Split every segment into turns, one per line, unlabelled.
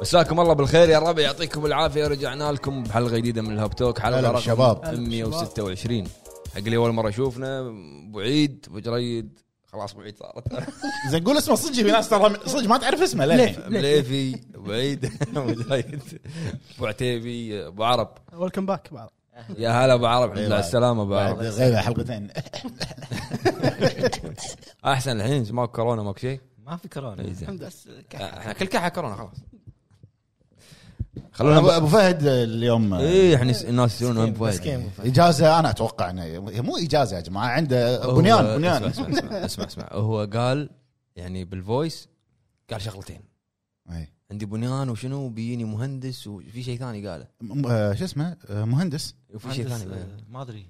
مساكم الله بالخير يا الربع يعطيكم العافيه رجعنا لكم بحلقه جديده من الهاب توك حلقه
هلا
رقم
بالشباب.
هلا بالشباب.
126 حق اللي اول مره يشوفنا ابو عيد ابو جريد خلاص ابو عيد صارت
زين قول اسمه صدق في ناس ترى صدق ما تعرف اسمه
ليه؟
ليه
مليفي ابو عيد ابو جريد ابو عتيبي ابو عرب
ويلكم باك بعض
يا هلا ابو عرب الحمد لله
أيوة.
على السلامه ابو
بعد
عرب
غيبه حلقتين
احسن الحين ماكو كورونا ماكو شيء
ما في كورونا
إي إيه، زين.
الحمد لله
احنا كل كحه كورونا خلاص
أبو-
خلونا
ابو فهد اليوم
ايه احنا الناس يسالون وين أبو فهد.
مسكين
اجازه انا اتوقع انه هي مو اجازه يا جماعه عنده
هو-
بنيان بنيان
اسمع اسمع اسمع, اسمع, اسمع. هو قال يعني بالفويس قال شغلتين
إيه.
عندي بنيان وشنو بيجيني مهندس وفي شيء ثاني قاله
م- آه، شو اسمه آه، مهندس
وفي شيء ثاني قاله
ما ادري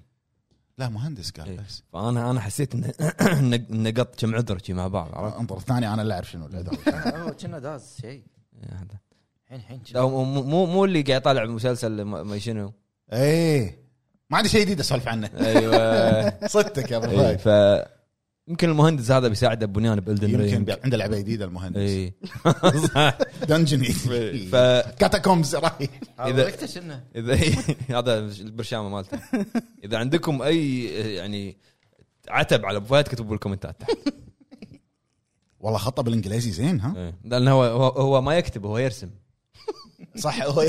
لا مهندس قال
إيه.
بس
فانا انا حسيت انه إنه- انه قط كم عذر شي مع بعض عرفت؟
انظر الثاني انا اللي اعرف شنو العذر.
كنا داز شيء
آه.
الحين الحين
يعني لا، هو مو مو- مو اللي قاعد يطالع مسلسل ما ما شنو
ايه ما عندي شيء جديد اسولف عنه
ايوه
صدتك يا ابو
إيه،
فهد
ف يمكن المهندس هذا بيساعده بنيان بالدن
يمكن بي- عنده لعبه جديده المهندس
اي
دنجن
إيه. ف
كاتاكومز رايح
إذا-
اذا وقته كنا
اذا هذا البرشامه مالته اذا عندكم اي يعني عتب على ابو فهد كتبوا بالكومنتات تحت
والله خطه بالانجليزي زين ها
إيه. لان هو هو- هو ما يكتب هو يرسم
صح هو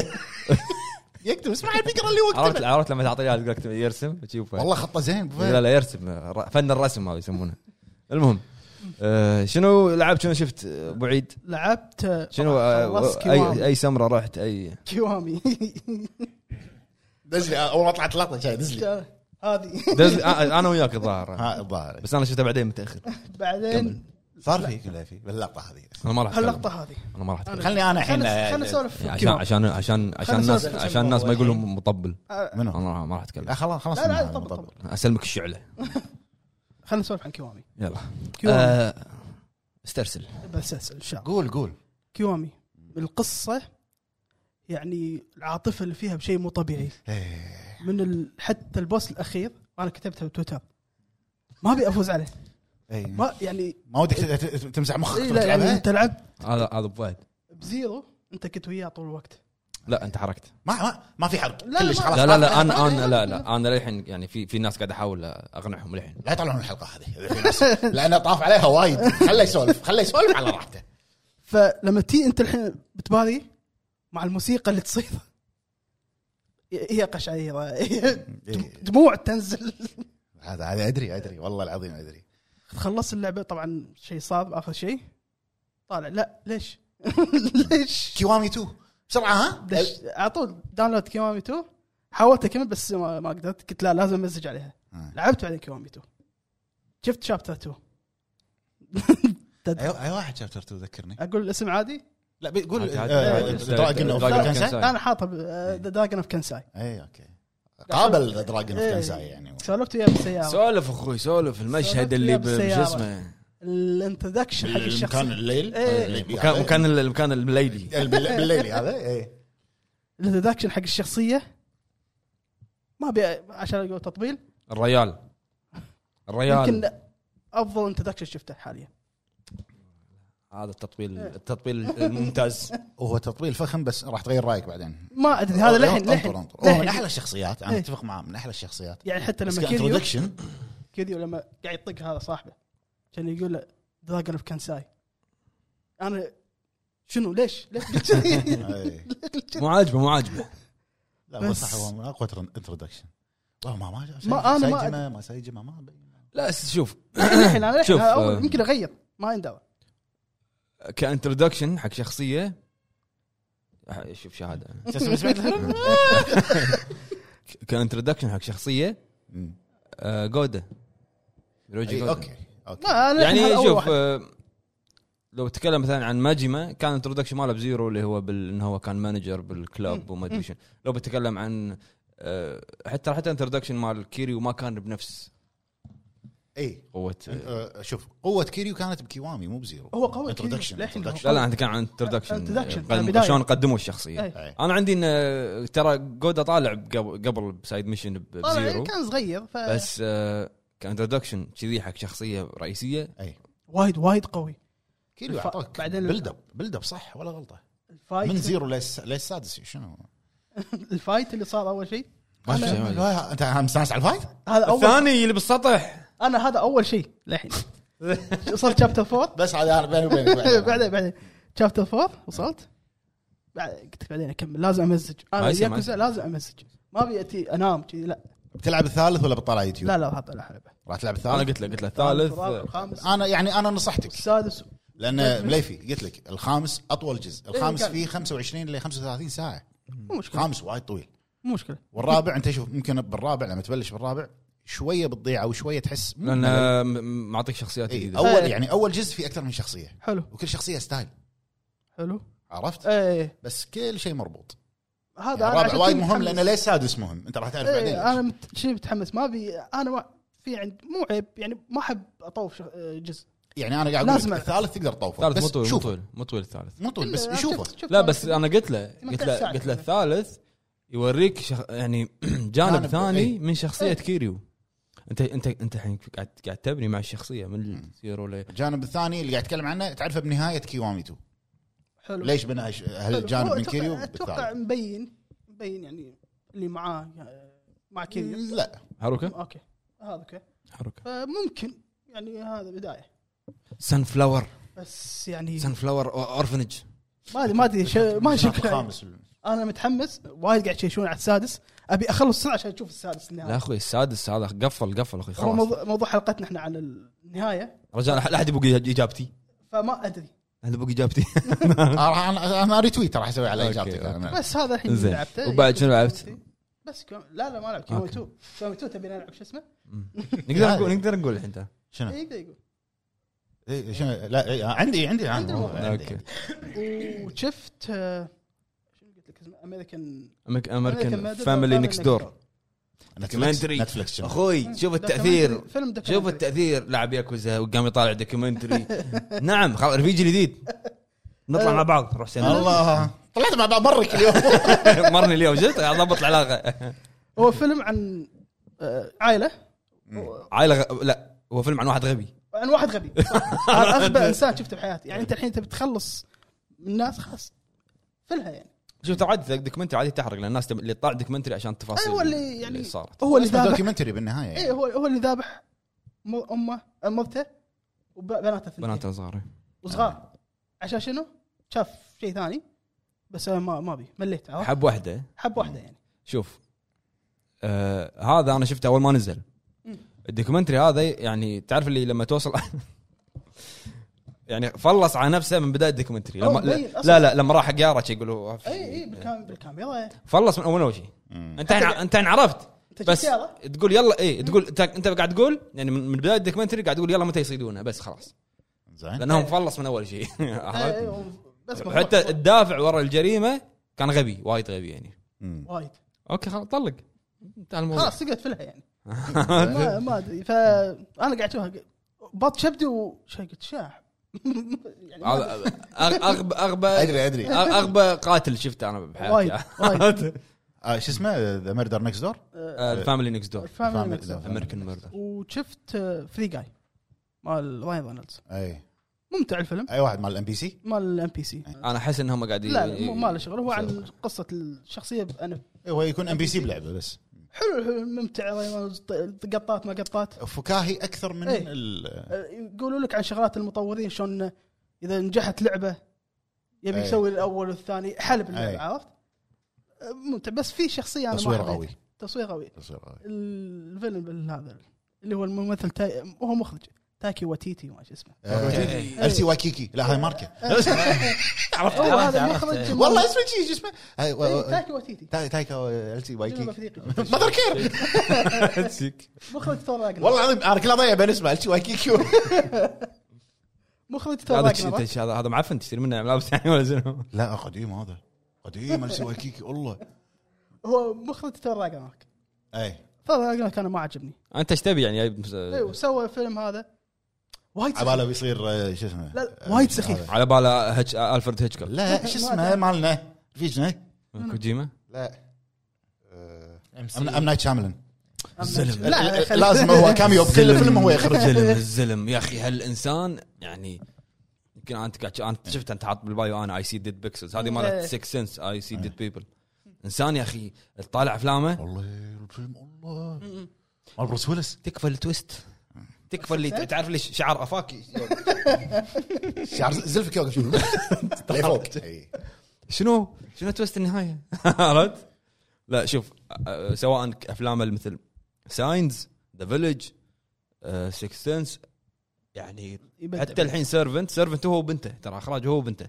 يكتب اسمع الفكره اللي
عرفت
وقتها
عرفت لما تعطيه إياه تقول اكتب يرسم تشوف
والله خطه زين أبو فهد.
لا لا يرسم ر- فن الرسم هذا يسمونه المهم آه، شنو لعبت شنو شفت آه، ابو عيد
لعبت آه،
شنو آه،
خلصت
اي
كيوامي
اي سمره رحت اي
كيوامي
دز لي اول ما طلعت لقطه شاي دز لي
هذه
دز- آه، انا وياك الظاهر
ها الظاهر
بس انا شفتها بعدين متاخر
بعدين
صار فيك ولا في باللقطه هذه
انا ما راح أتكلم.
هاللقطه هذه
انا ما راح أتكلم.
خلني انا الحين
خلنا خلنا نسولف
عشان
كيوامي.
عشان عشان عشان الناس
سؤال.
عشان الناس ما يقولوا مطبل
آه،
منو؟
انا راح- ما راح اتكلم
لا خلاص خلاص
لا، لا،
أنا
طب-
مطبل.
اسلمك الشعله
خلنا نسولف عن كيوامي
يلا
كيوامي.
آه، استرسل
بس أسأل ان شاء الله
قول قول
كيوامي القصه يعني العاطفه اللي فيها بشيء مو طبيعي
إيه.
من ال... حتى البوس الاخير وانا كتبتها بتويتر ما ابي افوز عليه
إيه. ما
ما يعني
ودك ت- ت- ت- تمسح مخك
إيه لا يعني
وتلعبها؟
انت لعبت
هذا هذا ابو فهد
بزيرو انت كنت وياه طول الوقت
لا انت حركت
ما ما- ما في حرق
لا،
كلش
ما-
خلاص
لا لا لا
آه،
انا انا لا لا انا للحين يعني في في ناس قاعد احاول اقنعهم للحين
لا يطلعون الحلقه هذه إذا في ناس. لانه طاف عليها وايد خله يسولف خله يسولف على راحته
فلما تي انت الحين بتباري مع الموسيقى اللي تصير هي قشعريره هي
إيه.
دموع تنزل
هذا هذا ادري ادري والله العظيم ادري
خلصت اللعبه طبعا شيء صعب اخر شيء طالع لا ليش ليش
كيوامي 2 بسرعه ها
دش على طول داونلود كيوامي 2 حاولت اكمل بس ما, ما قدرت قلت لا لازم امزج عليها
آه.
لعبت بعدين كيوامي 2 شفت شابتر 2
اي أي واحد شابتر 2 ذكرني
اقول الاسم عادي
لا بيقول
عادي، عادي،
آه،
عادي.
دراجون اوف
دراجون
كانساي
كانساي.
انا حاطه
إيه.
ذا دراجون اوف كانساي
اي اوكي إيه، قابل دراجون
إيه.
اوف كانساي يعني
سولفت وياه بالسياره
سولف اخوي سولف
سولف
المشهد
لي
اللي ب-
بالسيارة.
شو اسمه
الانترودكشن حق
مكان
الشخص
الليل
إيه.
الليبي
مكان
هذا.
مكان ال- مكان الليلي
بال- بالليل هذا إيه. اي
الانترودكشن حق الشخصيه ما بي عشان اقول تطبيل
الريال الريال
يمكن افضل انترودكشن شفته حاليا
هذا التطبيل التطبيل الممتاز
وهو تطبيل فخم بس راح تغير رايك بعدين
ما ادري هذا لحن
انطر- انطر-
لحن
انطر. هو من احلى
لحن.
الشخصيات انا
إيه.
اتفق معاه من احلى الشخصيات
يعني حتى
بس
لما كيريو
كانترودكشن
كيريو لما قاعد يطق هذا صاحبه كان يقول له دراجون اوف كانساي انا شنو ليش؟ ليش قلت كذي؟
مو عاجبه مو عاجبه
إيه. لا هو
بس-
صح هو من اقوى انترودكشن ما ما ما
ما- أنا ما-
سايجما- ما سايجما ما بي-
لا س- شوف
لحن انا لحن
شوف،
أنا
آه.
أول يمكن اغير ما يندرى
كانترودكشن حق شخصيه أح- شوف شهاده
شو اسمه سمعت الفيلم؟
كانترودكشن حق شخصيه
مم.
آه، جودا روجي
إيه،
جودا
اوكي اوكي
ما أنا لحن هذا
يعني
أول
شوف
واحد.
آه، لو تكلم مثلا عن ماجما كان الانترودكشن ماله بزيرو اللي هو بال... انه هو كان مانجر بالكلاب
مم.
وما ادري شنو لو بتكلم عن آه، حتى حتى الانترودكشن مال كيريو ما كان بنفس
اي
قوه آه،
آه، شوف قوة كيريو كانت بكيوامي مو بزيرو
هو قوي
انترودكشن
كيريو، لحن هو.
لا لا انت كان عن انترودكشن
آه، Introduction،
قد-
بداية.
شلون قدموا الشخصيه
إيه.
إيه.
انا عندي ان آه، ترى جودا طالع بقبل- قبل بسايد ميشن ب-
طبعا
بزيرو
إيه، كان صغير ف
بس آه، كانترودكشن كذي حق شخصيه رئيسيه
اي
وايد وايد قوي
كيلو
الف-
اعطاك
بعدين- آه،
بعدين بلد اب بلد اب صح ولا غلطه
الفايت
من زيرو للس- للسادس شنو؟
الفايت اللي صار اول شيء
ما آه،
أنا-
شفت لا، انت مستانس على الفايت؟
هذا اول
الثاني اللي بالسطح
انا هذا اول شيء للحين صرت شابتر 4
بس هذا انا بيني وبينك
بعدين بعدين شابتر 4 وصلت بعد قلت بعدين اكمل لازم امزج انا
ما يصير، ما
ياكوزا
يصير.
لازم امزج ما ابي اتي انام كذي لا
تلعب الثالث ولا بتطلع يوتيوب؟
لا لا هذا لا حلبه
راح تلعب
انا
الثالث؟
قلت له قلت له
طيب،
الثالث
الرابع الخامس
انا يعني انا نصحتك
السادس
لان مليفي قلت لك الخامس اطول جزء، الخامس
قال.
فيه 25 ل 35 ساعه،
مو مشكله
خامس وايد طويل،
مو مشكله
والرابع انت شوف ممكن بالرابع لما تبلش بالرابع شويه بتضيع او شويه تحس مو
لان
ملل.
م- م- معطيك شخصيات
إيه،
جديده
اول يعني اول جزء فيه اكثر من شخصيه
حلو
وكل شخصيه ستايل
حلو
عرفت؟
ايه
بس كل شيء مربوط
هذا
يعني
أنا
الرابع
عشان
وايد
كذي
مهم
متحمس.
لانه ليه السادس مهم انت راح تعرف بعدين
ايه انا
ليش.
مت... شيء متحمس ما ابي انا ما... في عند مو عيب يعني ما احب اطوف ش... آه، جزء
يعني انا قاعد اقول
لازم
لك الثالث تقدر تطوفه
الثالث مو
بس
طويل مو
شوفه
طويل مو طويل الثالث
مو طويل بس
إلا أنا
شوفه
شفت- شفت
لا
هذا
بس انا قلت له
18
قلت له
ساعة
قلت له
كذا.
الثالث يوريك شخ... يعني جانب
جانب،
ثاني
إيه.
من شخصيه
إيه.
كيريو انت انت انت الحين قاعد قاعد تبني مع الشخصيه من زيرو ل
الجانب الثاني اللي قاعد اتكلم عنه تعرفه بنهايه كيوامي 2
حلو
ليش بنى هش- هالجانب
حلو.
من
هو
كيريو
أتوقع- اتوقع
بالثالث
مبين مبين يعني اللي معاه آه، مع كيريو
لا
هاروكا
اوكي هذا اوكي
هاروكا
فممكن يعني هذا بدايه
سن فلاور
بس
إيه.
يعني
سن فلاور اورفنج
ما ادري ما ادري شو- ما شكله
الخامس
انا متحمس وايد قاعد يشيشون على السادس ابي اخلص سرعه عشان اشوف السادس
لا
النهايه
اخوي السادس هذا قفل قفل اخوي
هو
خلاص
موضوع, موضوع حلقتنا احنا على النهايه
رجال لا احد يبقى اجابتي
فما ادري
لا احد يبقى اجابتي
آه، راح- انا انا ريتويت راح اسوي على
أوكي،
اجابتك
أوكي.
أنا-
بس هذا الحين
زين.
اللي لعبته
وبعد شنو لعبت؟
بس كم... لا لا ما لعبت كيومي
أوكي.
2 كيومي 2 تبي نلعب شو اسمه؟ إيه،
نقدر نقول نقدر نقول الحين ترى.
شنو؟
إي، يقدر يقول
إيه، شنو؟ لا إيه، عندي عندي
عندي
عندي
الموضوع.
عندي.
اوكي
وشفت آه، شنو قلت لك اسمه امريكان
امريكان فاميلي نكست دور
نتفلكس
دوكيومنتري
نتفلكس شنو؟
اخوي شوف التاثير
فيلم دوكيومنتري.
شوف التاثير لاعب ياكوزا وقام يطالع دوكيومنتري نعم خلاص رفيجي جديد نطلع مع بعض نروح سينما
الله طلعت مع بعض مرك اليوم
مرني اليوم شفت ضبط العلاقه
هو فيلم عن آه، عائله
عائله غ... لا هو فيلم عن واحد غبي
عن واحد غبي هذا اغبى انسان شفته بحياتي يعني انت الحين تبي تخلص من الناس خلاص فلها يعني
شوف ترى عادي دوكيومنتري عادي تحرق لان الناس تم- اللي تطالع دوكيومنتري عشان التفاصيل
ايوه اللي يعني
اللي صارت
هو اللي
اسمه
ذابح
دوكيومنتري بالنهايه يعني.
اي إيه، هو هو اللي ذابح م- امه مرته وبناته اثنتين
بنات صغار
وصغار عشان شنو؟ شاف شيء ثاني بس أنا ما ما ابي مليت عرفت؟
حب واحده
حب واحده يعني
شوف آه هذا انا شفته اول ما نزل الدوكيومنتري هذا يعني تعرف اللي لما توصل يعني فلص على نفسه من بدايه الدوكيومنتري
أوه،
لما
مبين
لا,
أصلاً.
لا لا لما راح حق شي يقولوا
اي اي إيه، بالكام بالكاميرا
فلص من اول اول شيء
مم.
انت عن- انت عن عرفت
أنت
بس
شفت يلا؟
تقول يلا اي تقول انت انت قاعد تقول يعني من من بدايه الدوكيومنتري قاعد تقول يلا متى يصيدونه بس خلاص
زين
إيه.
لانهم فلص من اول شيء عرفت؟
إي، إي، إيه، بس مضبوط.
حتى الدافع ورا الجريمه كان غبي وايد غبي يعني
مم.
وايد
اوكي خلاص طلق انتهى الموضوع
خلاص سقط فلها يعني ما ما ادري فانا قاعد اشوفها بط شبدي وشي قلت شاح يعني ما أدري.
هذا أغ- اغبى اغبى
ادري ادري
اغبى قاتل شفته انا
وايد
بحياتي
وايد
آه، شو اسمه ذا ميردر نكست دور
الفاميلي نكست دور
الفاميلي
الفاميلي
نكسر.
نكسر.
امريكان ميردر
وشفت فري جاي مال راين رينولدز
اي
ممتع الفيلم
اي إيه. واحد مال الام بي سي
مال الام بي سي
انا احس انهم قاعدين
لا لا مو- ما له يعني شغل هو عن قصه الشخصيه انا
هو يكون ام بي سي بلعبه بس
حلو الحلو، ممتع قطات ما قطات
فكاهي اكثر من
إيه.
ال-
أه، يقولوا لك عن شغلات المطورين شلون اذا نجحت لعبه يبي
أي.
يسوي الاول والثاني حلب اللعبه
أي.
عرفت؟ أه، ممتع بس في شخصيه انا
تصوير
ما حبيتها.
قوي
تصوير قوي
تصوير قوي
الفيلم هذا اللي هو الممثل تاي... هو مخرج تاكي واتيتي ما شو اسمه
آه،
إيه.
أوكي.
ارسي واكيكي لا هاي ماركه
عرفت
هو هذا
عرفت.
المخرج
والله اسمه شي شو اسمه هاي، و-
إيه،
و-
تاكي واتيتي
تا- تايكا ارسي
جنوب
وايكيكي
افريقي
ماذر كير
مخرج ثور راجنر
والله العظيم انا كل اضيع بين اسمه ارسي وايكيكي
مخرج ثور
هذا تش-
راجنر
تش- هذا هذا معفن تشتري منه ملابس يعني ولا شنو؟
لا قديم هذا قديم ارسي وايكيكي والله إيه،
هو مخرج ثور راجنر
اي
ثور راجنر كان ما عجبني
انت ايش تبي يعني جايب-
ايوه سوى الفيلم هذا وايد سخيف
عباله بيصير آه، شو اسمه
لا،
آه،
وايد
هذا.
سخيف.
على باله هج... الفرد هيتشكوك
لا شو اسمه مالنا رفيجنا
كوجيما
لا
ام سي
ام نايت شاملن
الزلم
لا خلي-
لازم هو كاميو بكل فيلم هو يخرج
الزلم الزلم يا اخي هالانسان يعني يمكن انت قاعد انت شفت انت حاط بالبايو انا اي سي ديد بيكسلز هذه مالت
إيه.
6 سنس اي سي ديد بيبل انسان يا اخي تطالع افلامه
والله الفيلم الله مال بروس ويلس
تكفى التويست تكفى اللي تعرف ليش شعر افاك
شعر زلفك يوقف شنو لفوق إي.
شنو شنو تويست النهايه عرفت لا شوف أ- أ- سواء ك- افلامه مثل ساينز ذا فيلج 6 سنس يعني
يبدع.
حتى الحين سيرفنت سيرفنت هو وبنته ترى اخراجه هو وبنته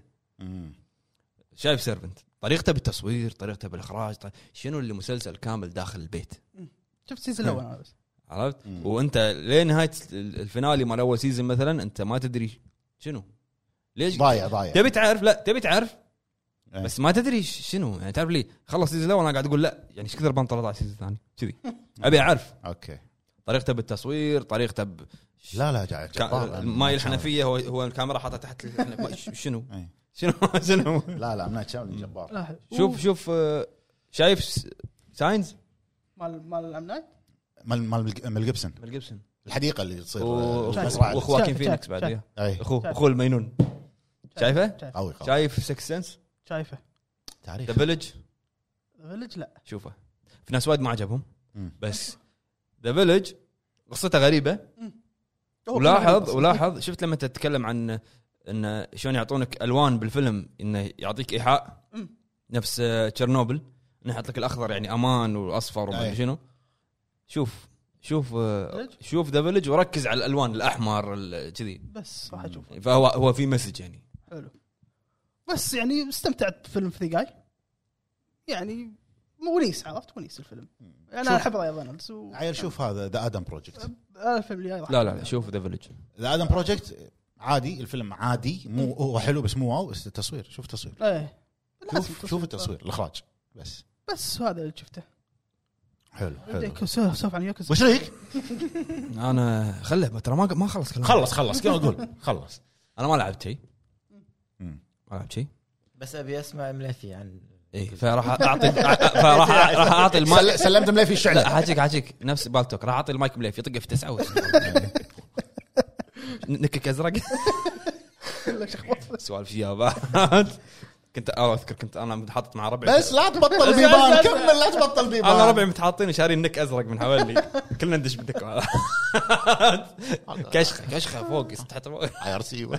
شايف سيرفنت طريقته بالتصوير طريقته بالاخراج طريق... شنو اللي مسلسل كامل داخل البيت
شفت السيزون الاول انا بس
عرفت
مم.
وانت لين نهايه ال- الفينالي مال اول سيزون مثلا انت ما تدري شنو ليش
ضايع ضايع
تبي تعرف لا تبي تعرف
إيه.
بس ما تدري ش- شنو يعني تعرف لي خلص السيزون الاول انا قاعد اقول لا يعني ايش كثر بنطلع على السيزون الثاني كذي ابي اعرف
اوكي
طريقته بالتصوير طريقته ب...
لا لا جاي
كا... ماي الحنفيه هو هو الكاميرا حاطه تحت الحنفية. ش- شنو
إيه.
شنو شنو
لا لا منعت شامل جبار
لا،
شوف شوف آه، شايف س- ساينز
مال مال الام نايت
مال مال مال جيبسون
مال جيبسون
الحديقه اللي تصير
طيب،
و-
آه،
شايف.
مزرعه
واخواكين
شايف-
فينيكس
شايف-
بعد
شايف.
وياه.
اي
اخوه اخوه المينون شايفه؟
شايفه
قوي
طيب.
قوي
شايف 6 سنس
شايفه
تعريف
ذا فيلج
فيلج لا
شوفه في ناس وايد ما عجبهم
مم.
بس ذا فيلج قصته غريبه
هو
ولاحظ
فيلم
ولاحظ شفت لما تتكلم عن ان شلون يعطونك الوان بالفيلم انه يعطيك ايحاء
أمم.
نفس آه، تشيرنوبل انه يحط لك الاخضر يعني امان واصفر وما
أي.
أدري شنو شوف شوف آه،
فيلج؟
شوف ذا فيلج وركز على الالوان الاحمر ال- كذي
بس راح اشوفه
فهو هو في مسج يعني
حلو بس يعني استمتعت بفيلم في جاي يعني ونيس عرفت ونيس الفيلم يعني انا
شوف.
احب راين رينولدز و
عيل شوف هذا ذا ادم بروجكت
هذا الفيلم اللي جاي راح
لا لا لا، شوف ذا فيلج
ذا ادم بروجكت عادي الفيلم عادي مو هو حلو بس مو واو بس التصوير شوف تصوير
ايه لازم
شوف
تصوير.
شوف التصوير الاخراج بس
بس هذا اللي شفته
حلو حلو
ياكوزا، سولف عن ياكوزا
وش رايك؟
انا خله ترى ما ما خلص كلام
خلص خلص كم اقول خلص
انا ما لعبت شيء
مم.
ما لعبت شيء
بس ابي اسمع ملفي عن
اي فراح اعطي فراح راح اعطي المايك
سل- سلمت مليفي
لا
الشعله
حاجيك حاجيك نفس بالتوك راح اعطي المايك مليف يطقه في تسعه وش- نكك ازرق سوالف شياب كنت اه اذكر كنت انا حاطط مع ربعي
بس لا تبطل بيبان كمل لا تبطل بيبان
انا ربعي متحاطين وشارين نك ازرق من حوالي كلنا ندش بالنك كشخه كشخه فوق تحت فوق.
اي ار سي كمل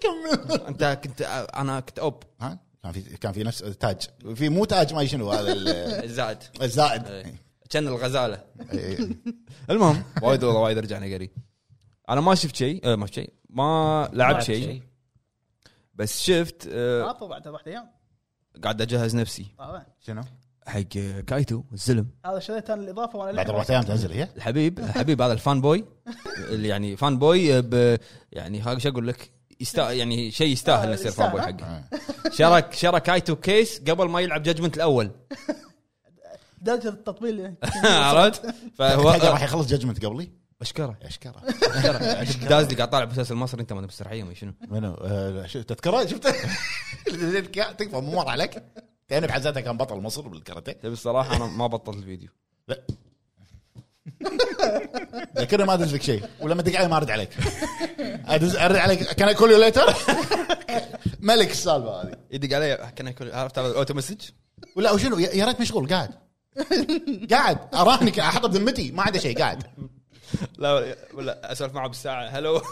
كمل
انت كنت انا كنت اوب
ها كان في كان في نفس تاج في مو تاج ما شنو هذا ال-
زائد
الزائد
كان الغزاله
إيه.
إيه. المهم وايد والله وايد رجعنا قري انا ما شفت شيء آه، ما شفت شيء ما لعبت شيء بس شفت آه،
عطوا بعد واحد ايام
قاعد اجهز نفسي
طبعاً.
شنو؟
حق إيه، كايتو الزلم
هذا شريته انا الاضافه وانا
بعد
لعبة.
اربع ايام تنزل هي
الحبيب الحبيب هذا الفان بوي اللي يعني فان بوي ب يعني ها- شو اقول لك يستا يعني شيء يستاهل انه يصير فان بوي حقه
آه.
شرك شرك كايتو كيس قبل ما يلعب جاجمنت الاول
درجه التطبيل
عرفت
هو راح
فهو
يخلص ججمنت قبلي
اشكره
اشكره
داز اللي قاعد طالع بسلسل مصر انت ما أنت مسترحيه ما شنو
منو آه، شو- تذكره شفت تكفى مو مر عليك تاني بحزتها كان بطل مصر بالكاراتيه
تبي الصراحه انا ما بطلت الفيديو
لا ذكرني ما ادز لك شيء ولما تقعد ما ارد عليك ادز ارد عليك كان اكل ليتر ملك السالفه هذه
يدق علي كان يكون عرفت هذا الاوتو مسج
ولا وشنو يا يا ريت مشغول قاعد قاعد اراهنك احط بذمتي ما عنده شيء قاعد
لا ولا اسولف معه بالساعه هلو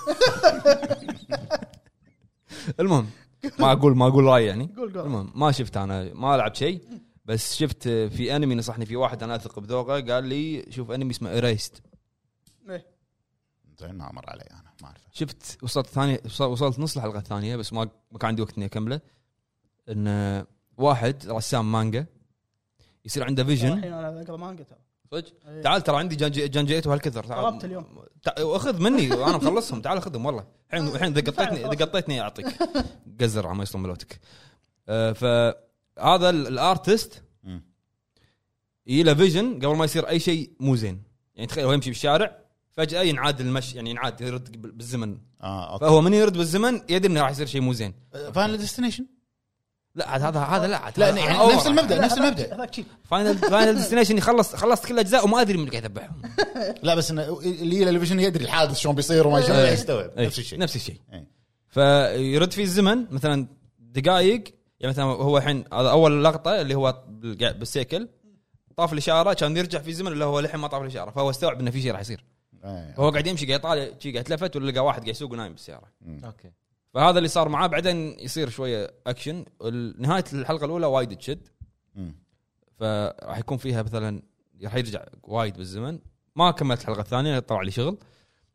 المهم ما اقول ما اقول راي يعني
قول قول.
المهم ما شفت انا ما لعبت شيء بس شفت في انمي نصحني فيه واحد انا اثق بذوقه قال لي شوف انمي اسمه ايريست
إيه.
زين ما مر علي انا ما اعرفه
شفت وصلت ثاني وصل- وصلت نص الحلقه الثانيه بس ما ما كان عندي وقت اني اكمله ان واحد رسام مانجا يصير عنده فيجن
الحين انا اقرا مانجا ترى
صدق
إيه.
تعال ترى عندي جانجي جانجيتو هالكثر تعال
طلبت اليوم.
تع- واخذ مني وانا مخلصهم تعال اخذهم والله الحين
آه،
الحين اذا قطيتني
تعال،
اذا قطيتني اعطيك قزر على ما يصلون ملوتك آه، فهذا ال- الارتست
مم.
يجي له فيجن قبل ما يصير اي شيء مو زين يعني تخيل هو يمشي بالشارع فجاه ينعاد المشي يعني ينعاد يرد بال- بالزمن
اه اوكي
فهو من يرد بالزمن يدري انه راح يصير شيء مو زين
فاينل ديستنيشن
لا عاد هذا هذا لا عاد
لا
هذا
يعني
أوفر.
نفس المبدا نفس
هذاك-
المبدا
هذاك شيء
فاينل فاينل ديستنيشن خلص خلصت كل الاجزاء وما ادري من اللي قاعد يذبحهم
لا بس إنه اللي يلي الفيجن يدري الحادث شلون بيصير وما شلون
إيه.
يستوعب
إيه،
نفس الشيء
نفس الشيء
إيه.
ف- فيرد فيه الزمن مثلا دقائق يعني مثلا هو الحين هذا اول لقطه اللي هو بالق- بالسيكل طاف الاشاره كان يرجع في الزمن اللي هو للحين ما طاف الاشاره فهو استوعب انه في شيء راح يصير
إيه.
فهو قاعد يمشي قاعد يطالع شي قاعد يتلفت ولا لقى واحد قاعد يسوق نايم بالسياره
اوكي
فهذا اللي صار معاه بعدين يصير شويه اكشن ال- نهايه الحلقه الاولى وايد تشد
مم.
فراح يكون فيها مثلا راح يرجع وايد بالزمن ما كملت الحلقه الثانيه طلع لي شغل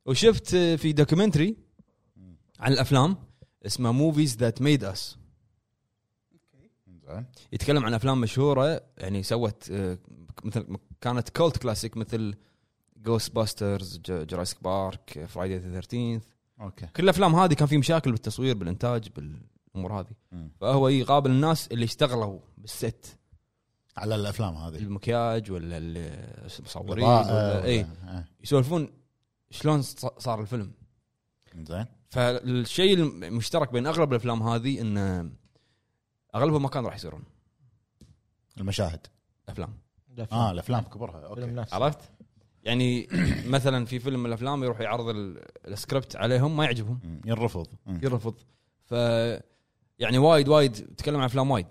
وشفت آه، في دوكيومنتري عن الافلام اسمه موفيز ذات ميد اس
زين
يتكلم عن افلام مشهوره يعني سوت آه، مثل كانت كولت كلاسيك مثل جوست باسترز جراسيك بارك فرايدي 13
اوكي
كل الافلام هذه كان في مشاكل بالتصوير بالانتاج بالامور هذه
مم.
فهو يقابل الناس اللي اشتغلوا بالست
على الافلام هذه
المكياج ولا المصورين
الإضاءة
ولا اي
ولا- إيه.
يسولفون شلون ص- صار الفيلم
زين
فالشيء المشترك بين اغلب الافلام هذه ان اغلبهم ما كانوا راح يصيرون
المشاهد
افلام
اه الافلام كبرها
فيلم
اوكي
نفسه
عرفت؟ يعني مثلا في فيلم من الافلام يروح يعرض ال- السكريبت عليهم ما يعجبهم
مم. ينرفض مم.
يرفض ف يعني وايد وايد تكلم عن افلام وايد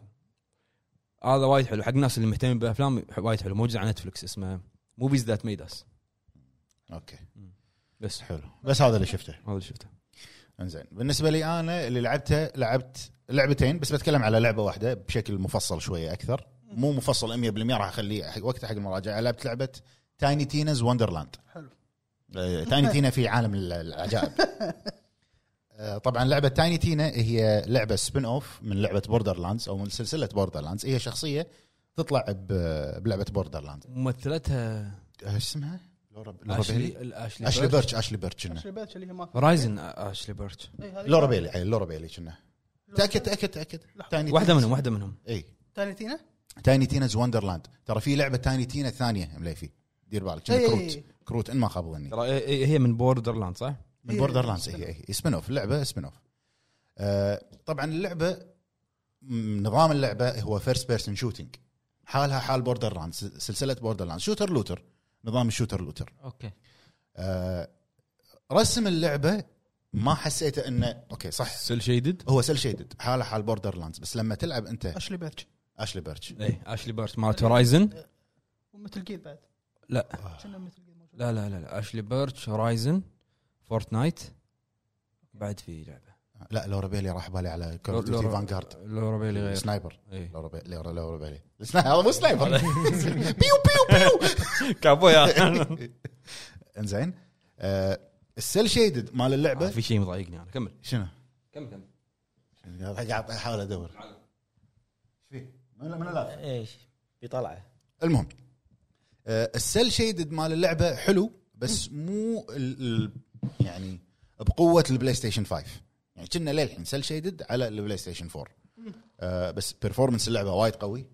هذا وايد حلو حق الناس اللي مهتمين بالافلام وايد حلو موجود على نتفلكس اسمه موفيز ذات ميد اس
اوكي
بس
حلو بس هذا اللي شفته
هذا اللي شفته
انزين بالنسبه لي انا اللي لعبته لعبت لعبتين بس بتكلم على لعبه واحده بشكل مفصل شويه اكثر مو مفصل 100% راح اخليه حق وقته حق المراجعه لعبت لعبه تايني تينز وندرلاند
حلو.
تايني تينا آه، في عالم ال- العجائب آه، طبعا لعبه تايني تينا هي لعبه سبين اوف من لعبه بوردر لاندز او من سلسله بوردر لاندز هي شخصيه تطلع ب- بلعبه بوردر لاندز
ممثلتها
ايش اسمها؟ لورا لورا بيلي
اشلي الاشلي
اشلي بيرتش اشلي بيرتش إنه.
عشري بيت اللي هي ما
فرايزن اشلي بيرتش
إي، هذه
لورا
كانت-
بيلي عيل، لورا بيلي كنا تاكد تاكد تاكد تايني
واحده منهم واحده منهم
اي
ثاني تينا
تايني تينز وندرلاند ترى في لعبه تايني تينا ثانيه مليفي دير بالك
إي.
كنا كروت كروت ان ما خاب ظني
ترى هي- هي- هي من بوردر لاند صح؟
من
إي.
بوردر لاندز هي هي سبين اوف لعبه سبين اوف آه طبعا اللعبه م- نظام اللعبه هو فيرست بيرسون شوتينج حالها حال بوردر لاندز سلسله بوردر لاندز شوتر لوتر نظام الشوتر لوتر
اوكي
آه رسم اللعبه ما حسيته انه اوكي صح
سيل شيدد
هو سيل شيدد حاله حال بوردر لاندز بس لما تلعب انت
اشلي بيتش
اشلي بيرتش
اي اشلي بيرتش إيه، مالت هورايزن
ومثل جير بعد
لا
كنا مثل جير موجود
لا لا لا, لا. اشلي بيرتش هورايزن فورتنايت بعد في لعبه
لا لورا بيلي راح بالي على كول اوف ديوتي
لورا-
فانجارد
لورا بيلي غير إيه.
سنايبر
إي.
لورا بيلي لورا لورا بيلي السنا- هذا مو سنايبر بيو بيو بيو
كابويا
انزين آه، السيل شيدد مال
آه،
اللعبه
في شيء مضايقني انا كمل
شنو؟
كمل كمل
قاعد احاول ادور ايش فيه؟ من من لا
ايش بطلعه
المهم آه، السيل شيدد مال اللعبه حلو بس مو ال ال يعني بقوه البلاي ستيشن 5 يعني كنا للحين سيل شيدد على البلاي ستيشن 4 آه، بس بيرفورمنس اللعبه وايد قوي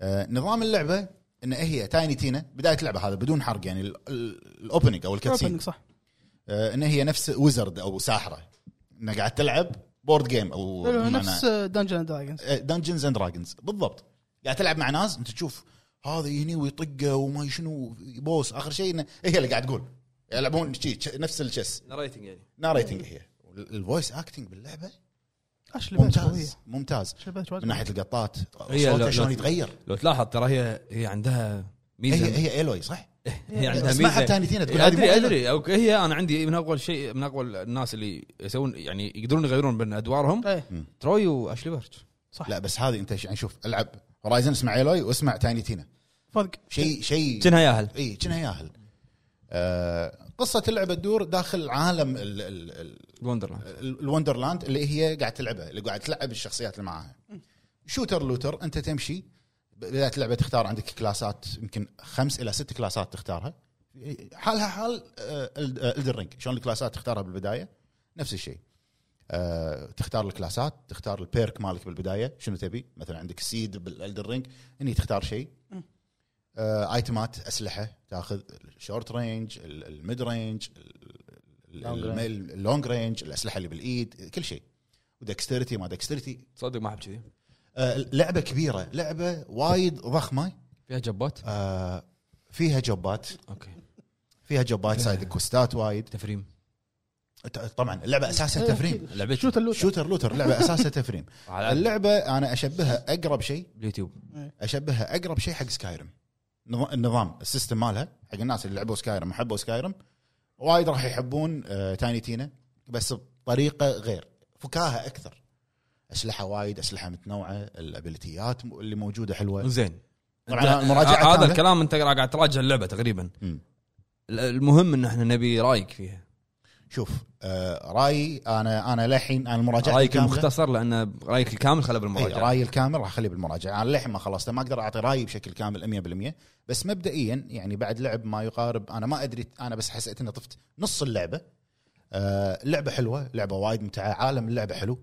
آه، نظام اللعبه ان هي تايني تينا بدايه اللعبه هذا بدون حرق يعني الاوبننج او الكاتسين
Opening، صح
آه، ان هي نفس ويزرد او ساحره انها قاعد تلعب بورد جيم او
لا، لا،
بمعنى-
نفس دنجن دراجونز
دنجنز اند دراجونز بالضبط قاعد تلعب مع ناس انت تشوف هذا يجيني ويطقه وما شنو بوس اخر شيء إنه هي اللي قاعد تقول يلعبون شي نفس الشس
ناريتنج يعني
ناريتنج هي الفويس اكتنج باللعبه
اشلي بيتش قوية
ممتاز ممتاز
اشلي بيتش وايد
من ناحيه القطات
هي
صوتها
لا-
شلون
لا-
يتغير
لو تلاحظ ترى هي هي عندها ميزه
هي هي الوي صح؟
هي عندها إيه،
اسمعها
ميزه
بتاني تينا إيه، تقول هذه
ادري
مو Aloy.
ادري اوكي هي انا عندي من اول شيء من اول الناس اللي يسوون يعني يقدرون يغيرون بين ادوارهم
قوية. إيه.
تروي واشلي بيرتش
لا بس هذه انت ش- يعني شوف العب هورايزن اسمع الوي واسمع تايني تينا
فرق
شيء شيء إيه،
كانها ياهل
اي كنا ياهل آه، قصه اللعبه تدور داخل عالم ال- ال- ال-
وندرلاند
آه، ال- الوندرلاند اللي هي قاعد تلعبها اللي قاعد تلعب الشخصيات اللي معاها شوتر لوتر انت تمشي بدايه اللعبه تختار عندك كلاسات يمكن خمس الى ست كلاسات تختارها حالها حال آه، الدرينج شلون الكلاسات تختارها بالبدايه نفس الشيء آه، تختار الكلاسات تختار البيرك مالك بالبدايه شنو تبي مثلا عندك سيد بالالدرينج هني تختار شيء آه، ايتمات اسلحه تاخذ الشورت رينج الميد رينج اللونج رينج الاسلحه اللي بالايد كل شيء ودكستيرتي ما دكستيرتي
تصدق ما احب كذي
آه، لعبه كبيره لعبه وايد ضخمه
فيها جبات
آه، فيها جوبات
اوكي
فيها جوبات سايد كوستات وايد
تفريم
ت- طبعا اللعبه اساسها تفريم
لعبت
شوت اللوت
شوتر لوتر لعبه اساسها تفريم
على
اللعبه انا اشبهها اقرب شيء
اليوتيوب
اشبهها اقرب شيء حق سكايرم نظ- النظام السيستم مالها حق الناس اللي لعبوا سكايرم وحبوا سكايرم وايد راح يحبون آه، تايني تينا بس بطريقه غير فكاهه اكثر اسلحه وايد اسلحه متنوعه الابيلتيات م- اللي موجوده حلوه
زين
طبعاً
أنت-
طيب. المراجعة
ه- هذا
كاملة؟
الكلام انت قاعد تراجع اللعبه تقريبا
مم.
ال- المهم ان احنا نبي رايك فيها
شوف آه، رايي انا انا للحين انا المراجعه
رايك
الكاملة-
المختصر لان رايك الكامل خله
اي
بالمراجعه
رايي إيه، الكامل راح اخليه بالمراجعه انا للحين ما خلصته ما اقدر اعطي رايي بشكل كامل 100% بس مبدئيا يعني بعد لعب ما يقارب انا ما ادري انا بس حسيت اني طفت نص اللعبه آه لعبه حلوه لعبه وايد ممتعه عالم اللعبه حلو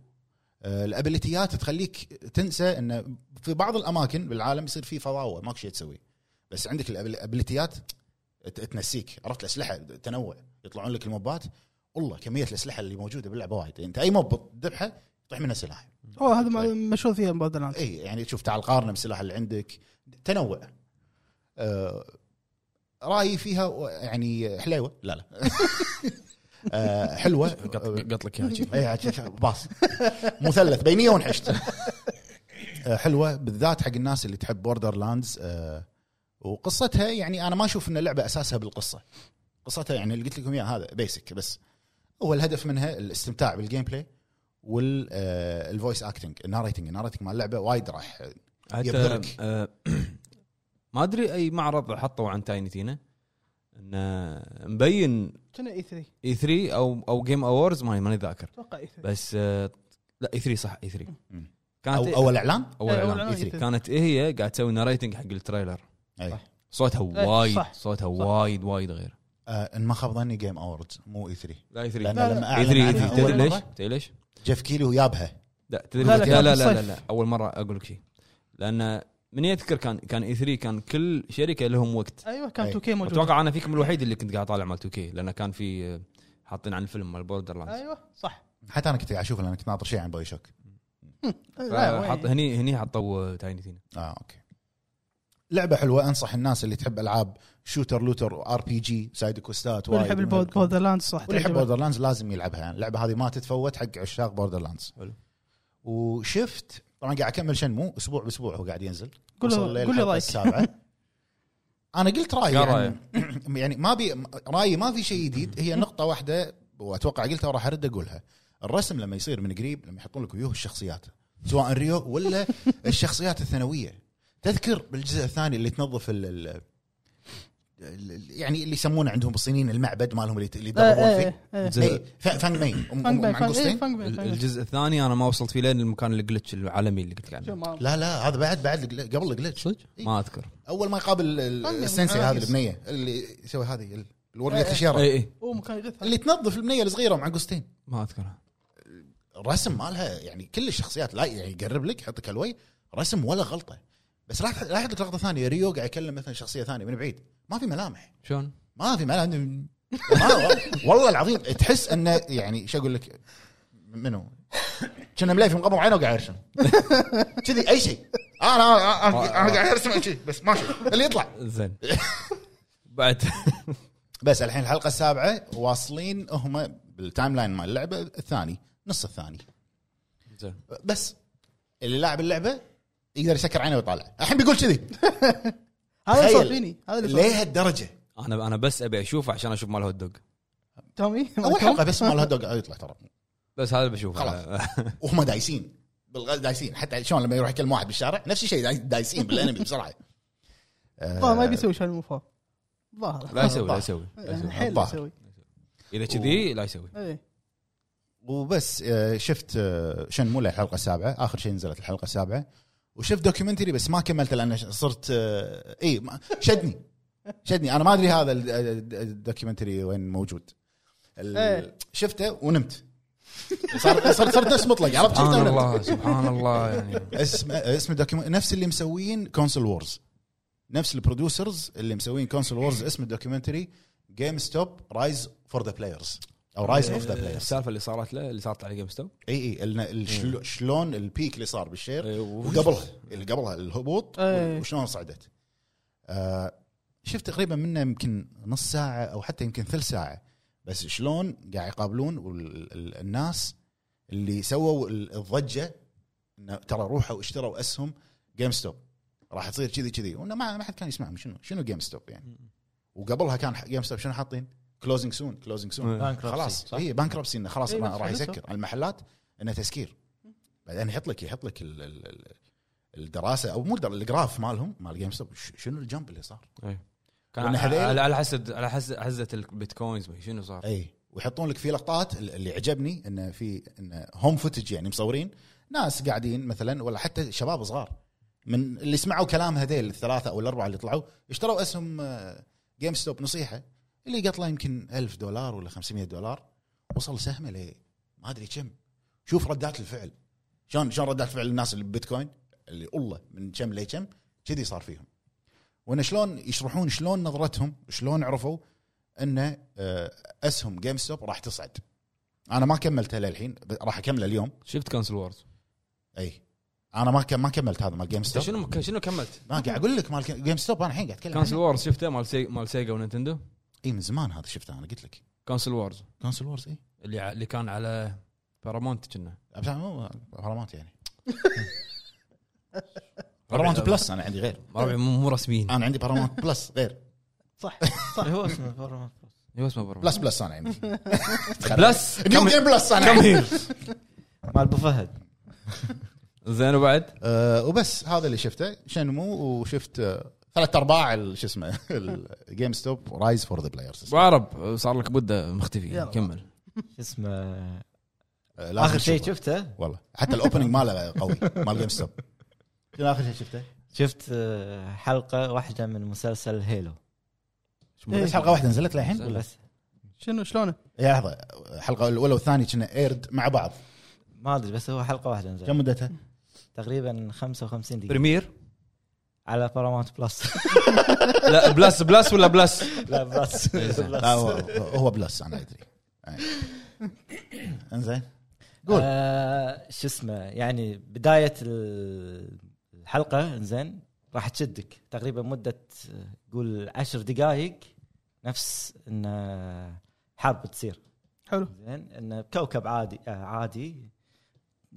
آه الابيليتيات تخليك تنسى انه في بعض الاماكن بالعالم يصير في فضاوه ماكو شيء تسوي بس عندك الابيليتيات ت- تنسيك عرفت الاسلحه تنوع يطلعون لك الموبات والله كميه الاسلحه اللي موجوده باللعبه وايد يعني انت اي موب تذبحه يطيح منه سلاح
هو هذا ما- مشهور فيها مبادلات
اي يعني تشوف تعال قارنه بالسلاح اللي عندك تنوع آه رايي فيها و- يعني حليوه لا لا آه حلوه آه،
قط لك اياها شي.
اي عاد شوف- باص مثلث بينيه ونحشت آه، حلوه بالذات حق الناس اللي تحب بوردر لاندز وقصتها يعني انا ما اشوف ان اللعبه اساسها بالقصه قصتها يعني اللي قلت لكم اياه هذا بيسك بس هو الهدف منها الاستمتاع آه، بالجيم بلاي والفويس اكتنج الناريتنج الناريتنج مال اللعبه وايد راح
حتى
يبهرك.
آه، ما ادري اي معرض حطوا عن تايني تينا انه مبين E
كنا اي 3
اي 3 او او جيم اورز ماني ماني ذاكر
اتوقع اي 3
بس آه، لا اي 3 صح اي 3
مم.
كانت
أو
إيه-
اول اعلان
اول
إيه، أول
اعلان
إعلان
اي 3
E3.
كانت إيه هي قاعد تسوي ناريتنج حق التريلر
اي
صوتها وايد
إيه، صح.
صوتها وايد وايد غير
آه، ان ما خاب ظني جيم اووردز مو اي 3
لا اي 3
لان
لا، لا.
لما
اي
اعلن
3
عنها
إيه تدري
أول
ليش؟
مرة،
تدري E ليش؟
جيف كيلي ويابها
لا تدري
لا،
لا
لا،
لا
كان
لا, لا,
بالصيف.
لا اول مره اقول لك شيء لان من يذكر كان كان اي 3 كان كل شركه لهم وقت
ايوه كان
أي.
2 كي موجود
اتوقع انا فيكم الوحيد اللي كنت قاعد طالع مال 2 كي لان كان في آه، حاطين عن الفيلم مال بوردر لاندز
ايوه صح
حتى انا كنت قاعد اشوف لان كنت ناطر شيء عن باي شوك
لا، وين.
حط هني هني حطوا آه، تايني تينا
اه اوكي لعبه حلوه انصح الناس اللي تحب العاب شوتر لوتر وار بي جي سايد كوستات
واللي يحب البود-
واللي
بودرلاند صح
يحب
تعجبه.
بوردر لاندز لازم يلعبها يعني اللعبه هذه ما تتفوت حق عشاق بوردر لاندز
حلو.
وشفت طبعا قاعد اكمل شنمو اسبوع باسبوع هو قاعد ينزل
قول له-
وصل للحلقة
قول له رايك.
السابعه انا قلت رايي
قال
يعني, يعني ما بي رايي ما في شيء جديد هي نقطه واحده واتوقع قلتها وراح ارد اقولها الرسم لما يصير من قريب لما يحطون لك ويوه الشخصيات سواء ريو ولا الشخصيات الثانويه تذكر بالجزء الثاني اللي تنظف ال ال- ال- يعني اللي يسمونه عندهم بالصينيين المعبد مالهم اللي اللي
إيه،
يتدربون فيه
إيه، إيه.
الجزء-
إيه، ف- فانج مين أم- أم-
فانج باي، فانج- إيه،
معنقوصتين
فانج باي،
ال-
فانج باي.
الجزء الثاني انا ما وصلت فيه لين المكان الجلتش العالمي اللي قلت
شو
عنه
ما-
لا لا هذا بعد بعد الجل- قبل الجلتش
صدق؟ ما اذكر
اول ما يقابل ال-
فانج-
السنسي
آه،
هذه
يس.
البنيه اللي يسوي هذه ال- الورقه
إيه، إيه.
الشيره
اي اي
هو مكان يغث
اللي تنظف البنيه الصغيره معقوستين
ما اذكرها
الرسم مالها يعني كل الشخصيات لا يعني يقرب لك يحطك الوي رسم ولا غلطه بس لاحظ لاحظ لك لقطه ثانيه ريو قاعد يكلم مثلا شخصيه ثانيه من بعيد ما في ملامح
شلون؟
ما في ملامح ما والله العظيم تحس انه يعني شو اقول لك منو؟ كنا مليفي مغمض عينه وقاعد يرسم كذي اي شيء انا انا أنا- أنا قاعد ارسم شيء بس ماشي اللي يطلع
زين بعد
بس الحين الحلقه السابعه واصلين هم بالتايم لاين مال اللعبه الثاني نص الثاني
زين
بس اللي لاعب اللعبه يقدر يسكر عينه ويطالع الحين بيقول كذي
هذا اللي
تخيل.
صار فيني هذا اللي صار
ليه هالدرجه
انا انا بس ابي اشوفه عشان اشوف مال هوت دوغ
تومي
اول حلقه بس مال هدوغ يطلع ترى
بس هذا اللي بشوفه
خلاص. وهم دايسين بالغ دايسين حتى شلون لما يروح يكلم واحد بالشارع نفس الشيء داي- دايسين بالانمي بسرعه
الظاهر ما يبي يسوي شيء المفروض الظاهر
لا يسوي لا يسوي لا يسوي.
يعني حيل
الظاهر.
يسوي
اذا كذي لا يسوي
إيه.
وبس آه، شفت آه، شنمو الحلقه السابعه اخر شيء نزلت الحلقه السابعه وشفت دوكيومنتري بس ما كملته لان ش- صرت آه، اي ما- شدني شدني انا ما ادري هذا ال- ال- الدوكيومنتري وين موجود ال-
إيه.
شفته ونمت صار صرت صرت نفس مطلق عرفت شفته
سبحان
ونمت
الله سبحان الله يعني
اسم اسم الدوكيومنتري نفس اللي مسوين كونسول وورز نفس البروديوسرز اللي مسوين كونسول وورز اسم الدوكيومنتري جيم ستوب رايز فور ذا بلايرز او رايز اوف ذا بلايرز
السالفه اللي صارت له اللي صارت على جيم ستوب
اي اي ال- ال- شلو- شلون البيك اللي صار بالشير
إيه، و-
وقبلها اللي قبلها الهبوط
إيه.
وشلون صعدت آه، شفت تقريبا منه يمكن نص ساعه او حتى يمكن ثلث ساعه بس شلون قاعد يقابلون وال- ال- الناس اللي سووا ال- الضجه انه ترى روحوا اشتروا اسهم جيم ستوب راح تصير كذي كذي وانه ما ما حد كان يسمعهم شنو شنو جيم ستوب يعني وقبلها كان جيم ستوب شنو حاطين؟ كلوزنج سون كلوزنج سون
Bankruptcy.
خلاص
صح؟
اي بانكربسي انه إيه، خلاص
إي،
ما
نفس
راح
حالته.
يسكر على المحلات انه تسكير بعدين يحط لك يحط لك ال- ال- ال- الدراسه او مو الدر- الجراف مالهم مال جيم ستوب ش- شنو الجمب اللي صار؟
كان
وإن
على
هذيل-
على- على حسب على حسب حزه البيتكوينز ما شنو صار
اي إيه. ويحطون لك في لقطات ال- اللي عجبني انه في انه هوم فوتج يعني مصورين ناس قاعدين مثلا ولا حتى شباب صغار من اللي سمعوا كلام هذيل الثلاثه او الاربعه اللي طلعوا اشتروا آه، اسهم جيم ستوب نصيحه اللي قط له يمكن 1000 دولار ولا 500 دولار وصل سهمه ل ما ادري كم شوف ردات الفعل شلون شلون ردات فعل الناس اللي ببيتكوين اللي والله من كم لكم كذي صار فيهم وان شلون يشرحون شلون نظرتهم شلون عرفوا ان آه، اسهم جيم ستوب راح تصعد انا ما كملتها للحين ب- راح اكمله اليوم
شفت كانسل وورز
اي انا ما ك- ما كملت هذا مال جيم ستوب
شنو شنو كملت؟
ما قاعد اقول لك مال جيم ستوب انا الحين قاعد اتكلم
كانسل
عنه.
وورز شفته مال سي... مال سيجا ونينتندو
اي من زمان هذا شفته انا قلت لك
كانسل وورز
كونسل وورز اي
اللي ع- اللي كان على بارامونت كنا
بس أنا مو غرامات يعني بارامونت بلس انا عندي غير
ربعي مو مو رسميين
انا عندي بارامونت بلس غير
صح
هو اسمه Paramount Plus.
ايوه اسمه بارامونت
بلس بلس انا عندي
بلس
نيو جيم بلس انا عندي
مال ابو فهد
زين وبعد
آه، وبس هذا اللي شفته شنمو وشفت آه، ثلاث ارباع ال- شو اسمه الجيم ستوب رايز فور ذا بلايرز
ابو عرب صار لك بده مختفي
يلا.
كمل
شو اسمه
آه،
اخر شيء شفته
والله حتى الاوبننج ماله قوي مال جيم ستوب شنو اخر شيء شفته؟
شفت آه، حلقه واحده من مسلسل هيلو
بس حلقه واحده نزلت للحين ولا؟
بس
شنو شلونه؟
يا لحظه الحلقه الاولى والثانيه كنا ايرد مع بعض
ما ادري بس هو حلقه واحده
كم
نزلت
مدتها؟
تقريبا 55 دقيقه
بريمير
على بارامونت بلس
لا بلس بلس ولا بلس
لا بلس
لا، هو هو بلس انا ادري أي. انزين قول.
آه شو اسمه يعني بدايه ال- الحلقه زين راح تشدك تقريبا مده آه، قول عشر دقائق نفس ان آه، حرب تصير
حلو
زين انه بكوكب عادي آه عادي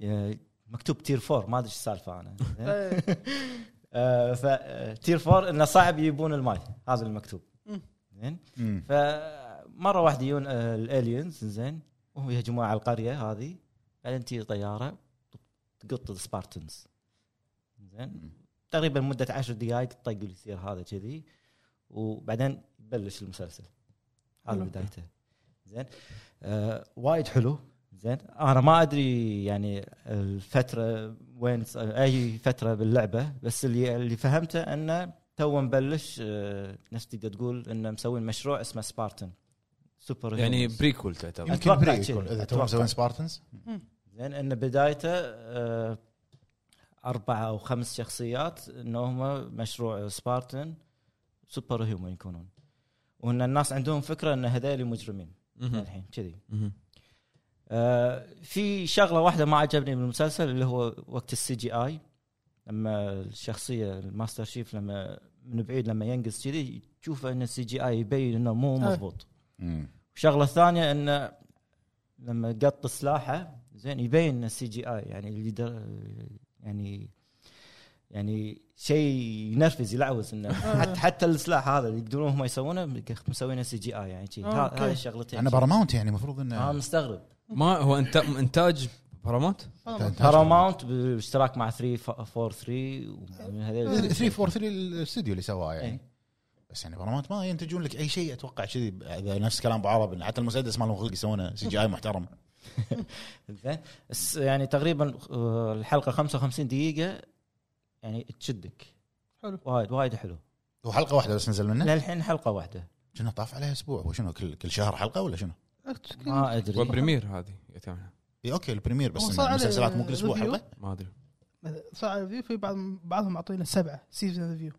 آه، مكتوب تير فور ما ادري ايش السالفه انا زين؟
إيه.
آه، فتير فور انه صعب يجيبون الماي هذا المكتوب
مم.
زين
مم.
فمره واحده يجون آه، الالينز زين وهم يهجمون على القريه هذه بعدين تجي طياره تقط السبارتنز زين تقريبا مده عشر دقائق الطق اللي يصير هذا كذي وبعدين يبلش المسلسل هذا
حلو.
بدايته زين آه وايد حلو زين انا ما ادري يعني الفتره وين ص- اي فتره باللعبه بس اللي اللي فهمته انه تو نبلش آه نفس تقدر تقول انه مسوين مشروع اسمه سبارتن سوبر
يعني
هيروز.
بريكول تعتبر
يمكن
أتوقع
بريك
شي.
يكون اذا
أتوقع.
توهم مسوين سبارتنز
زين ان بدايته آه، اربعه او خمس شخصيات انهم مشروع سبارتن سوبر هيومن يكونون وان الناس عندهم فكره ان هذول مجرمين
مهم.
الحين كذي
مهم.
آه، في شغله واحده ما عجبني من المسلسل اللي هو وقت السي جي اي لما الشخصيه الماستر شيف لما من بعيد لما ينقز كذي تشوفه ان السي جي اي يبين انه مو
آه.
مضبوط الشغله الثانيه انه لما قط سلاحه زين يبين السي جي اي يعني اللي در يعني يعني شيء ينرفز يلعوز انه
آه.
حتى حتى السلاح هذا اللي يقدرون هم يسوونه مسوينه سي جي اي يعني شي.
آه،
ها-
أوكي.
هاي الشغلتين
انا باراماونت يعني المفروض
انا
انه
مستغرب
ما هو انت انتاج بارامونت
باراماونت بالاشتراك مع 343 ومن
آه،
هذيل
343 الاستوديو اللي سواه يعني
إيه.
بس يعني برامات ما ينتجون لك اي شيء اتوقع كذي هذا نفس كلام ابو عرب إن حتى المسدس مالهم خلق يسوونه سي جي اي محترم
زين بس يعني تقريبا آه، الحلقه 55 دقيقه يعني تشدك
حلو. نعم.
وايد وايد حلو
هو حلقه واحده بس نزل منه
للحين حلقه واحده
كنا طاف عليها اسبوع هو شنو كل كل شهر حلقه ولا شنو؟
ما ادري
والبريمير هذه يتعملها.
اي اوكي البريمير بس
هو
إن
صار عليه
المسلسلات مو كل اسبوع
ريفيو؟
حلقه
ما ادري
صار ريفيو في بعض بعضهم معطينا سبعه سيزون ريفيو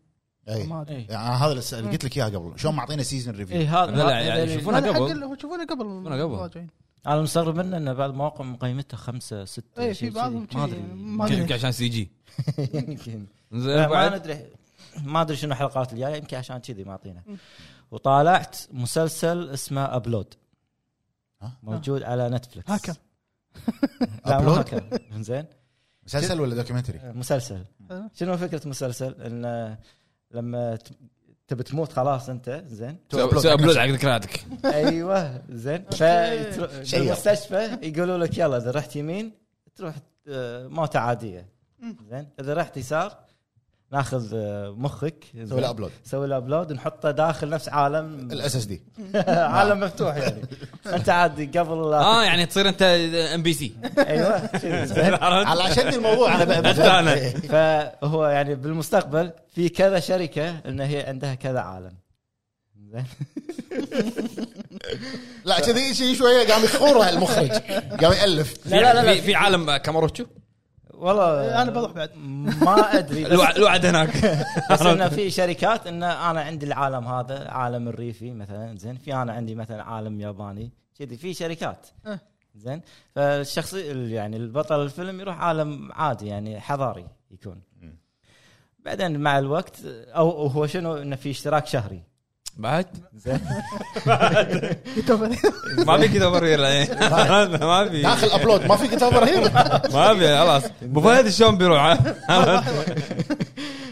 اي
ما إيه. ادري
يعني أنا هذا اللي- اللي قلت لك اياه قبل شلون معطينا سيزون ريفيو
اي إيه. هذا
لا، لا،
هذا
يعني
اللي-
شوفون- شفونا
هذا حق
قبل.
اللي- شوفونا قبل
شفونا قبل.
المراجعين.
انا مستغرب منه انه بعض المواقع قيمتها خمسة ستة
إيه،
شيء
في بعضهم
كذي. ما
شيء
ادري
يعني ما أدري.
يمكن عشان سي جي
يمكن
زين
ما
بعد
ندري ما ادري شنو الحلقات الجايه يمكن عشان كذي معطينا وطالعت مسلسل اسمه ابلود
ها؟
موجود على نتفلكس
هاكر
لا مو
أبلود؟
هاكر زين
إيه. مسلسل ولا دوكيومنتري؟
مسلسل
حلو.
شنو فكره مسلسل انه آه، لما ت- تبي تموت خلاص انت زين
سوي ابلود حق ذكرياتك
ايوه زين
شيء.
فالمستشفى يقولوا لك يلا اذا رحت يمين تروح آه، موتة عاديه
مم.
زين اذا رحت يسار ناخذ آه، مخك زين.
سوي له ابلود
سوي له ابلود ونحطه داخل نفس عالم
الاس اس دي
نعم.
عالم مفتوح يعني انت عادي قبل لا-
اه يعني تصير انت ام بي سي
ايوه شي زين
على عشان الموضوع انا بقى-
حتى انا
فهو يعني بالمستقبل في كذا شركه ان هي عندها كذا عالم زين
لا كذي شيء شويه قام يخوره المخرج قام يالف
لا لا في, في عالم كاماروتشو
والله
أنا بروح بعد.
ما ادري بس,
الوع- الوعد هناك
بس انه في شركات انه انا عندي العالم هذا عالم الريفي مثلا زين في انا عندي مثلا عالم ياباني كذي في شركات
أه.
زين فالشخصي ال- يعني البطل الفيلم يروح عالم عادي يعني حضاري يكون
مم.
بعدين مع الوقت او هو شنو انه في اشتراك شهري
بعد
زين
ما في كذا برير ما في
داخل ابلود ما في كتاب رهيب
ما في خلاص ابو فهد شلون بيروح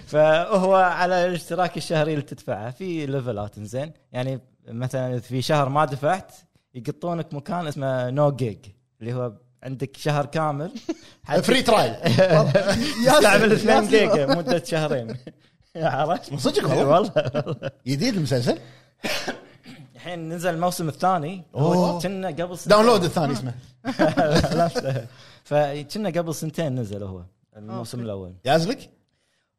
فهو على الاشتراك الشهري اللي تدفعه في ليفلات زين يعني مثلا إذا في شهر ما دفعت يقطونك مكان اسمه نو جيج اللي هو عندك شهر كامل حتى-
فري ترايل
تلعب الاثنين جيجا مده شهرين عرفت؟
صدق والله
أيوة.
والله والله.
جديد المسلسل
الحين نزل الموسم الثاني هو
أوه.
كنا قبل سنتين
داونلود الثاني اسمه
فكنا قبل سنتين نزل هو الموسم الاول
يازلك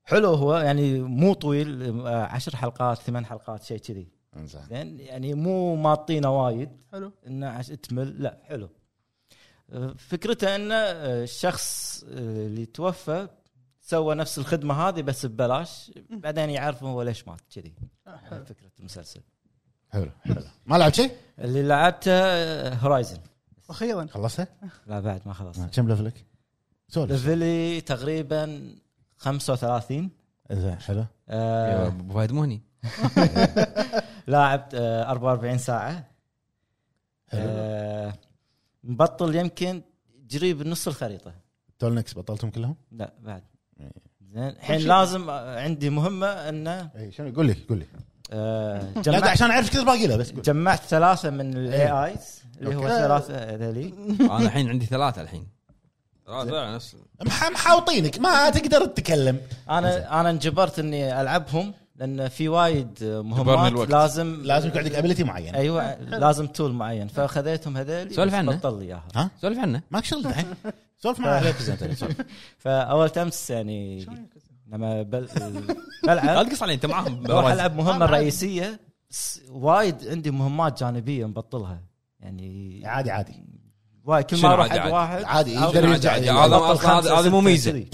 حلو هو يعني مو طويل آه، عشر حلقات ثمان حلقات شيء كذي
انزين
زين يعني مو ماطينه وايد
حلو
انه عش تمل لا حلو أه، فكرته انه أه، الشخص أه، اللي توفى سوى نفس الخدمه هذه بس ببلاش بعدين يعرفوا هو ليش مات كذي
آه، حلو.
هاي فكره المسلسل
حلو حلو ما لعبت شيء؟
اللي لعبته هورايزن
واخيرا
خلصتها؟
لا بعد ما خلص
كم لفلك؟ سولف
ليفلي تقريبا 35
زين حلو
أه
ابو فهد مو هني
لاعب أه، 44 ساعه أه مبطل يمكن قريب نص الخريطه
تولنكس بطلتهم كلهم؟
لا بعد
إيه.
زين الحين لازم آه، عندي مهمه انه
اي إيه، شنو قول لي قول لي
آه،
لا ده
جمعت
عشان اعرف كذا باقي له بس قول
جمعت ثلاثه من الاي
إيه.
ايز اللي هو
أوكي.
ثلاثه ذلي
انا الحين عندي ثلاثه الحين ثلاثه نفس
مح- محاوطينك ما تقدر تتكلم
انا انا انجبرت اني العبهم لان في وايد آه،
جبرني
مهمات
الوقت.
لازم
لازم يكون عندك ابيلتي معينه
ايوه لازم تول معين فاخذيتهم هذول
سولف عنه.
بطل لي اياها
ها؟
سولف عنه
ماك شغل دحين سولف معي
آه.
عليك زين سولف.
فاول امس يعني لما بل... بلعب
لا تقص علي انت معاهم
بروح
بوايد.
العب مهمه رئيسيه بس وايد عندي مهمات جانبيه مبطلها يعني
عادي عادي
واي كل
شنو
ما اروح
عادي
حق
عادي؟
واحد
عادي
أو-
يقدر يرجع
عادي،
يلعب.
هذا ما- أصلا هذا- هذا مو ميزة.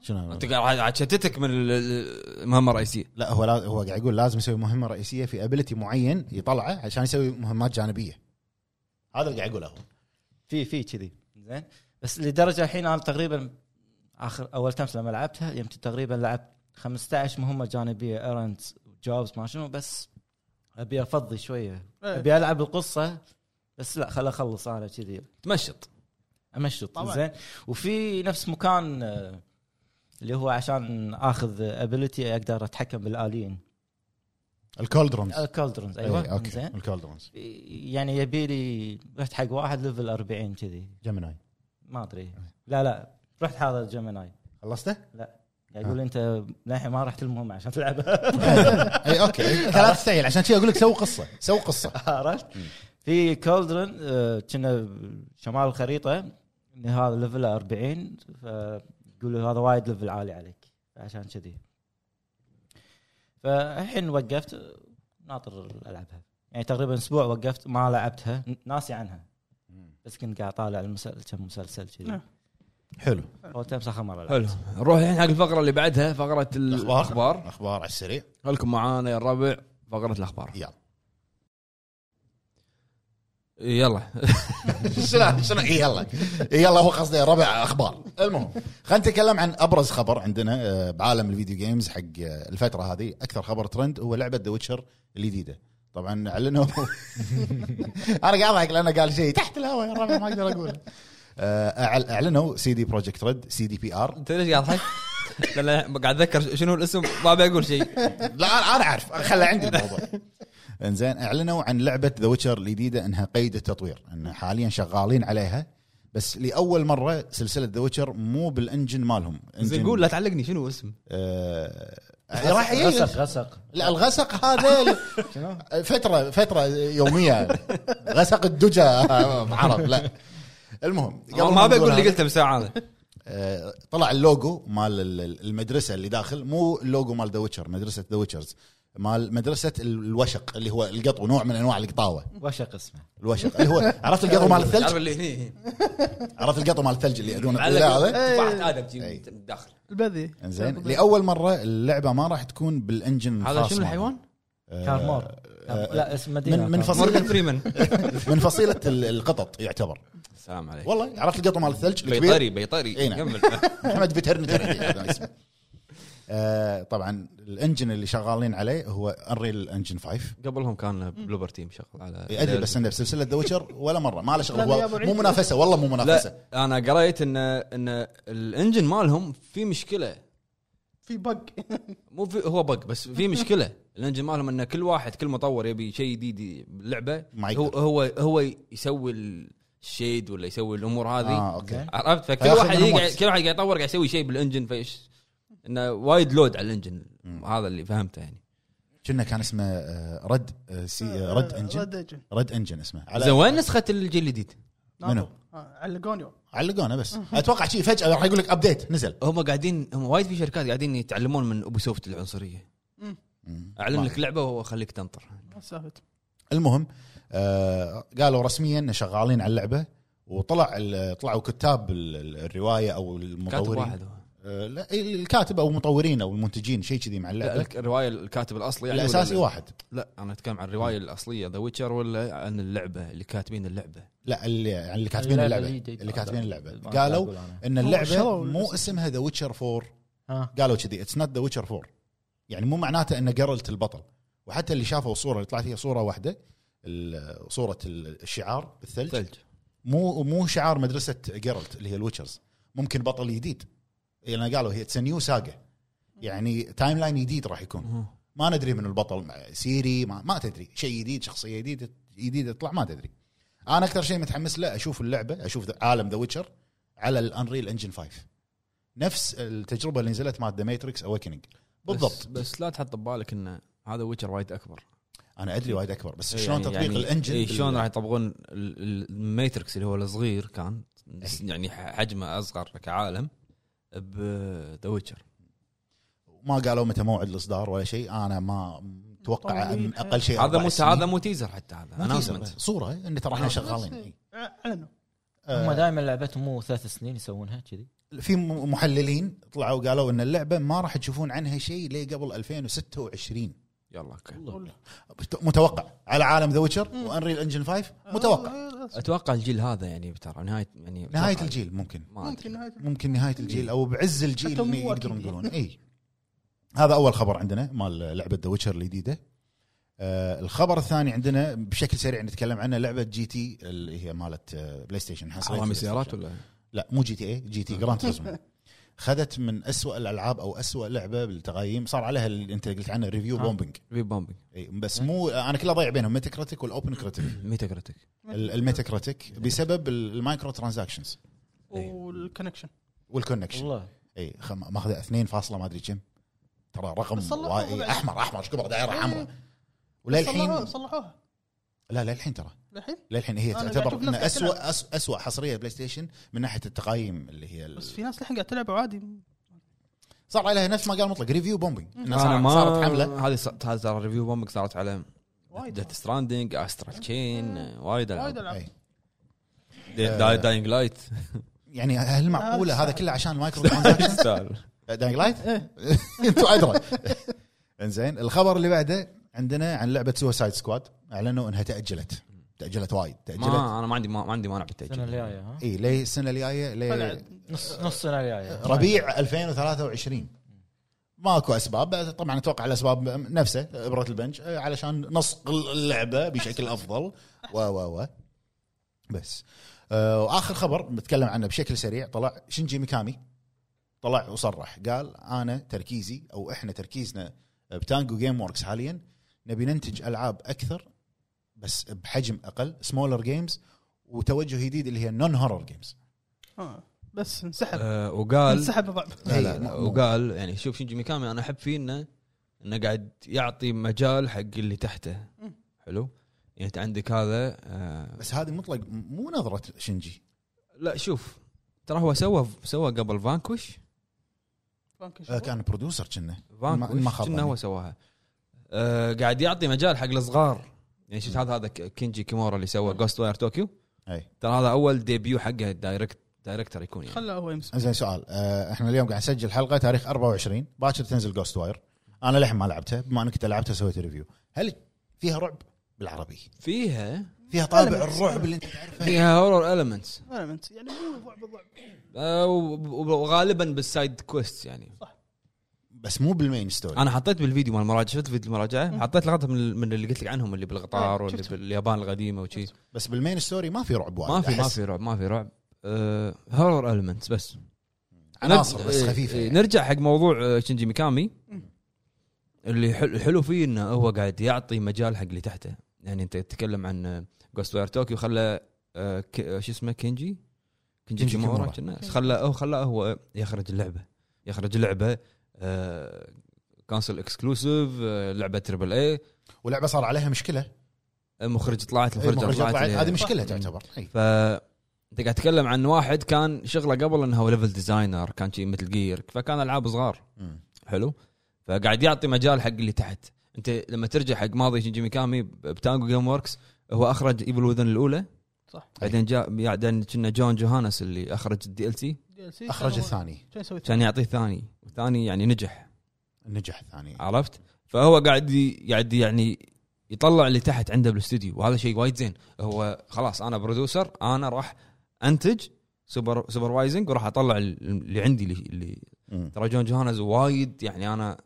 شنو
انت قاعد قاعد تشتتك من ال- المهمه الرئيسيه
لا هو لا هو قاعد يقول لازم يسوي مهمه رئيسيه في ابيلتي معين يطلعه عشان يسوي مهمات جانبيه هذا اللي قاعد يقوله هو
في في كذي زين بس لدرجه الحين انا تقريبا اخر اول تمس لما لعبتها يمكن تقريبا لعبت 15 مهمه جانبيه ايرنز جوبز ما شنو بس ابي افضي شويه
إيه.
ابي العب القصه بس لا خل اخلص انا كذي
تمشط
امشط
طبعاً.
زين وفي نفس مكان آه، اللي هو عشان اخذ ابيلتي اقدر اتحكم بالاليين
الكولدرونز
الكولدرونز ايوه
أيوة،
أي، اوكي
زين
الكولدرونز
يعني يبي لي رحت حق واحد ليفل 40 كذي
جيميناي
ما ادري لا لا رحت حاضر جيميناي
خلصته؟
قاعد يقول انت للحين ما رحت المهمه عشان تلعبها
اي اوكي لا تستعجل عشان كذا اقول لك سوي قصه سوي قصه
عرفت؟ في كولدرن آه، كنا شمال الخريطه ان هذا ليفل 40 فقولوا هذا وايد ليفل عالي عليك عشان كذي فالحين وقفت آه، ناطر العبها يعني تقريبا اسبوع وقفت ما لعبتها ن- ناسي عنها بس كنت قاعد طالع المسلسل كم مسلسل كذي
نعم.
حلو
اول تمس اخر مره لعبت
حلو نروح الحين حق الفقره اللي بعدها فقره
الأخبار.
الاخبار
اخبار على السريع
خلكم معانا يا الربع فقره الاخبار
يلا
يلا
شنو شنو إي يلا إي يلا هو قصدي ربع اخبار المهم خلينا نتكلم عن ابرز خبر عندنا آه، بعالم الفيديو جيمز حق آه، الفتره هذه اكثر خبر ترند هو لعبه ذا ويتشر الجديده طبعا اعلنوا انا قاعد اضحك لانه قال شيء تحت الهواء يا ربع ما اقدر اقوله آه، أعل- اعلنوا سي دي بروجكت ريد سي دي بي ار
انت ليش قاعد تضحك؟ لان قاعد اتذكر شنو الاسم ما بقول شيء
لا أنا- انا اعرف خله عندي الموضوع انزين اعلنوا عن لعبه ذا ويتشر الجديده انها قيد التطوير ان حاليا شغالين عليها بس لاول مره سلسله ذا ويتشر مو بالانجن مالهم
زين
إنجن-
قول لا تعلقني شنو اسم
آه، راح يجي
غسق غسق
لا الغسق هذا
شنو؟
فتره فتره يوميه غسق الدجى عرب لا المهم قبل
ما
نقول
بقول اللي
هذا،
قلته بالساعه هذا
آه، طلع اللوجو مال ال- ال- المدرسه اللي داخل مو اللوجو مال ذا ويتشر مدرسه ذا ويتشرز مال مدرسه ال- الوشق اللي هو القطو نوع من انواع القطاوه
وشق اسمه
الوشق اللي هو عرفت القطو مال
تعرف
الثلج
اللي هني
عرفت القطو مال الثلج اللي يدون
معلق
هذا إيه.
طبعت ادم
إي.
جي داخل
البذي
زين لاول مره اللعبه ما راح تكون بالانجن
هذا
الخاص
شنو
مالها.
الحيوان؟
آه،
كارمور
آه،
لا اسم مدينه
من من
كارمور.
مورجان
فصيله
فريمان
من فصيله ال- القطط يعتبر
السلام عليك
والله عرفت القطو مال الثلج الكبير
بيطري بيطري
إي نعم.
كمل
محمد فيترنتري هذا اسمه آه، طبعا الانجن اللي شغالين عليه هو انريل انجن 5
قبلهم كان بلوبر تيم شغل على
ادري بس انه بسلسله ذا ويتشر ولا مره ما له شغل
لا، لا يا أبو
هو
عيد.
مو منافسه والله مو منافسه
لا انا قريت ان ان الانجن مالهم في مشكله
في بق
مو في هو بق بس في مشكله الانجن مالهم ان كل واحد كل مطور يبي شيء جديد باللعبه
ما
هو
يقدر.
هو هو يسوي الشيد ولا يسوي الامور هذه
اه اوكي
عرفت فكل
فياخذ
واحد
منهم
يقعد
وقت.
كل واحد قاعد يطور قاعد يسوي شيء بالانجن فايش انه وايد لود على الانجن
مم.
هذا اللي فهمته يعني
كنا كان اسمه آه، رد آه، سي آه، رد انجن
رد انجن
رد انجن اسمه
زين
على
وين نسخه الجيل الجديد؟
منو؟
آه، علقون يوم
علقونا بس اتوقع شيء فجاه راح يقول لك ابديت نزل
هم قاعدين هم وايد في شركات قاعدين يتعلمون من ابو سوفت العنصريه
مم.
اعلن
ما-
لك لعبه واخليك تنطر
ما سافت
المهم آه، قالوا رسميا إن شغالين على اللعبه وطلع ال- طلعوا كتاب ال- ال- الروايه او
كاتب
المطورين
واحد هو
آه، لا الكاتب او المطورين او المنتجين شيء كذي مع
لا
اللعبه
لك الروايه الكاتب الاصلي يعني
الاساسي
ولا-
واحد
لا انا اتكلم عن الروايه الاصليه ذا ويتشر ولا عن اللعبه اللي كاتبين اللي
لا اللي يعني اللي كاتبين اللعبه اللي كاتبين اللعبه قالوا ان اللعبه
شروا
مو
الاسم.
اسمها ذا ويتشر 4
ها.
قالوا كذي اتس نوت ذا ويتشر 4 يعني مو معناته ان جرلت البطل وحتى اللي شافوا الصوره اللي طلعت هي صوره واحده ال- صوره ال- الشعار بالثلج
ثلج
مو مو شعار مدرسه جيرلت اللي هي الويتشرز ممكن بطل جديد يعني قالوا هي اتس نيو ساجا يعني تايم لاين جديد راح يكون ما ندري من البطل مع- سيري ما, ما تدري شيء جديد شخصيه جديده جديده تطلع ما تدري انا اكثر شيء متحمس له اشوف اللعبه اشوف ذا- عالم ذا ويتشر على الانريل انجن 5 نفس التجربه اللي نزلت مع ذا ماتريكس اوكننج
بس,
بالضبط
بس لا تحط ببالك انه هذا ويتشر وايد اكبر
انا ادري وايد اكبر بس شلون تطبيق الانجن
إيه
بال-
شلون راح يطبقون ال- ال- الماتريكس اللي هو الصغير كان بس يعني ح- حجمه اصغر كعالم بذا ويتشر
ما قالوا متى موعد الاصدار ولا شيء انا ما متوقع أن
مطولين.
اقل شيء
هذا
أربع
مو
سنين.
هذا مو تيزر حتى هذا
ما في
announcement.
سبب. صوره ان ترى
آه،
احنا شغالين إيه.
اعلنوا
هم
آه،
دائما لعبتهم مو ثلاث سنين يسوونها كذي
في م- محللين طلعوا قالوا ان اللعبه ما راح تشوفون عنها شيء ليه قبل 2026
يلا اوكي
والله
متوقع على عالم ذا ويتشر وانريل انجن 5
آه.
متوقع
اتوقع الجيل هذا يعني ترى نهايه يعني
نهايه
أتوقع.
الجيل ممكن
ما أدري.
ممكن نهايه
ممكن نهايه الجيل او بعز الجيل
حتى مو
اللي يقدرون
أكيد.
يقولون اي هذا اول خبر عندنا مال لعبه ذا ويتشر الجديده آه الخبر الثاني عندنا بشكل سريع نتكلم عنه لعبه جي تي اللي هي مالت آه، بلاي ستيشن حصرية
عوامل
بلاي
سيارات
ستيشن.
ولا
لا مو جي تي اي جي
آه.
تي جراند توريزمو خذت من أسوأ الالعاب او أسوأ لعبه بالتقييم صار عليها اللي انت قلت عنه ريفيو
آه.
بومبينج
في بومبينج
اي إيه، بس
إيه.
مو انا كله ضايع بينهم ميتا كريتيك والاوبن كريتيك
ميتا كريتيك
الميتا كريتيك بسبب المايكرو ترانزاكشنز
والكونكشن
والكونكشن
والله
اي إيه، خم- ماخذ 2 فاصله ما ادري كم ترى
بس
رقم
صلحوها
وا- إي،
بعد.
احمر احمر ايش كبر دائره حمراء
صلحوها
وللحين
صلحوها
لا للحين ترى
الحين
للحين هي
أنا قاعد
تعتبر
أشوف
ان
ناس قاعد
اسوء أس- اسوء حصريه بلاي ستيشن من ناحيه التقايم اللي هي ال-
بس في ناس لحين قاعد تلعب عادي
صار عليها نفس ما قال مطلق ريفيو بومبينج إنها
انا
صار-
ما
صارت حمله
هذه ص- هذه ترى ريفيو بومبينج صارت على
وايد
ديث ستراندنج استرال تشين وايد
وايد
العاب
العاب
إي.
داينج لايت
يعني هل معقوله
هذا
هذا كله عشان المايكرو ترانزاكشن داينج لايت انتوا ادرى انزين الخبر اللي بعده عندنا عن لعبه سوسايد سكواد اعلنوا انها تاجلت تاجلت وايد إيه، تاجلت
ما انا ما عندي ما ما عندي مانع
السنه
بالتاجيل
الجايه ها
اي ليه السنه الجايه ليه
طلعت.
نص نص السنه الجايه
ربيع 2023 ماكو اسباب طبعا اتوقع الاسباب نفسه ابره البنش آه، علشان نصق اللعبه بشكل افضل و و و بس آه، واخر خبر بتكلم عنه بشكل سريع طلع شنجي ميكامي طلع وصرح قال انا تركيزي او احنا تركيزنا بتانجو جيم ووركس حاليا نبي ننتج العاب اكثر بس بحجم اقل سمولر جيمز وتوجه جديد اللي هي نون هورر جيمز
آه. بس انسحب
آه، وقال
انسحب الرعب
لا لا, لا
إي، مو-
وقال يعني شوف شينجي ميكامي انا احب فيه انه انه قاعد يعطي مجال حق اللي تحته
مم.
حلو يعني انت عندك هذا آه
بس هذه مطلق مو نظره شنجي
لا شوف ترى هو سوى سوى قبل فانكوش
آه، كان برودوسر كنا ما
فانكوش
خاب
كنا هو
ظني.
سواها آه قاعد يعطي مجال حق الصغار يعني شفت هذا هذا ك- كينجي كيمورا اللي سوى جوست واير طوكيو
اي
ترى هذا اول ديبيو حقه دايركت دايركتر يكون يعني
خله هو يمسك
زين سؤال آه، احنا اليوم قاعد نسجل حلقه تاريخ 24 باكر تنزل جوست واير انا للحين ما لعبتها بما انك انت لعبتها سويت ريفيو هل فيها رعب بالعربي
فيها
فيها طابع
Elements.
الرعب اللي انت تعرفه
فيها هورر المنتس
Elements. يعني مو رعب رعب
آه، وب- وغالبا بالسايد كويست يعني
بس مو بالمين ستوري
انا حطيت بالفيديو مال المراجعه شفت فيديو المراجعه حطيت لقطه من, من اللي قلت لك عنهم اللي بالقطار
إيه،
واللي
شفته.
باليابان القديمه وشي
بس بالمين ستوري ما في رعب وايد
ما في ما
أحس.
في رعب ما في رعب هورر المنتس بس
عناصر
نرج-
بس
إيه،
خفيفه
إيه،
يعني.
نرجع حق موضوع آه، شينجي ميكامي اللي حلو الحلو فيه انه هو قاعد يعطي مجال حق اللي تحته يعني انت تتكلم عن جوست وير توكيو خلى آه، ك- آه، شو اسمه كينجي كينجي
كينجي
كيمورا
كيمورا.
كنا. خلى هو خلى هو يخرج اللعبه يخرج آه، لعبه كونسل اكسكلوسيف لعبه تربل اي
ولعبه صار عليها مشكله
مخرج طلعت
إيه،
مخرج
مخرجة
طلعت
طلعت هذه
إيه.
مشكله تعتبر إي.
ف انت قاعد تتكلم عن واحد كان شغله قبل انه هو ليفل ديزاينر كان شيء مثل جير فكان العاب صغار
مم.
حلو فقاعد يعطي مجال حق اللي تحت انت لما ترجع حق ماضي شينجي ميكامي بتانجو جيم وركس هو اخرج ايفل وذن الاولى
صح.
بعدين جاء بعدين كنا جون جوهانس اللي اخرج الدي ال سي
اخرج الثاني
شو يسوي
عشان يعطيه الثاني والثاني يعني نجح
النجح الثاني
عرفت فهو قاعد ي- قاعد يعني يطلع اللي تحت عنده بالاستوديو وهذا شيء وايد زين هو خلاص انا برودوسر انا راح انتج سوبر سوبروايزنج وراح اطلع ال- اللي عندي اللي- اللي
مم.
ترى جون جوهانز وايد يعني انا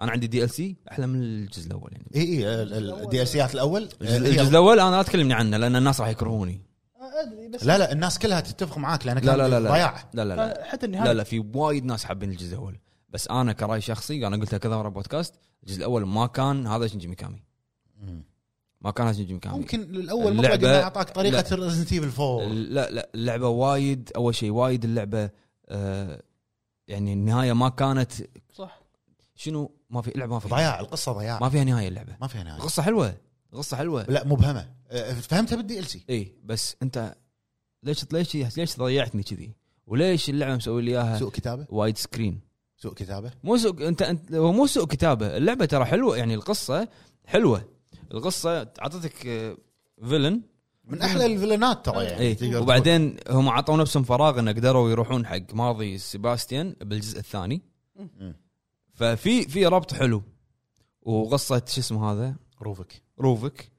انا عندي دي ال سي احلى من الجزء الاول يعني
اي اي ال- ال- الدي ال سيات الاول آه،
الجزء,
هي-
الجزء الاول انا لا تكلمني عنه لان الناس راح يكرهوني
آه، ادري بس
لا لا الناس كلها تتفق معاك لانك
لا لا لا لا
ضياع
لا لا لا
آه، حتى
لا,
يعني-
النهايه
لا في وايد ناس حابين الجزء الاول بس انا كراي شخصي انا قلتها كذا مره بودكاست الجزء الاول ما كان هذا شنجي ميكامي
مم.
ما كان هذا شنجي ميكامي
ممكن الاول مطلق
اللعبة-
انه اعطاك طريقه ريزنت ايفل 4
لا لا اللعبه وايد اول شيء وايد اللعبه آه يعني النهايه ما كانت
صح
شنو ما في اللعبه ما فيها
ضياع القصه ضياع
ما فيها نهايه اللعبه
ما فيها نهايه
قصه حلوه قصه حلوه
لا مبهمه أه، فهمتها بالدي ال سي
اي بس انت ليش ليش ليش ضيعتني كذي وليش اللعبه مسوي لي اياها
سوء كتابه
وايد سكرين
سوء كتابه
مو سوء انت انت هو مو سوء كتابه اللعبه ترى حلوه يعني القصه حلوه القصه اعطتك آه، فيلن
من احلى الفيلنات ترى يعني
اي
تقدر تقول.
إيه. وبعدين هم عطوا نفسهم فراغ ان قدروا يروحون حق ماضي سيباستيان بالجزء الثاني
مم.
ففي في ربط حلو وقصه شو اسمه هذا
روفك
روفك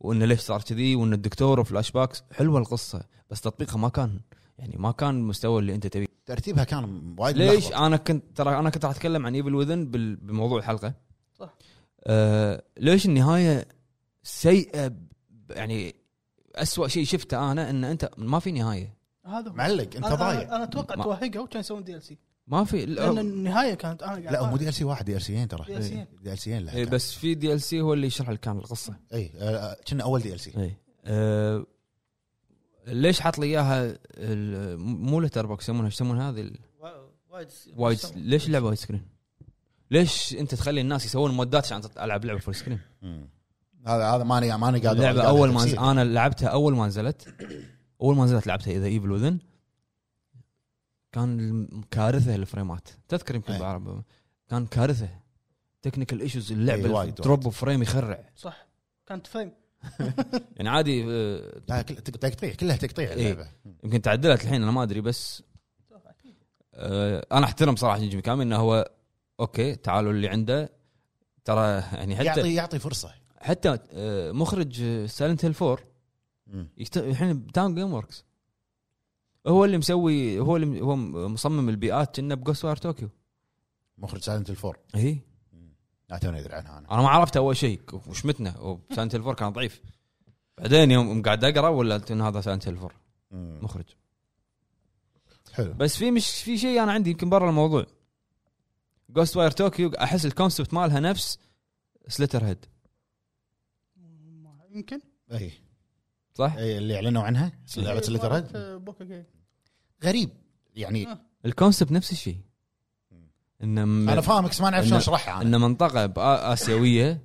وانه ليش صار كذي وان الدكتور وفلاش باكس حلوه القصه بس تطبيقها ما كان يعني ما كان المستوى اللي انت تبيه
ترتيبها كان وايد
ليش
ملخبط.
انا كنت ترى انا كنت راح اتكلم عن ايفل وذن بموضوع الحلقه
صح.
آه ليش النهايه سيئه ب- يعني أسوأ شيء شفته انا ان انت ما في نهايه
هذا هو.
معلق انت
أنا- أنا-
ضايع
انا اتوقع
ما-
توهقوا وكان يسوون دي ال سي
ما في
لان
لا
النهايه كانت انا قاعد
لا مو
أطالع.
دي ال سي واحد دي ال سيين ترى
DLC.
دي ال سيين
إيه،
له
بس في دي ال سي هو اللي يشرح لك كان القصه
اي أه، كنا اول دي ال سي
اي آه ليش حاط لي اياها ال- مو لتر بوكس يسمونها إيش يسمونها هذه ال-
وايد
وايد ليش اللعبه وايد سكرين؟ ليش انت تخلي الناس يسوون مودات عشان تط- العب لعبه فول سكرين؟
هذا هذا ماني ماني قادر
اللعبه
قادر
اول ما
تفسير.
انا لعبتها اول ما نزلت اول ما نزلت لعبتها اذا ايفل وذن كان الم- كارثه الفريمات تذكر يمكن
أي.
بالعربي كان كارثه تكنيكال ايشوز
أي،
اللعبه
إيه، وايد،
دروب اوف فريم يخرع
صح كانت فريم
يعني عادي آه،
لا كل- تق- تقطيع كلها تقطيع
إيه.
اللعبه
يمكن تعدلت الحين انا ما ادري بس آه، انا احترم صراحه جيمي كامي انه هو اوكي تعالوا اللي عنده ترى يعني حتى
يعطي يعطي فرصه
حتى آه، مخرج سايلنت هيل 4
مم.
يشت- الحين بتاون جيم وركس هو اللي مسوي هو اللي م- هو م- مصمم البيئات كنا بجوست وار طوكيو
مخرج سايلنت الفور
اي
لا توني ادري عنها انا
انا ما عرفت اول شيء وشمتنا وسايلنت الفور كان ضعيف بعدين يوم قاعد اقرا ولا ان هذا سايلنت الفور
مم.
مخرج
حلو
بس في مش في شيء انا عندي يمكن برا الموضوع جوست واير طوكيو احس الكونسبت مالها نفس سلتر هيد
ما- يمكن
اي
صح؟
اي إيه. اللي اعلنوا عنها لعبه سلتر هيد
إيه، مالت بوكا جيم
غريب يعني
آه.
الكونسبت نفس الشيء ان م-
انا فاهمك بس ما نعرف
إن-
شلون اشرحها انا
ان منطقه باسيويه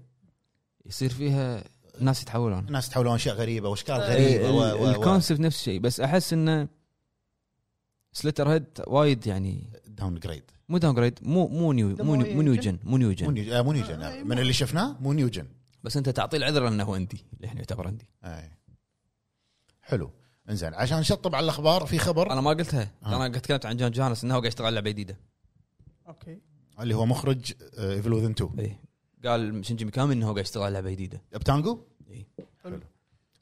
يصير فيها ناس يتحولون
الناس تحولون اشياء غريبه واشكال
ال-
غريبه و-
ال-
و- و-
الكونسبت نفس الشيء بس احس انه سلتر هيد وايد يعني
داون جريد
مو داون جريد مو مو نيو مو نيو- مو نيوجن مو
مو
نيوجن
نيو- آه، مو نيوجن آه، من اللي شفناه مو نيوجن
بس انت تعطيه العذر انه عندي الحين يعتبر عندي
اي آه. حلو انزين عشان نشطب على الاخبار في خبر
انا ما قلتها
آه.
انا قد تكلمت عن جون جونس انه هو قاعد يشتغل على لعبه جديده
اوكي
اللي هو مخرج آه، ايفل وذن 2
اي إيه. قال شنجي ميكامي انه هو قاعد يشتغل على لعبه جديده
بتانجو؟
إي.
حلو.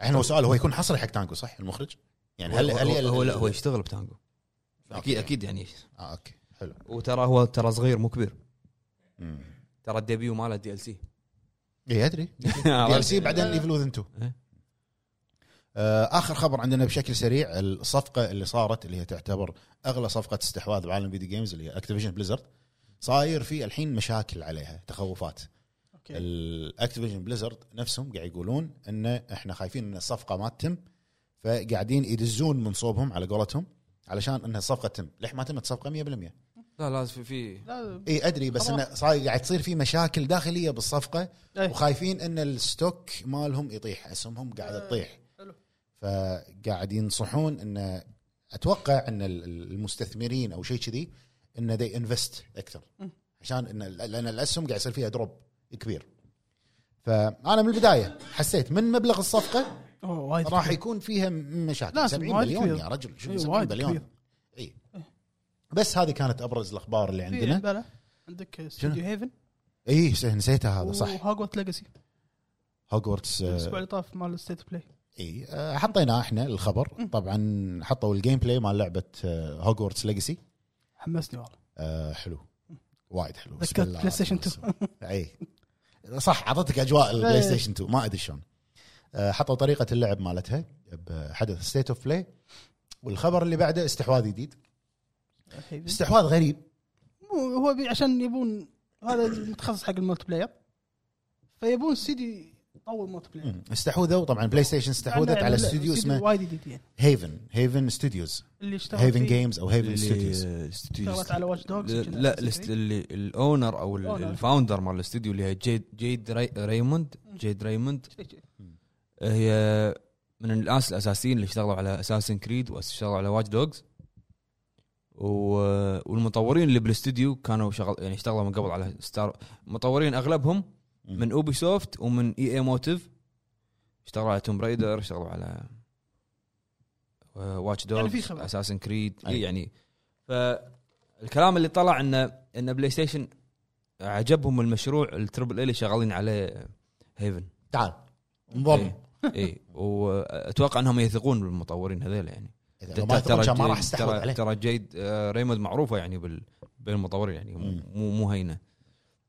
الحين هو سؤال هو يكون حصري حق تانجو صح المخرج؟ يعني هل
هو-
هل
هو,
هل-
هو لا هو يشتغل بتانجو اكيد
أوكي.
اكيد يعني
اه اوكي حلو
وترى هو ترى صغير مو كبير
مم. إيه،
ترى الديبيو ماله دي ال سي
اي ادري دي ال سي بعدين ايفل وذن 2
آه، إيه.
آه، اخر خبر عندنا بشكل سريع الصفقه اللي صارت اللي هي تعتبر اغلى صفقه استحواذ بعالم فيديو جيمز اللي هي اكتيفيجن بليزرد صاير في الحين مشاكل عليها تخوفات
اوكي
الاكتيفيجن بليزرد نفسهم قاعد يقولون ان احنا خايفين ان الصفقه ما تتم فقاعدين يدزون من صوبهم على قولتهم علشان انها الصفقه تتم لح ما تمت الصفقه 100%
لا لازم في في
لا
اي ادري إيه، بس
خلاص.
انه صاير قاعد تصير في مشاكل داخليه بالصفقه
إيه.
وخايفين ان الستوك مالهم يطيح اسهمهم قاعده
آه،
تطيح
حلو.
فقاعد ينصحون ان اتوقع ان ال- ال- المستثمرين او شيء كذي ان دي انفست اكثر
مم.
عشان ان ال- لان الاسهم قاعد يصير فيها دروب كبير فانا من البدايه حسيت من مبلغ الصفقه
أوه، وايد
راح
كبير.
يكون فيها م- مشاكل
لازم،
70
وايد
مليون
كبير.
يا رجل شو
إيه،
70
وايد
مليون
كبير. إيه.
اي إيه. بس هذه كانت ابرز الاخبار اللي
في
عندنا
بلى. إيه، عندك استوديو هيفن
اي نسيتها هذا صح
وهاجوت ليجاسي
هوجورتس آه،
الاسبوع اللي طاف مال ستيت بلاي
اي آه، حطيناه احنا الخبر طبعا حطوا الجيم بلاي مال آه، لعبه هوجورتس ليجسي
حمسني والله
آه، حلو وايد حلو بسم
ذكرت
الله
بلاي ستيشن
الرحمن
2
الرحيم. اي صح اعطتك اجواء البلاي
إيه.
ستيشن 2 ما ادري شلون آه، حطوا طريقه اللعب مالتها بحدث ستيت اوف بلاي والخبر اللي بعده استحواذ جديد
Haven.
استحواذ غريب
مو- هو بي- عشان يبون هذا متخصص حق الملتي بلاير فيبون استديو يطور ملتي بلاير
مم. استحوذوا طبعا بلاي ستيشن استحوذت
عندنا-
على
عندنا
استوديو اسمه
وايد جديد يعني
هيفن هيفن ستوديوز
اللي اشتغل
هيفن
فيه
جيمز او
طيب،
هيفن ستوديوز
اشتغلت على
الاستوديو
واتش دوجز
لا الاست- اللي الاونر او ال-
Owner.
الفاوندر مال الاستوديو اللي هي جيد جيد ري- ريموند جيد ريموند
إيه،
هي من الناس الاساسيين اللي اشتغلوا على اساسن كريد واشتغلوا على واتش دوجز والمطورين اللي بالاستوديو كانوا شغل يعني اشتغلوا من قبل على ستار مطورين اغلبهم من اوبي سوفت ومن اي اي موتيف اشتغلوا على توم برايدر اشتغلوا على آه، واتش
يعني في
دوجز
خبرة.
اساسن كريد
أي.
يعني فالكلام اللي طلع انه ان بلاي ستيشن عجبهم المشروع التربل اي اللي شغالين عليه هيفن
تعال انضم
اي واتوقع انهم إيه. يثقون بالمطورين هذيل يعني
إذا ما ترى كان ما راح استحوذ
ترى,
عليه
ترى جيد آه، ريموند معروفه يعني بال بالمطورين يعني
مم.
مو مو هينه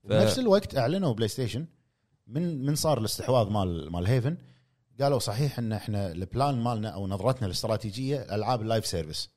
ف-
بنفس الوقت اعلنوا بلاي ستيشن من من صار الاستحواذ مال مال هيفن قالوا صحيح ان احنا البلان مالنا او نظرتنا الاستراتيجيه العاب اللايف سيرفيس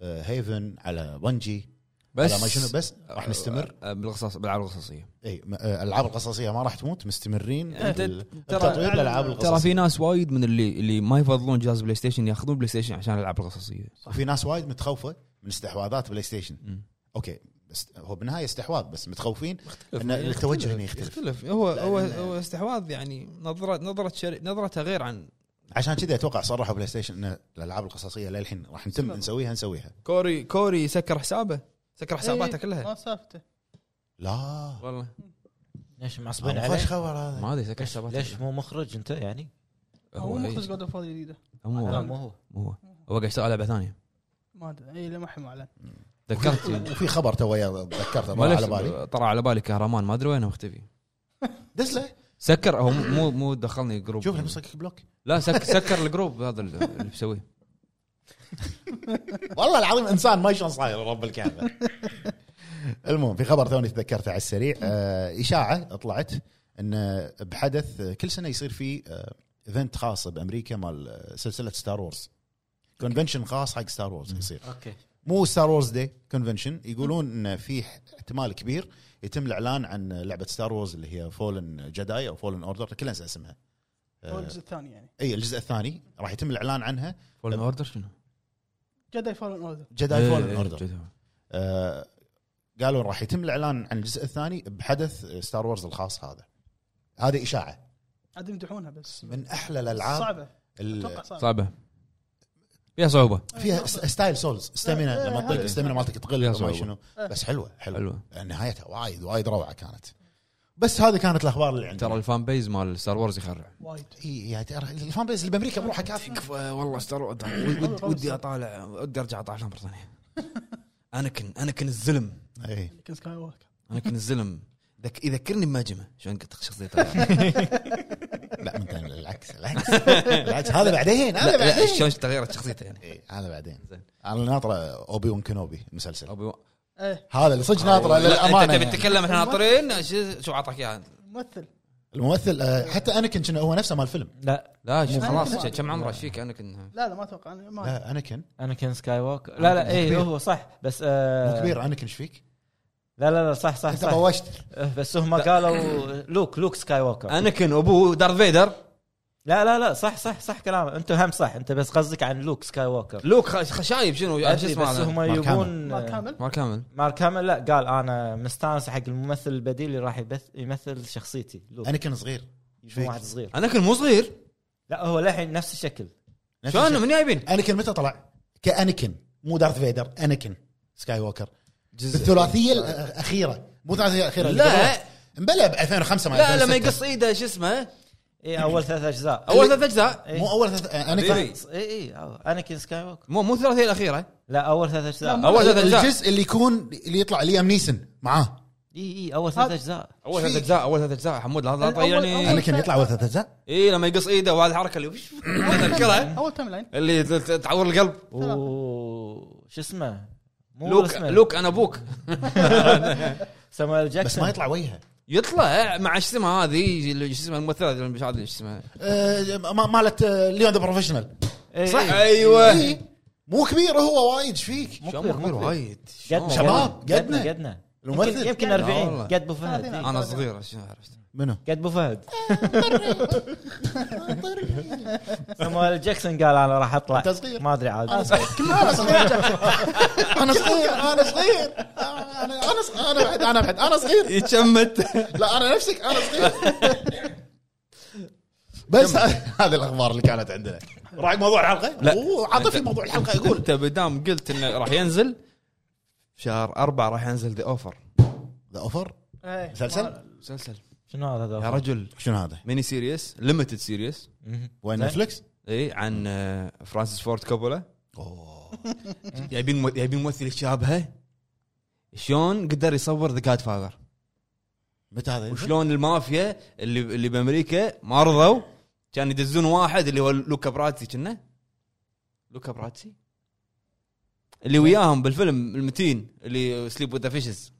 آه، هيفن على بنجي
بس
على ما شنو بس راح نستمر
آه، بالقصص بالالعاب القصصيه
اي م- آه، الالعاب القصصيه ما راح تموت مستمرين
أنت
بال-
يعني ترى-
بتطوير الالعاب
ترى في
القصصيه
ناس وايد من اللي اللي ما يفضلون جهاز بلاي ستيشن ياخذون بلاي ستيشن عشان الالعاب القصصيه
في ناس وايد متخوفه من استحواذات بلاي ستيشن
مم.
اوكي بس هو بالنهايه استحواذ بس متخوفين ان التوجه هنا يختلف
يختلف هو هو
لأن-
هو استحواذ يعني نظره نظره شر... نظرتها غير عن
عشان كذا اتوقع صرحوا بلاي ستيشن ان الالعاب القصصيه للحين راح نتم نسويها نسويها
كوري كوري سكر حسابه سكر حساباته كلها
إيه، ما سافته
لا
والله
ليش معصبين
ما خوش
عليه؟
خبر هذا
ما ادري سكر
ليش,
حساباته
ليش
كلها.
مو مخرج انت يعني؟
هو
إيه.
مخرج جود اوف الجديده
مو
لا
هو
مو هو
مو هو هو قاعد يشتغل على لعبه ثانيه
ما إيه، ادري اي لا ما حد معلن
تذكرت
وفي خبر تو ذكرته
ما
طلع
ليش
على بالي
طلع على بالي كهرمان ما ادري وينه مختفي
دزله
سكر هو مو- مو مو دخلني جروب
شوف مسكك بلوك
لا سك سكر الجروب هذا اللي اللي بيسويه
والله العظيم انسان ما شلون صاير رب الكعبه المهم في خبر توني تذكرته على السريع آه، اشاعه طلعت ان بحدث آه، كل سنه يصير في ايفنت خاص بامريكا مال آه، سلسله ستار وورز كونفنشن خاص حق ستار وورز يصير
اوكي
مو ستار وورز دي كونفنشن يقولون ان في احتمال كبير يتم الاعلان عن لعبه ستار وورز اللي هي فولن جداي او فولن اوردر كلنا ننسى اسمها
هو
آه،
الجزء الثاني يعني
اي الجزء الثاني راح يتم الاعلان عنها
فولن اوردر شنو؟
جداي فولن اوردر
إيه،
جداي فولن اوردر آه، قالوا راح يتم الاعلان عن الجزء الثاني بحدث ستار وورز الخاص هذا هذه اشاعه
عاد يمدحونها بس
من احلى الالعاب
صعبه
ال-
اتوقع صعبه
صعبه فيها صعوبه
فيها س- ستايل سولز استامينا
إيه،
لما تطق
إيه.
استامينا مالتك
يا
تقل ما
صعوبة.
شنو
إيه.
بس حلوه حلوه
حلوه
نهايتها وايد وايد روعه كانت بس هذه كانت الاخبار اللي عندي
ترى الفان بيز مال ستار وورز يخرع
وايد
اي يعني ترى الفان بيز اللي بامريكا بروحه كافي
والله ستار وورز
ود- ودي
اطالع ودي ارجع اطالع مره ثانيه انكن انكن الزلم
اي
كان سكاي ووك
انكن الزلم ذك- يذكرني بماجمه شلون قلت شخصيه
لا انت العكس العكس العكس هذا بعدين هذا بعدين
شلون تغيرت شخصيته يعني
إيه، هذا بعدين
زين.
انا ناطره اوبي وان كنوبي المسلسل
أبي و-
ايه
هذا اللي صدق ناطره للامانه
انت تبي
يعني.
تتكلم احنا ناطرين شو- شو اعطاك اياها
ممثل
الممثل آه، حتى انكن كان هو نفسه مال فيلم
لا
لا شو
مو
خلاص
فاهم.
كم عمره ايش فيك انكن
لا لا ما اتوقع أنا
طيب.
ما
لا انكن
انا كان سكاي ووك لا لا اي
كبير.
هو صح بس
مو
آه
كبير انكن ايش فيك؟
لا لا لا صح صح
انت
صح
بوشت
آه، بس هم قالوا لوك لوك سكاي ووكر
انكن ابوه دارث فيدر
لا لا لا صح صح صح كلامك انت هم صح انت بس قصدك عن لوك سكاي ووكر
لوك خ- خشايب شنو شو
أدري،
اسمه
بس
هذا؟
هم
مارك
يبون
ما كامل
مارك كامل
مارك هامل لا قال انا مستانس حق الممثل البديل اللي راح يبث يمثل شخصيتي لوك
انكن صغير
يكون واحد صغير
انكن مو صغير
لا هو للحين نفس الشكل
شلون من جايبين؟
انكن متى طلع؟ كانكن مو دارث فيدر انكن سكاي ووكر
جزء-
الثلاثيه الاخيره آه، مو الثلاثيه الاخيره اللي
لا
قبلها. مبلى ب 2005 مع
لا لما
2006.
يقص ايده شو اسمه
اي اول ثلاث اجزاء
اول ثلاث اجزاء
إيه.
مو اول ثلاث آه، انكن
إيه.
اي اي اناكين سكاي ووكر
مو مو الثلاثيه الاخيره
لا اول ثلاث
لا،
اجزاء
اول ثلاث اجزاء
الجزء اللي يكون اللي يطلع ليام نيسن معاه
اي اي اول ثلاث
هذا-
اجزاء
اول ثلاث اجزاء اول ثلاث اجزاء حمود لا لا
الأول-
تضيعني
أول-
انكن يطلع اول ثلاث اجزاء
اي لما يقص ايده وهذه الحركه اللي وش- اذكرها
اول تايم لاين
اللي ت- ت- تعور القلب
و شو اسمه مو
لوك
اسمه.
لوك انا ابوك
سامويل جاكسون
بس ما يطلع وجهه
يطلع مع شو اسمها هذه اللي- شو اسمها الممثله اللي مش عارف شو اسمها
آه، ما- مالت آه، ليون ذا بروفيشنال
إي،
صح
إي.
ايوه
إيه. مو كبير هو وايد ايش فيك؟
مو
شو
كبير،
عمره
مو
كبير
كبير.
وايد
قدنا
شو عمره؟
شباب،
قدنا،
قدنا.
قدنا
الممثل.
يمكن- يمكن
لا
40
والله.
قد ابو فهد
ثلاثين.
إي.
انا صغير شو عرفت
منو؟
قد ابو فهد آه، طيب. سامويل جاكسون قال انا راح اطلع
أنت صغير.
ما ادري عاد
انا صغير انا صغير انا صغير انا انا ص- انا بعد انا بعد انا صغير
يتشمت
لا انا نفسك انا صغير بس هذه الاخبار اللي كانت عندنا راح موضوع الحلقه
لا.
أوه، عاطفي
أنت-
موضوع الحلقه يقول
انت بدام قلت انه راح ينزل شهر أربعة راح ينزل ذا اوفر
ذا اوفر
إيه.
مسلسل؟
ما-
مسلسل
شنو هذا
يا رجل
شنو هذا؟
ميني سيريس ليمتد سيريس
مهم.
وين
زين.
نتفلكس؟
اي عن آه، فرانسيس فورد كوبولا
اوه
جايبين مو- جايبين ممثل يشابهه شلون قدر يصور ذا جاد فاذر
متى هذا؟
وشلون المافيا اللي اللي بامريكا ما رضوا كان يدزون واحد اللي هو لوكا براتسي كنا لوكا براتسي اللي وياهم بالفيلم المتين اللي سليب وذ ذا فيشز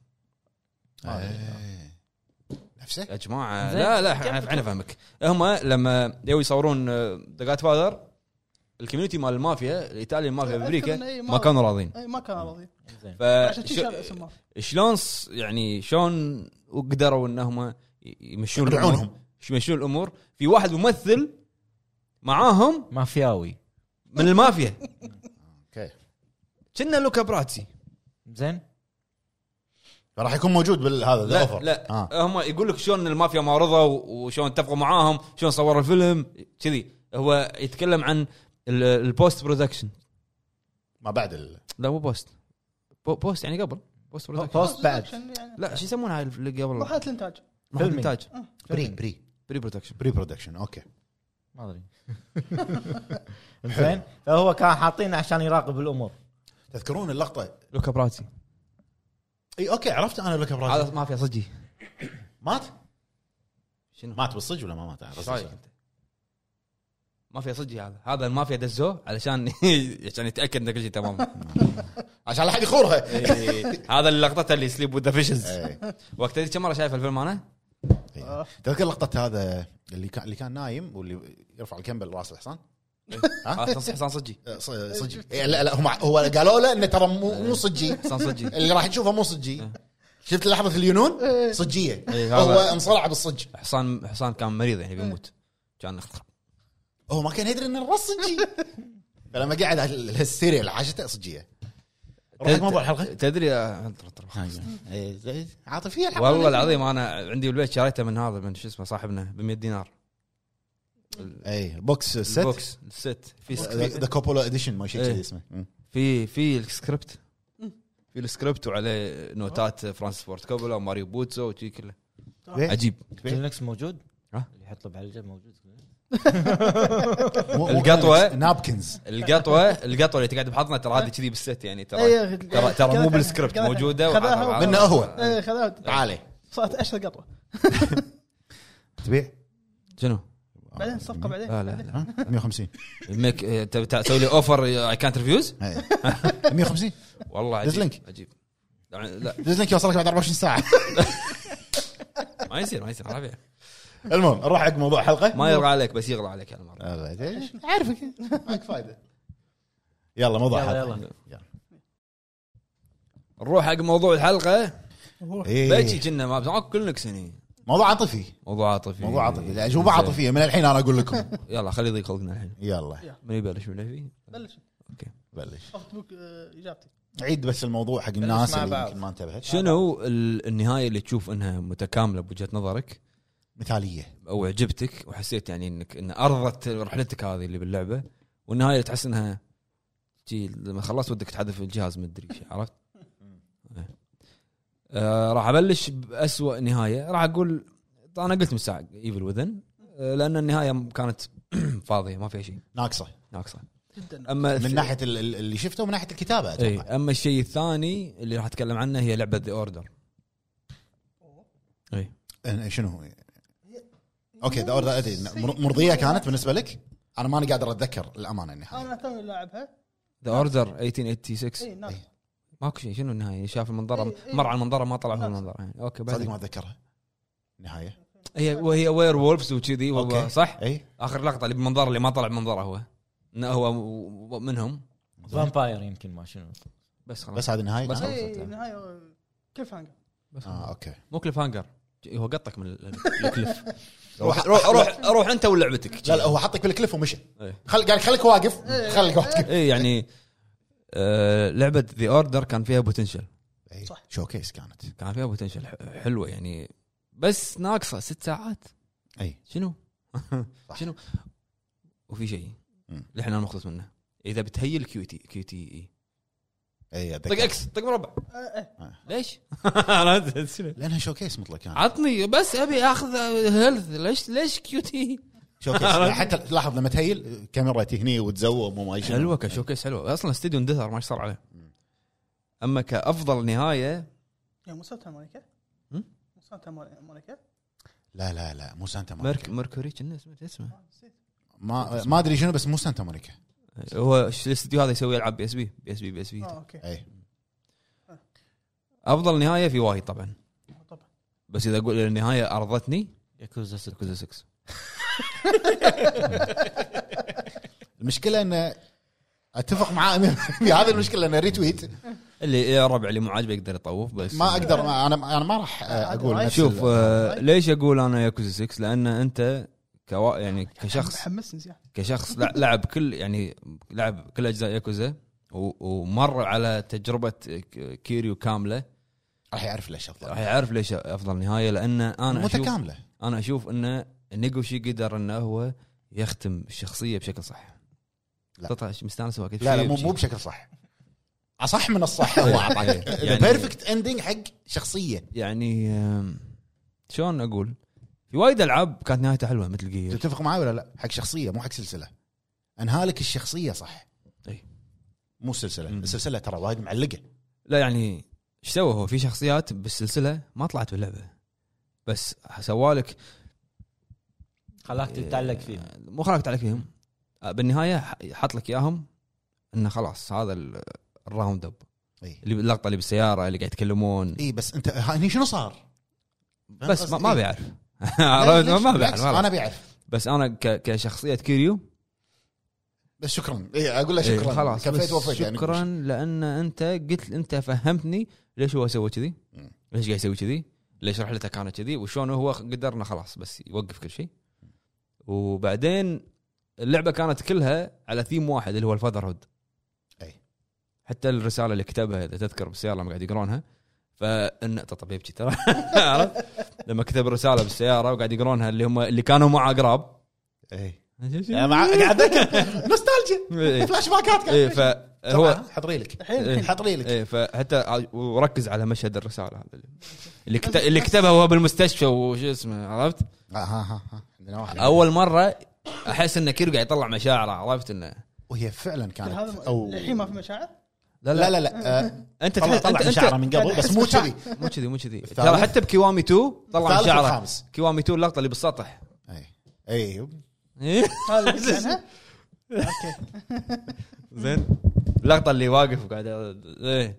إيه. نفسه؟
يا جماعه
زين.
لا لا انا أنا فاهمك هم لما يو يصورون آه، ذا جاد فاذر الكوميونتي مال المافيا الايطالي المافيا بامريكا
أذكر إن إيه،
ما آه، كانوا راضين
إيه، ما كان راضي
زين.
عشان شي شال
ف
اسمه
شلون ص- يعني شلون قدروا انهم ي- يمشون الامور
يقنعونهم.
يمشون الامور في واحد ممثل معاهم
مافياوي
من المافيا
اوكي
كنا لوكا براتسي
زين
راح يكون موجود بالهذا ذا
لا
اوفر
لا
آه.
هم يقول لك شلون المافيا ما رضوا وشلون اتفقوا معاهم شلون صوروا الفيلم كذي هو يتكلم عن ال- البوست برودكشن
ما بعد ال...
لا مو بوست بو- بوست يعني قبل بوست برودكشن
بوست بعد
يعني
لا شو يسمونها اللي قبل
مرحله الانتاج
مرحلة
فيلمينج.
الانتاج
بري بري
بري برودكشن
بري برودكشن اوكي
ما ادري زين فهو كان حاطينه عشان يراقب الامور
تذكرون اللقطه
لوكا براتسي
اي اوكي عرفت انا لك
هذا
ابراهيم
مافيا صجي
مات
شنو
مات بالصج ولا ما مات
ايش رايك انت؟ طيب. ما فيها صدق هذا هذا ما فيها دزوه علشان عشان يتاكد ان كل شيء تمام
عشان لا حد يخورها
إيه. هذا اللقطه اللي سليب وذ فيشز
إيه.
وقت تدري كم مره شايف الفيلم انا؟
إيه. تذكر لقطه هذا اللي كان اللي كان نايم واللي يرفع الكمبل راس الحصان إيه. ها؟
هذا تنصيح حسان صجي
آه، ص- صجي إيه، لا لا هم هو قالوا له انه ترى مو مو صجي
حسان صجي
اللي راح تشوفه مو صجي شفت لحظه اليونون صجيه
إيه، هذا.
هو انصلع بالصج
حسان حسان كان مريض يعني بيموت كان
هو ما كان يدري ان الراس صجي فلما قعد على الهستيريا اللي حاشته صجيه رحت موضوع الحلقه
تدري آه،
إيه، زين. عاطفيه الحلقه
والله العظيم انا عندي بالبيت شريته من هذا من شو اسمه صاحبنا ب 100 دينار
اي إيه، بوكس ست
البوكس الست في سك-
ذا كوبولا اديشن ما شيء
إيه.
كذي اسمه مم.
في في السكريبت في السكريبت وعليه نوتات فرانسيس فورد كوبولا وماريو بوتسو وشي كله
إيه.
عجيب
كلينكس موجود؟
أه.
ها؟
اللي يطلب على الجنب موجود
مو- مو
القطوة.
كلينكس، نابكنز
القطوه القطوه اللي تقعد بحضنها ترى هذه كذي بالست يعني
أيوه.
ترى
إيه،
ترى ترى مو بالسكريبت
خذها-
موجوده
خذها
وعاد-
منه هو
إيه، خذها
آه.
تعالي
صارت اشهر قطوه
تبيع
شنو؟
بعدين صفقه بعدين
لا لا لا
ها 150
ميك آه، تبي تسوي لي اوفر اي كانت ريفيوز؟
إيه. 150
والله
دز
عجيب
لينك.
عجيب لا لا،
دز لك يوصلك بعد 24 ساعه
ما يصير ما يصير ما في-
المهم نروح حق موضوع الحلقه
ما يرغى عليك بس يغلى عليك هالمره
عارفك ماك فايده يلا موضوع
يلا،
الحلقه
نروح حق موضوع الحلقه بيجي
إيه.
كنا ما ما كلنكس هني
موضوع عاطفي
موضوع عاطفي
موضوع عاطفي الاجوبه عاطفيه من الحين انا اقول لكم
يلا خلي يضيق خلقنا الحين
يلا
من يبلش من في
بلش
بلش
أخذت بوك آه، اجابتي
عيد بس الموضوع حق الناس
مع
اللي
بعض.
يمكن ما انتبهت
شنو ال- النهايه اللي تشوف انها متكامله بوجهه نظرك
مثاليه
او عجبتك وحسيت يعني انك ان ارضت رحلتك هذه اللي باللعبه والنهايه اللي تحس انها تي لما خلصت ودك تحذف الجهاز ما ادري شي، عرفت؟ إيه. آه راح ابلش باسوء نهايه راح اقول انا قلت من ساعه ايفل وذن لان النهايه آه، كانت فاضيه ما فيها شيء
ناقصه
ناقصه
جدا
اما
من ناحيه ال- ال- اللي شفته ومن ناحيه الكتابه
اي
اتوقع
اما الشيء الثاني اللي راح اتكلم عنه هي لعبه ذا اوردر اي
أنا- شنو هو؟ اوكي ذا اوردر ادري إن مر- مرضيه كانت بالنسبه لك انا ماني قادر اتذكر الامانه النهايه
انا توني لاعبها إيه، نعم.
ذا اوردر 1886
اي ناس
ماكو شيء شنو النهايه شاف المنظره
إي، إي.
مر على المنظره ما طلع هو المنظره يعني اوكي
صدق
بعدين
ما اتذكرها نهايه
هي وهي وير وولفز وكذي و-
أوكي.
صح
اي
اخر لقطه اللي بالمنظره اللي ما طلع بمنظره هو انه هو و- منهم
فامباير يمكن ما شنو
بس خلاص
بس هذه نعم. النهايه
بس إيه.
بس
خلاص.
اي النهايه إيه، كيف هانجر
بس
اه اوكي
مو كليف هانجر هو قطك من ال- الكليف
روح
روح روح روح انت ولعبتك
لا لا هو حطك بالكليف ومشى
إيه.
خل قال خليك واقف خليك واقف
اي يعني آه، لعبه ذا اوردر كان فيها بوتنشل
صح.
إيه. شوكيس كانت
كان فيها بوتنشل حلوه يعني بس ناقصه ست ساعات
اي
شنو؟
صح.
شنو؟ وفي شيء
مم.
اللي احنا مخلص منه اذا بتهيل كيو تي كيو تي اي
اي
طق
اتذكر
اكس طق مربع
إيه،
آه.
ليش؟ أنا شنو؟
لانها شوكيس مطلق يعني. كانت
عطني بس ابي اخذ هيلث ليش ليش E؟ كيو تي؟
شوكيس لا، يعني حتى تلاحظ لما تهيل كاميرتي هني وتزوم وما يشوف
حلوه كشوكيس حلوه اصلا استديو اندثر ما صار عليه اما كافضل نهايه
يا مو سانتا مونيكا
هم؟
مو سانتا موني- مونيكا
لا لا لا مو سانتا
ميرك
مونيكا
ميركوري كنا اسمه اسمه
ما ما ادري شنو بس مو سانتا مونيكا
هو ش- الاستديو هذا يسوي العاب بي اس بي بي اس بي بي اس بي
اه اوكي
اي
افضل نهايه في وايد طبعا
طبعا
بس اذا اقول النهايه ارضتني
ياكوزا 6
ياكوزا 6
المشكله ان اتفق معاه في هذه المشكله انه ريتويت
اللي الربع اللي مو عاجبه يقدر يطوف بس
ما اقدر ما انا انا ما راح اقول نفس
شوف
ال-
آه، ليش اقول انا ياكوزا 6 لان انت كوا يعني كشخص
حمسني زياده
كشخص لع- لعب كل يعني لعب كل اجزاء ياكوزا و- ومر على تجربه ك- كيريو كامله
راح يعرف ليش
راح
افضل
يعرف ليش افضل نهايه لان انا اشوف
متكامله
انا اشوف انه نيجوشي قدر انه هو يختم الشخصيه بشكل صح
لا.
لا مستانس واكد
لا لا
شيء
مو مو
وشي.
بشكل صح اصح من الصح هو اعطاك
يعني-
بيرفكت اندنج حق شخصيه
يعني آم، شلون اقول في وايد العاب كانت نهايتها حلوه مثل جير
تتفق معي ولا لا؟ حق شخصيه مو حق سلسله. انهالك الشخصيه صح.
إي.
مو السلسله،
مم.
السلسله ترى وايد معلقه.
لا يعني ايش سوى هو في شخصيات بالسلسله ما طلعت باللعبه بس سوالك
خلاك تتعلق فيه
إيه.
مو آه، خلاك تعلق فيهم آه، بالنهايه ح- حط لك اياهم انه خلاص هذا ال- الراوند اب
اي
اللي اللقطه اللي بالسياره اللي قاعد يتكلمون
اي بس انت هني شنو صار؟ فاهم
بس ما,
قصدي؟
ما
إيه.
بيعرف
لا،
عرفت؟
ليش؟
ما
بالعكس،
بيعرف ما
انا
بيعرف.
بيعرف
بس انا ك- كشخصيه كيريو
بس شكرا اي اقول له
إيه،
شكرا
خلاص
كفيت
بس
وفيت يعني
شكرا لان انت قلت انت فهمتني ليش هو سوى كذي
مم.
ليش قاعد يسوي كذي ليش رحلته كانت كذي وشلون هو قدرنا خلاص بس يوقف كل شيء وبعدين اللعبه كانت كلها على ثيم واحد اللي هو الفاذر هود
أي.
حتى الرساله اللي كتبها اذا تذكر بالسياره لما قاعد يقرونها فان طب يبكي ترى عرفت لما كتب الرساله بالسياره وقاعد يقرونها اللي هم اللي كانوا معه قراب
اي قاعد اذكر نوستالجيا فلاش باكات قاعد
ايه فهو
طبعاً، حط ريلك
إيه.
الحين
حط ريلك
ايه فحتى ع- وركز على مشهد الرساله هذا اللي- اللي, كت... اللي كتبها وهو بالمستشفى وش اسمه عرفت؟
آه، ها ها ها عندنا واحد
اول مره احس ان كيرو قاعد يطلع مشاعره عرفت انه
وهي فعلا
كل
كانت
هذا
او
الحين ما في مشاعر
لا لا لا آه،
انت
طلع
تحس
طلع
انت,
مشاعره
انت
من قبل بس مو كذي
مو كذي مو كذي
الثالث.
ترى حتى بكيوامي 2 طلع
الثالث
مشاعره
والخامس.
كيوامي 2 اللقطه اللي بالسطح
اي اي
إيه؟
هذا اللي قلت عنها؟ اوكي
زين اللقطه اللي واقف وقاعد ايه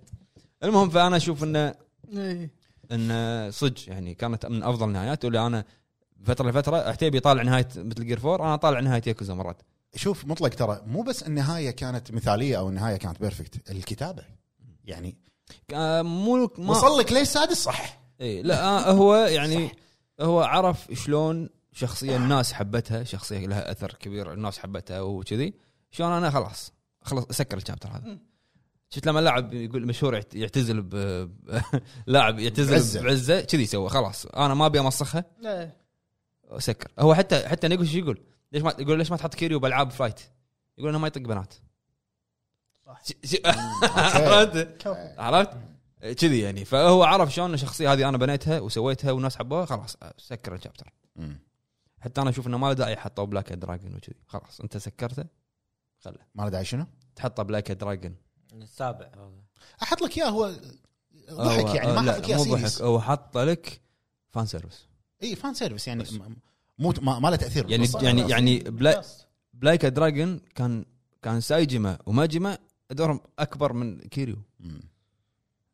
المهم فانا اشوف انه
إيه.
انه صدق يعني كانت من افضل النهايات واللي انا فتره لفتره عتيبي طالع نهايه مثل جير 4 انا طالع نهايه ياكوزا مرات
شوف مطلق ترى مو بس النهايه كانت مثاليه او النهايه كانت بيرفكت الكتابه يعني
آه، مو ما
وصل لك ليه السادس صح
اي لا آه، هو يعني هو عرف شلون شخصيه الناس حبتها شخصيه لها اثر كبير الناس حبتها وكذي شلون انا خلاص خلاص اسكر الشابتر هذا شفت لما لاعب يقول مشهور يعت- يعتزل ب ب- لاعب
بعزة.
يعتزل بعزه كذي سوى خلاص انا ما ابي امسخها
لا
سكر هو حتى حتى نيجو شو يقول؟ ليش ما يقول ليش ما تحط كيريو بالعاب فايت؟ يقول انه ما يطق بنات
صح.
ش- ش- عرفت؟
كفو
عرفت؟ كذي يعني فهو عرف شلون الشخصيه هذه انا بنيتها وسويتها والناس حبوها خلاص آه، سكر الشابتر
مم.
حتى انا اشوف انه ما له داعي حطوا بلاك دراجون وكذي خلاص انت سكرته خله
ما له داعي شنو؟
تحطه بلاك دراجون
السابع
احط لك اياه هو
آه،
ضحك يعني ما احط لك اياه
مو ضحك
سيريس
هو حط لك فان سيرفس
اي فان سيرفيس يعني
بس.
م- مو ما, ما له تاثير
يعني
بالقصة.
يعني يعني بلا بلايك دراجون كان كان سايجما وماجما دورهم اكبر من كيريو
مم.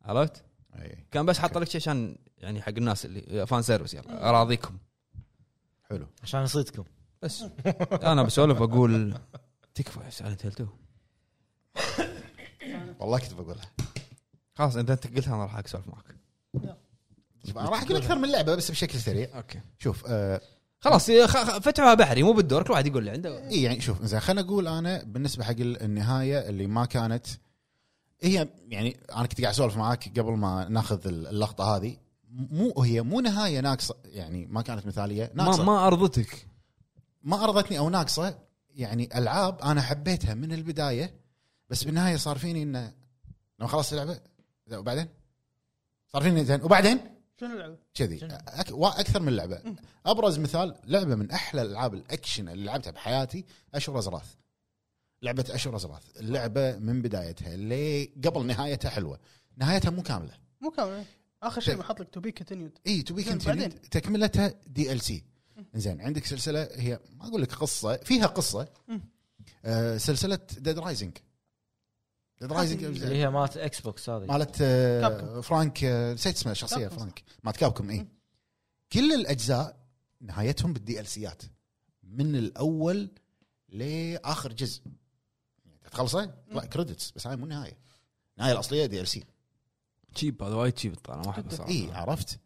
عرفت؟
اي
كان بس حط لك شيء عشان يعني حق الناس اللي فان سيرفس يلا اراضيكم
حلو
عشان نصيدكم
بس انا بسولف اقول تكفى سايلنت هيل 2
والله كنت بقولها
خلاص اذا انت قلتها انا راح اسولف معك
شوف، أنا راح اقول اكثر من لعبه بس بشكل سريع
اوكي
شوف آه
خلاص يا خ- خ- فتحوها بحري مو بالدور كل واحد يقول اللي عنده
اي يعني شوف زين خليني اقول انا بالنسبه حق ال- النهايه اللي ما كانت هي يعني انا كنت قاعد اسولف معاك قبل ما ناخذ ال- اللقطه هذه مو هي مو نهايه ناقصه يعني ما كانت مثاليه
ما
ناقصه ما,
ما ارضتك
ما ارضتني او ناقصه يعني العاب انا حبيتها من البدايه بس بالنهايه صار فيني انه لما خلصت اللعبه لا، وبعدين صار فيني زين وبعدين
شنو اللعبه؟
كذي أك... وا- اكثر من لعبه ابرز مثال لعبه من احلى العاب الاكشن اللي لعبتها بحياتي اشهر ازراث لعبه اشهر ازراث اللعبه من بدايتها لي قبل نهايتها حلوه نهايتها مو كامله
مو كامل اخر شيء بحط لك تو بي كونتينيود
اي تو بي
زين،
كونتينيو
بعدين.
تكملتها دي ال سي زين عندك سلسله هي ما اقول لك قصه فيها قصه
مم.
آه سلسله ديد رايزنج ديد رايزنج
اللي هي مالت اكس بوكس هذه
مالت آه،
طيب. كابكوم.
فرانك آه، نسيت اسمه الشخصيه
كابكوم،
فرانك مالت كابكم اي كل الاجزاء نهايتهم بالدي ال سيات من الاول لاخر جزء يعني تخلصه لا كريدتس بس هاي مو نهايه النهايه الاصليه دي ال سي
تشيب هذا وايد تشيب انا ما احبه صراحه
اي إيه، عرفت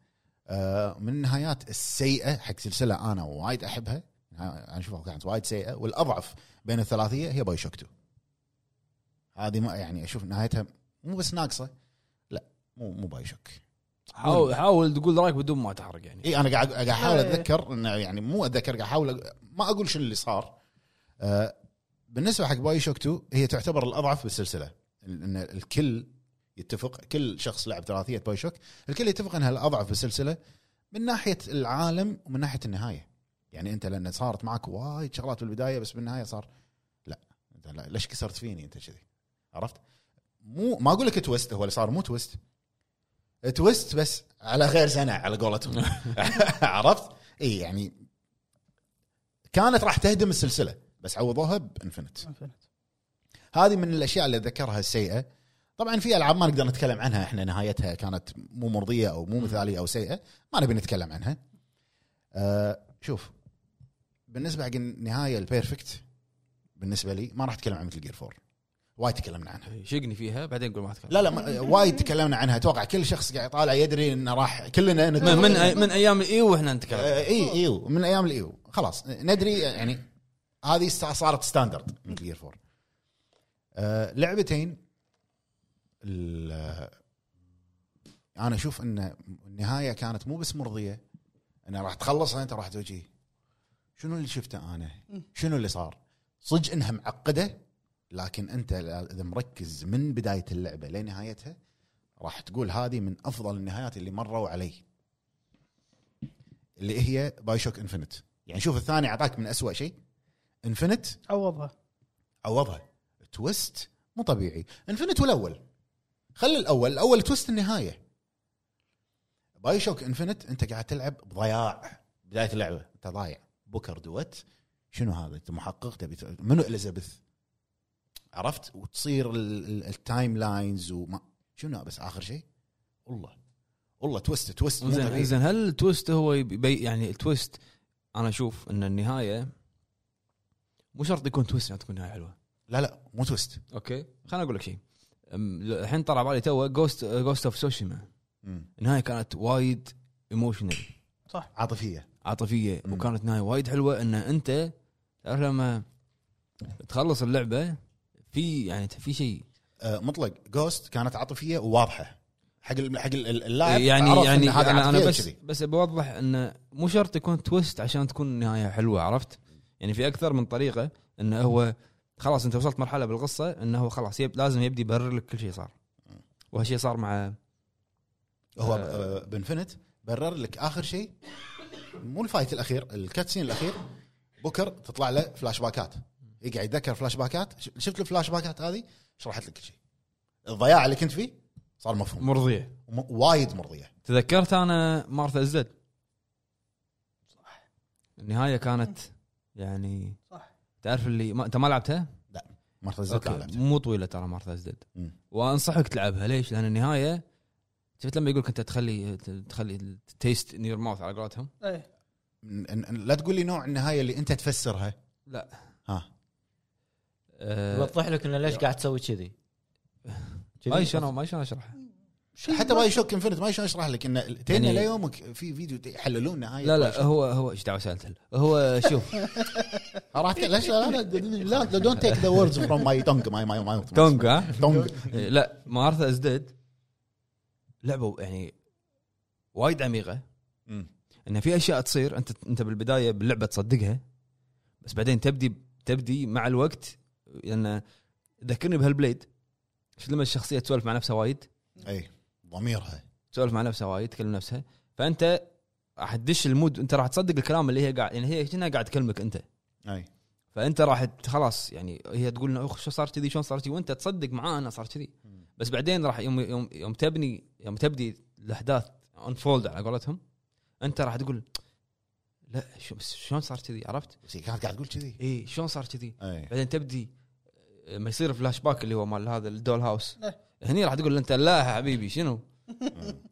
آه من النهايات السيئه حق سلسله انا وايد احبها انا اشوفها كانت وايد سيئه والاضعف بين الثلاثيه هي باي شوك 2 هذه ما يعني اشوف نهايتها مو بس ناقصه لا مو مو باي شوك
حاول حاول تقول رايك بدون ما تحرق يعني
اي انا قاعد قاعد احاول
إيه.
اتذكر انه يعني مو اتذكر قاعد احاول أق- ما اقول شنو اللي صار آه بالنسبه حق باي شوك 2 هي تعتبر الاضعف بالسلسله ال- ان الكل يتفق كل شخص لعب ثلاثيه باي شوك الكل يتفق انها الاضعف بالسلسله من ناحيه العالم ومن ناحيه النهايه يعني انت لان صارت معك وايد شغلات بالبدايه بس بالنهايه صار لا انت لا ليش كسرت فيني انت كذي عرفت مو ما اقول لك تويست هو اللي صار مو تويست تويست بس على غير زنع على قولتهم إيه، عرفت؟ اي يعني كانت راح تهدم السلسله بس عوضوها بانفنت هذه من الاشياء اللي ذكرها السيئه طبعا في العاب ما نقدر نتكلم عنها احنا نهايتها كانت مو مرضيه او مو مثاليه او سيئه ما نبي نتكلم عنها أه شوف بالنسبه حق النهايه البيرفكت بالنسبه لي ما راح اتكلم عن مثل جير 4 وايد تكلمنا عنها
شقني فيها بعدين قول ما تكلم
لا لا ما- وايد تكلمنا عنها اتوقع كل شخص قاعد يطالع يدري انه راح كلنا
من من, أي- من ايام الاي واحنا نتكلم
آه، اي ايو من ايام الايو خلاص ندري يعني هذه سا- صارت ستاندرد من جير 4 آه لعبتين ال- انا اشوف ان النهايه كانت مو بس مرضيه انها راح تخلصها انت راح توجي شنو اللي شفته انا؟ شنو اللي صار؟ صدق انها معقده لكن انت اذا مركز من بدايه اللعبه لنهايتها راح تقول هذه من افضل النهايات اللي مروا علي. اللي هي باي شوك انفنت يعني شوف الثاني اعطاك من أسوأ شيء انفنت
عوضها
عوضها تويست مو طبيعي انفنت والاول خلي الاول الاول تويست النهايه باي شوك انفنت انت قاعد تلعب بضياع بدايه اللعبه انت ضايع بوكر دوت شنو هذا انت محقق تبي ت- منو اليزابيث عرفت وتصير ال- ال- التايم لاينز وما شنو بس اخر شيء والله والله تويست تويست مو
زين
طبيعي
زين هل التويست هو يبي يعني التويست انا اشوف ان النهايه مو شرط يكون تويست عشان تكون نهايه حلوه
لا لا مو تويست
اوكي خليني اقول لك شيء أم، الحين طلع بالي تو جوست جوست اوف سوشيما
مم.
النهايه كانت وايد ايموشنال
عاطفيه
عاطفيه
مم.
وكانت نهايه وايد حلوه ان انت تعرف لما تخلص اللعبه في يعني في شيء
آه، مطلق جوست كانت عاطفيه وواضحه حق ال- حق ال- ال- اللاعب
يعني
عرف إن
يعني
هذا
انا, أنا
عاطفية
بس
كذي.
بس بوضح انه مو شرط يكون تويست عشان تكون النهايه حلوه عرفت؟ يعني في اكثر من طريقه انه هو خلاص انت وصلت مرحله بالقصه انه هو خلاص يب لازم يبدي يبرر لك كل شيء صار وهالشيء صار مع
هو
آه.
آه، بنفنت برر لك اخر شيء مو الفايت الاخير الكاتسين الاخير بكر تطلع له فلاش باكات يقعد يتذكر فلاش باكات ش- شفت الفلاش باكات هذه شرحت لك كل شيء الضياع اللي كنت فيه صار مفهوم
مرضيه
وم- وايد مرضيه
تذكرت انا مارثا الزد النهايه كانت يعني
صح.
تعرف اللي ما انت ما لعبتها؟
مرة زدت
اوكي
لعبتها.
مو طويله ترى مارثا ازدد
مم.
وانصحك تلعبها ليش؟ لان النهايه شفت لما يقولك انت تخلي تخلي تيست نير ماوث على قولتهم
ايه
ن- ن- لا تقول لي نوع النهايه اللي انت تفسرها
لا
ها
آه
يوضح لك انه ليش قاعد تسوي كذي كذي؟
ما شلون ما شلون اشرحها
حتى باي شوك انفنت ما شلون اشرح لك ان تينا
يعني-
ليومك في فيديو يحللون نهايه
لا
باي
لا
شوك.
هو هو ايش دعوه سالت هو شوف
راح ت- ليش لا لا لا دونت تيك ذا ووردز فروم ماي تونج ماي ماي ماي
تونج ها
تونج
إيه، لا مارثا ازدد لعبه يعني وايد عميقه
مم.
ان في اشياء تصير انت انت بالبدايه باللعبه تصدقها بس بعدين تبدي تبدي مع الوقت لان ذكرني بهالبليد شفت لما الشخصيه تسولف مع نفسها وايد
اي ضميرها
تسولف مع نفسها وايد تكلم نفسها فانت راح تدش المود انت راح تصدق الكلام اللي هي قاعد يعني هي كأنها قاعد تكلمك انت
اي
فانت راح ت- خلاص يعني هي تقول لنا اخ شو صار كذي شلون صار كذي وانت تصدق معاه انه صار كذي بس بعدين راح يوم يوم يوم تبني يوم تبدي الاحداث انفولد على قولتهم انت راح تقول لا شو بس شلون صار كذي عرفت؟
بس هي كانت قاعد تقول كذي
اي شلون صار كذي؟
اي
بعدين تبدي آه، ما يصير فلاش باك اللي هو مال هذا الدول هاوس
لا.
هني راح تقول انت لا يا حبيبي شنو؟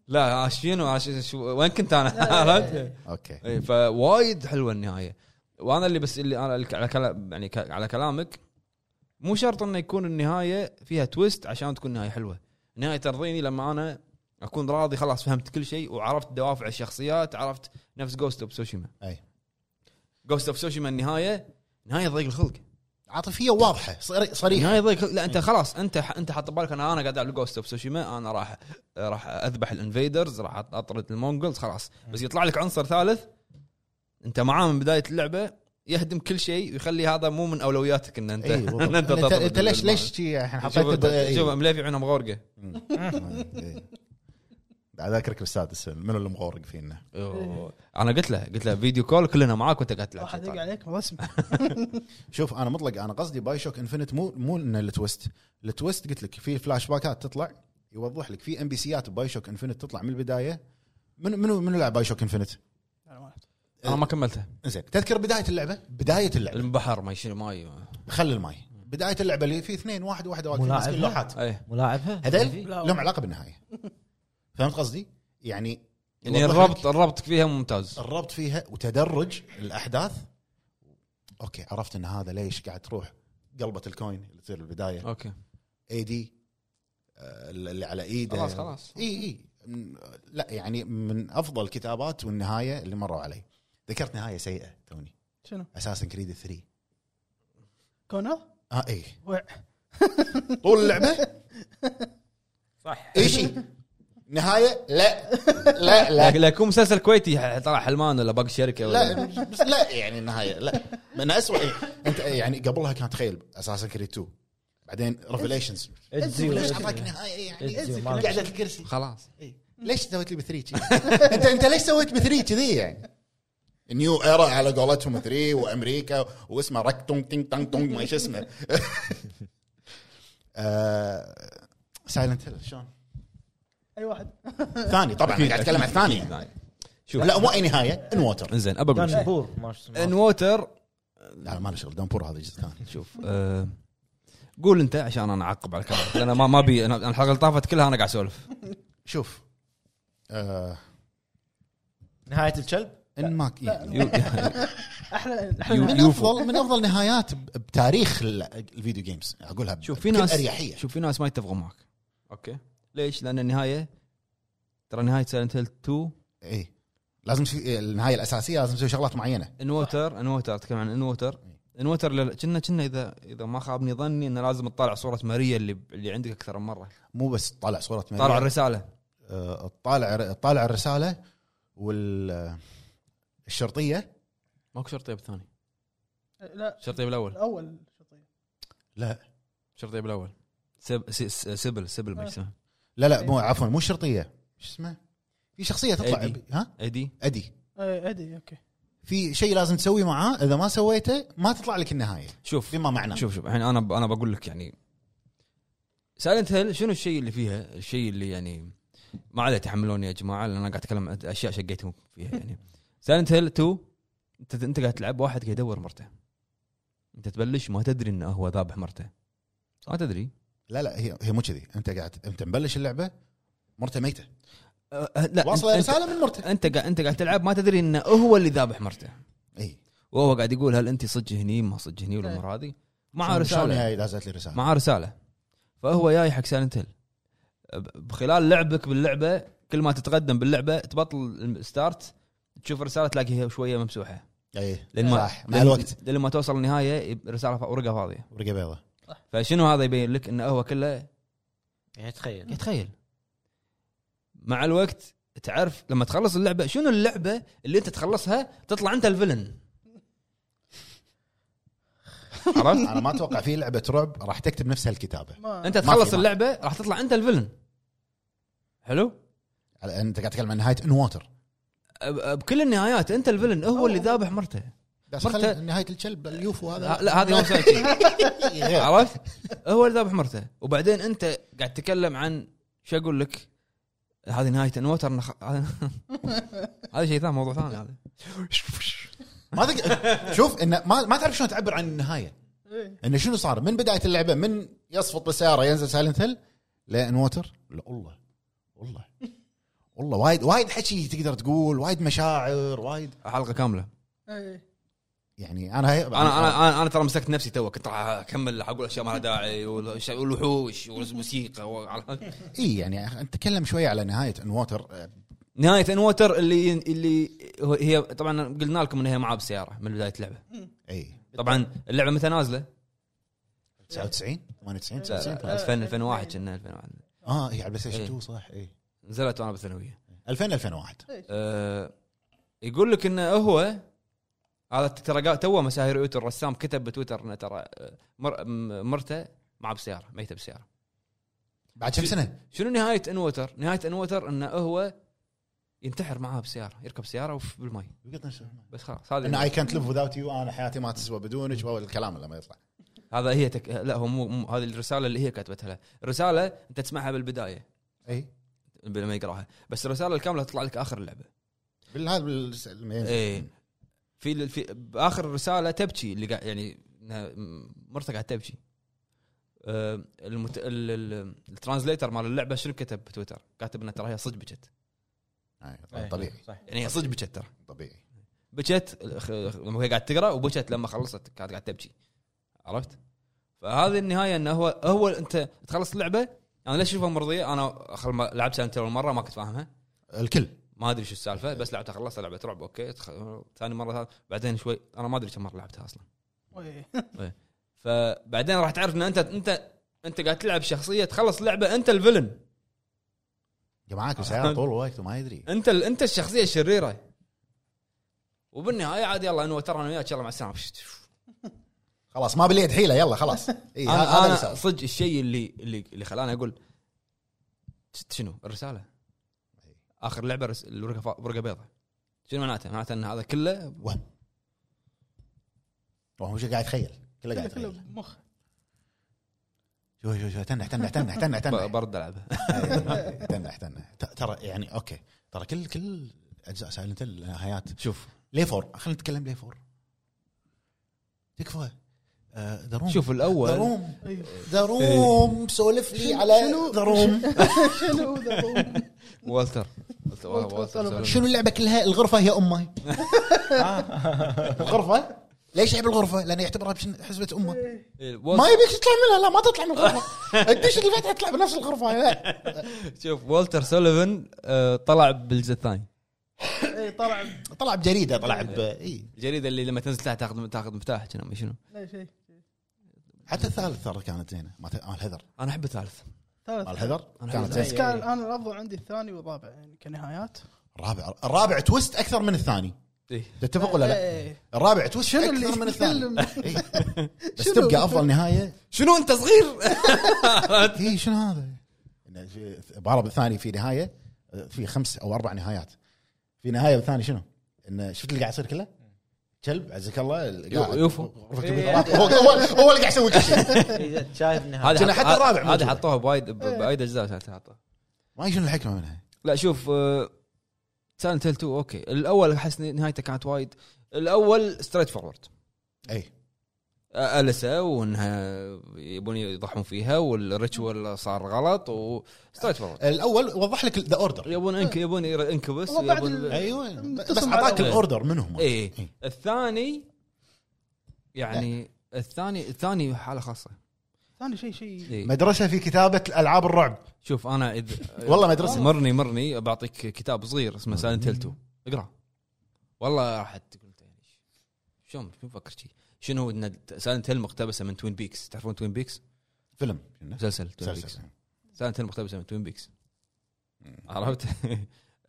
لا آه، شنو آه، شو- شو- وين كنت انا؟ عرفت؟
اوكي
اي إيه، فوايد حلوه النهايه وانا اللي بس اللي انا الك- على كلام يعني ك- على كلامك مو شرط انه يكون النهايه فيها تويست عشان تكون نهايه حلوه نهايه ترضيني لما انا اكون راضي خلاص فهمت كل شيء وعرفت دوافع الشخصيات عرفت نفس جوست اوف سوشيما
أي.
جوست اوف سوشيما النهايه نهايه ضيق الخلق
عاطفيه واضحه صري- صريحه
نهايه ضيق لا انت خلاص انت انت حاط بالك انا انا قاعد العب جوست اوف سوشيما انا راح راح اذبح الانفيدرز راح اطرد المونجلز خلاص بس يطلع لك عنصر ثالث انت معاه من بدايه اللعبه يهدم كل شيء ويخلي هذا مو من اولوياتك ان انت
اي بالضبط.
ان
انت
تطرد
انت ليش
المال.
ليش شي الحين
شوف-
حطيت إيه. إي.
شوف مليفي عيونه مغورقه
إي. بعد اذكرك بالسادس منو اللي مغورق فينا
أوه. انا قلت له قلت له فيديو كول كلنا معاك وانت قاعد تلعب
واحد يقع
شيطان.
عليك رسم
شوف انا مطلق انا قصدي باي شوك انفنت مو مو ان التويست التويست قلت لك في فلاش باكات تطلع يوضح لك في ام بي سيات باي شوك انفنت تطلع من البدايه منو منو منو لعب باي شوك انفنت؟
انا ما كملته
زين تذكر بدايه اللعبه بدايه اللعبه
البحر ما شنو ماي
خلي الماي بدايه اللعبه اللي في اثنين واحد واحد واحد
ملاعب.
ماسكين لوحات
اي
ملاعبها
هذيل
لا.
لهم علاقه بالنهايه فهمت قصدي؟ يعني
يعني
يوضح
الربط
لك
الربط فيها ممتاز
الربط فيها وتدرج الاحداث اوكي عرفت ان هذا ليش قاعد تروح قلبه الكوين اللي تصير بالبدايه
اوكي
اي دي آه، اللي على ايده
خلاص خلاص
اي اي من- لا يعني من افضل الكتابات والنهايه اللي مروا علي ذكرت نهايه سيئه توني
شنو؟
اساسا كريد 3
كونر؟
اه اي
وع.
طول اللعبه
صح
اي شيء نهايه لا لا لا
لكن لو يكون مسلسل كويتي طلع حلمان ولا باقي شركه ولا
لا بس لا يعني النهايه لا من اسوء انت يعني قبلها كانت تخيل اساسا كريد 2 بعدين ريفليشنز ليش اعطاك نهايه يعني
إتزيو،
قاعده الكرسي
خلاص
ليش سويت لي بثري كذي؟ انت انت ليش سويت بثري كذي يعني؟ نيو ايرا على قولتهم ثري وامريكا واسمه رك تونج تينج تانج تونج ما شو اسمه سايلنت هيل آه، شلون؟
اي واحد
ثاني طبعا أنا قاعد اتكلم عن الثاني يعني.
شوف
لا مو اي نهايه ان ووتر
انزين ابى اقول
كان
شيء
بور ما شو
ان
اسمه.
ووتر
لا ما له شغل دامبور هذا الجزء الثاني
شوف آه، قول انت عشان انا اعقب على كلامك لان ما ما ابي أنا- أنا الحلقه اللي طافت كلها انا قاعد اسولف
شوف آه،
نهايه الكلب
ان ماك
يو-
احلى احلى
يو-
من
يوفو
افضل من افضل نهايات ب- بتاريخ ال- الفيديو جيمز اقولها
شوف في
بكل
ناس
اريحيه
شوف في ناس ما يتفقون معك اوكي ليش؟ لان النهايه ترى نهايه سايلنت هيل 2
اي إيه. لازم في النهايه الاساسيه لازم تسوي شغلات معينه
انوتر انوتر اتكلم عن انوتر انوتر لا- كنا كنا اذا اذا ما خابني ظني انه لازم تطالع صوره ماريا اللي اللي عندك اكثر من مره
مو بس طالع صوره
طالع الرساله
آه، طالع طالع الرساله وال الشرطيه
ماكو شرطيه بالثاني
لا
شرطيه بالاول
الاول
لا
شرطيه بالاول سب... س- س- سبل سبل ما اسمها
لا لا مو عفوا مو الشرطيه شو اسمه في شخصيه تطلع
أدي.
ب- ها
ايدي
ادي
إيه، ادي اوكي
في شيء لازم تسوي معاه اذا ما سويته ما تطلع لك النهايه
شوف
بما معناه
شوف شوف الحين انا ب... انا بقول لك يعني سايلنت هيل شنو الشيء اللي فيها؟ الشيء اللي يعني ما عليه تحملوني يا جماعه لان انا قاعد اتكلم عن اشياء شقيتهم فيها يعني سايلنت هيل 2 انت انت قاعد تلعب واحد قاعد يدور مرته انت تبلش ما تدري انه هو ذابح مرته ما تدري
لا لا هي هي مو كذي انت قاعد انت مبلش اللعبه مرته ميته
أه أه لا
واصله
أنت-
رساله من مرته
انت قاعد انت قاعد تلعب ما تدري انه هو اللي ذابح مرته
اي
وهو قاعد يقول هل انت صدق هني ما صدق هني والامور هذه مع
شلون
رساله
هي لازلت لي رساله
معاه رساله فهو جاي حق سايلنت هيل خلال لعبك باللعبه كل ما تتقدم باللعبه تبطل الستارت تشوف رساله تلاقيها شويه ممسوحه
اي
لين ما
صح مع الوقت
لين ما توصل النهايه يب- رساله فا- ورقه فاضيه
ورقه بيضاء
فشنو هذا يبين لك انه هو كله
يعني تخيل
تخيل مع الوقت تعرف لما تخلص اللعبه شنو اللعبه اللي انت تخلصها تطلع انت الفيلن عرفت؟
انا ما اتوقع في لعبه رعب راح تكتب نفس هالكتابه
ما
انت
ما في
تخلص
ما.
اللعبه راح تطلع انت الفيلن حلو؟
على انت قاعد تتكلم عن نهايه ان ووتر
ب- بكل النهايات انت الفيلن هو اللي ذابح مرته
بس
مرته-
خلي نهايه الكلب اليوفو هذا إيه،
لا هذه هو مسوي شيء.
غير.
عرفت هو اللي ذابح مرته وبعدين انت قاعد تتكلم عن شو اقول لك هذه نهايه انوتر نخ... هذا شيء ثاني موضوع ثاني هذا
ما تق- شوف انه ما, ما تعرف شلون تعبر عن النهايه
إيه.
انه شنو صار من بدايه اللعبه من يصفط بالسياره ينزل سايلنت هيل لان ووتر لا الله والله والله وايد وايد حكي تقدر تقول وايد مشاعر وايد
حلقه كامله
إيه.
يعني انا هي...
انا انا انا, أنا ترى مسكت نفسي تو كنت راح اكمل اقول اشياء ما لها داعي والش- والوحوش والموسيقى وعرفت؟
اي يعني نتكلم شويه على نهايه ان ووتر
نهايه انوتر اللي اللي هو- هي طبعا قلنا لكم انها معاه بالسياره من بدايه اللعبه
اي
طبعا اللعبه متى نازله؟
99 98
لا،
99
لا، 2000 2001 كنا 2001
اه اي على بلاي ستيشن
إيه.
2 صح اي
نزلت وانا بالثانويه
2000 2001
آه، يقول لك انه هو هذا ترى قال- توه مساهر يوتو الرسام كتب بتويتر انه ترى آه، مر- م- مرته معه بسياره ميته بسياره
بعد كم سنه؟
شنو نهايه انوتر؟ نهايه انوتر انه هو ينتحر معاه بسياره يركب سياره وف- بالماء بس خلاص
ان
هذه
اي كانت ليف وذاوت يو انا حياتي ما تسوى بدونك وهو الكلام اللي ما يطلع
هذا هي تك... لا هو مو, مو هذه الرساله اللي هي كتبتها له، الرساله انت تسمعها بالبدايه إيه.
اي
لما يقراها بس الرساله الكامله تطلع لك اخر اللعبه
بالهذا
اي إيه. في, في باخر رساله تبكي اللي قاعد يعني إنها مرته قاعد تبكي آه، المت... ال- ال- الترانزليتر مال اللعبه شنو كتب بتويتر؟ كاتب انه ترى هي صدق بكت
أي، إيه، طبيعي
إيه. صح
يعني هي صدق بكت ترى
طبيعي
بكت خ- لما هي قاعد تقرا وبكت لما خلصت كانت قاعد تبكي عرفت؟ فهذه النهايه انه هو هو انت تخلص اللعبه انا ليش اشوفها مرضيه؟ انا خل ما لعبت سنتين اول مره ما كنت فاهمها
الكل
ما ادري شو السالفه بس لعبتها خلصت لعبه رعب اوكي تخ... ثاني مره ثالث بعدين شوي انا ما ادري كم مره لعبتها اصلا
وي.
فبعدين راح تعرف ان انت انت انت قاعد تلعب شخصيه تخلص لعبه انت الفيلن
جماعك بسيارة طول الوقت وما يدري
انت ال... انت الشخصيه الشريره وبالنهايه عاد يلا انه ترى انا وياك يلا مع السلامه
خلاص ما باليد حيله يلا خلاص اي
انا,
إيه، هذا اللي
أنا
صار.
صدق الشيء اللي اللي اللي خلاني اقول ش- شنو الرساله
إيه.
اخر لعبه رس... الورقه فا- ورقه بيضاء شنو معناته؟ معناته ان هذا كله
وهم وهم شو قاعد يتخيل كله قاعد
كله
يتخيل
مخ
شو شو شو تنح تنح تنح تنح
ب-
تنح
برد العبه
تنح تنح ت- ترى يعني اوكي ترى كل كل اجزاء سايلنت النهايات
شوف
ليه فور خلينا نتكلم ليه فور تكفى آه، دروم
شوف الاول
دروم
أيوه.
دروم سولف لي
شنو-
على
شنو-
دروم
شنو ذا طول؟
والتر والتر-
والتر-
والتر
شنو اللعبه كلها الغرفه هي امي الغرفه ليش يحب الغرفه؟ لانه يعتبرها بشن- حسبه امه
إيه،
إيه، والتر-
ما يبيك تطلع منها لا ما تطلع من الغرفه تدش الفتحه تطلع بنفس الغرفه لا
شوف والتر سوليفن آه، طلع بالجزء الثاني
اي إيه، طلع
طلع بجريده طلع ب
إيه.
إيه. اي
الجريده اللي لما تنزل لها تاخذ تاخذ مفتاح كنا ما شنو
لا شيء
حتى الثالث ترى كانت زينه مال الهذر
انا احب الثالث
مال
ثالث
الهذر
أنا
كانت
أحب
بس
زينه
كان انا الافضل عندي الثاني والرابع يعني كنهايات
الرابع الرابع تويست اكثر من الثاني
إيه.
تتفق ولا لا؟
إيه.
الرابع تويست
شنو اللي
اكثر من الثاني
يتكلم؟
إي. بس
شنو؟
تبقى افضل نهايه
شنو انت صغير
اي شنو هذا؟ إنه في- بعرب الثاني في نهايه في خمس او اربع نهايات في نهايه بالثاني شنو؟ انه شفت اللي قاعد يصير كله؟ كلب عزك الله اللي
يو-
قاعد-
يوفو.
غرفة كبيرة. هو هو هو اللي قاعد يسوي كل شيء
شايف نهايه
هذه
كنا
حط-
حتى الرابع
هذه
موجودة.
حطوها بوايد ب-
إيه.
بايد اجزاء كانت حطوها
ما أدري شنو الحكمه منها
لا شوف آه، سايلنت هيل 2 اوكي الاول احس نهايته كانت وايد الاول ستريت فورورد
اي
السا وانها يبون يضحون فيها والريتشوال صار غلط وستريت فورورد
الاول وضح لك ذا اوردر
يبون انك يبون انكبس
هو بعد
يبون-
ال-
ايوه بس
اتصل
اعطاك
على-
الاوردر منهم
ايه الثاني يعني الثاني الثاني حاله خاصه
ثاني شيء شيء
إيه.
مدرسه في كتابه العاب الرعب
شوف انا إذ...
والله مدرسة.
مرني مرني بعطيك كتاب صغير اسمه سايلنت هيل 2 اقرا والله راح تقول أنت يعني شلون شو مفكر شي شنو هو ان سايلنت هيل مقتبسه من توين بيكس تعرفون توين بيكس؟
فيلم
مسلسل توين بيكس
مسلسل.
سايلنت هيل مقتبسه من توين بيكس عرفت؟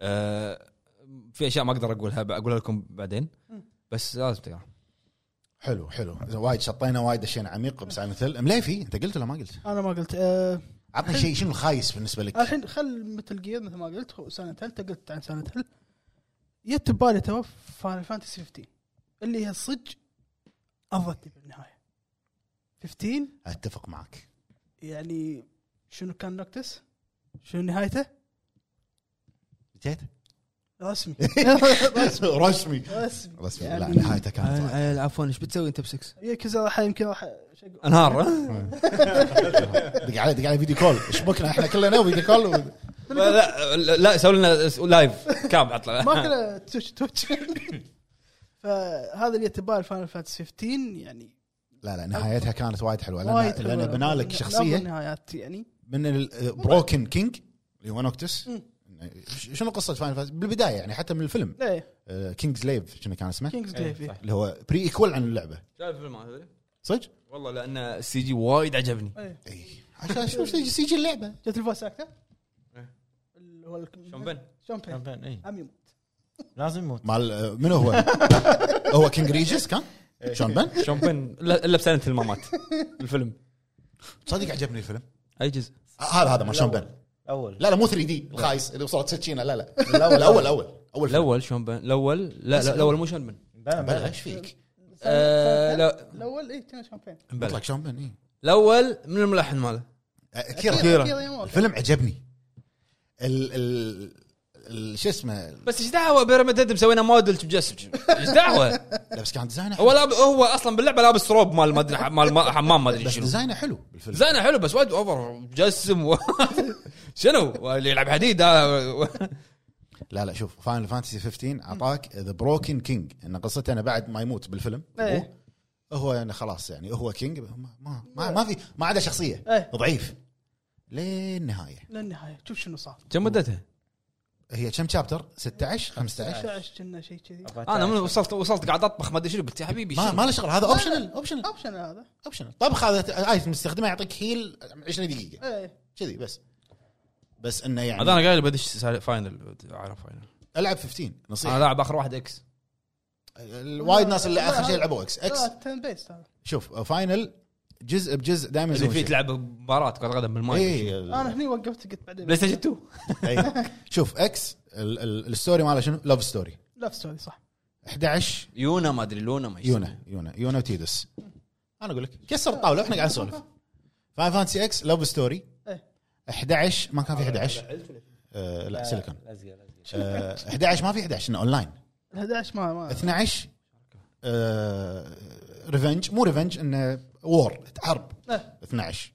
آه، في اشياء ما اقدر اقولها بقولها لكم بعدين بس لازم تقرا
حلو حلو وايد شطينا وايد دشينا عميق بس على مثل مليفي انت قلت ولا ما قلت؟
انا ما قلت آه
عطني شيء شنو الخايس بالنسبه لك؟
الحين خل مثل جير مثل ما قلت سنة انت قلت عن سنة هل جت ببالي تو فاينل فانتسي 15 اللي هي صدق ارضتني بالنهايه 15
اتفق معك
يعني شنو كان نوكتس؟ شنو نهايته؟
جيت؟
آه،
رسمي
رسمي
رسمي
رسمي
يعني-
لا نهايته كانت وايد.
عفوا ايش آه، بتسوي انت بسكس؟
يكزا راح يمكن راح شق-
انهار ها؟
دق علي دق علي فيديو كول شبكنا احنا كلنا فيديو كول و-
لا لا- لا سوي لنا لايف كاب عطله
ما كنا توش توش فهذا اللي تبال فاينل فانتسي 15 يعني
لا لا نهايتها كانت وايد حلوه لان
وايد حلوة.
لان بنى لك
من
شخصيه
أفضل نهايات يعني
من البروكن كينج اللي هو نوكتس ش- شنو قصه فاين فاز بالبدايه يعني حتى من الفيلم
ايه
كينجز ليف شنو كان اسمه
كينجز
إيه،
جليفي
اللي هو بري ايكول عن اللعبه
شايف الفيلم هذا؟
صدق
والله لان السي جي وايد عجبني
اي عشان شنو سيجي سيجي اللعبه
جت الفويس اكتر
إيه.
اللي هو ال-
شون بن
شون بين
إيه.
عم يموت
لازم يموت
مال آه، منو هو هو كينج ريجس كان
إيه.
شون بن
شون بن لا- الا بسنه المامات الفيلم
تصدق عجبني الفيلم
اي جزء
آه، هذا هذا مال شون بن
اول
لا لا مو 3 دي الخايس اللي وصلت سكينه لا لا الاول اول اول اول فيلم.
الاول شون بن الاول لا لا الاول مو شون بن
بلا
بلا
بلا
ايش فيك؟
آه، لا.
الاول اي كان إيه، شون بين
بلى.
مطلق شون بن اي
الاول من الملحن ماله
آه، كيرا
كيرا.
كيرا يموت.
الفيلم عجبني ال ال ال- شو اسمه
بس ايش دعوه بيراميد مسوينا موديل مجسم ايش دعوه
لا بس كان ديزاينه
هو
حلو
لاب هو اصلا باللعبه لابس روب مال ما ادري مال ما- حمام ما ادري
بس
شنو
ديزاينه حلو بالفيلم
زينه حلو بس وايد اوفر مجسم و... شنو اللي يلعب حديد هذا و-
لا لا شوف فاينل فانتسي 15 اعطاك ذا بروكن كينج ان قصته انه بعد ما يموت بالفيلم
إيه.
أبوه، هو يعني خلاص يعني هو كينج ما ما ما, ما في ما عدا شخصيه
إيه.
ضعيف لين النهايه
للنهايه شوف شنو صار
كم مدتها؟
هي كم شابتر 16 15
16 كنا شيء كذي
انا من وصلت وصلت قاعد اطبخ ما ادري شنو قلت يا حبيبي
ما
شنو؟
ما له شغل هذا اوبشنال اوبشنال
اوبشن هذا
اوبشنال طبخ هذا ايتم تستخدمه يعطيك هيل 20 دقيقه
ايه
كذي بس بس انه يعني
هذا انا قايل بدش سال- فاينل عارف فاينل
العب 15
انا
نصيحه
لاعب اخر واحد اكس آه.
الوايد ناس اللي اخر شيء لعبوا اكس اكس
لا تن بيست هذا
شوف فاينل جزء بجزء دائما
اللي فيه تلعب مباراه كره قدم
إيه.
بالماي
انا هني وقفت قلت بعدين
بلاي ستيشن 2
إيه. شوف اكس ال- ال- الستوري ماله شنو؟ لوف ستوري
لاف ستوري صح
11
يونا ما ادري لونا ما يسمى.
يونا يونا يونا وتيدس انا اقول لك كسر الطاوله واحنا قاعد نسولف فاين فانتسي اكس لوف ستوري
إيه.
11 ما كان في 11 آه، لا سيليكون آه، 11 ما في 11 انه اونلاين
ال 11 ما ما
12 ريفنج آه، مو ريفنج انه وور حرب
إيه.
12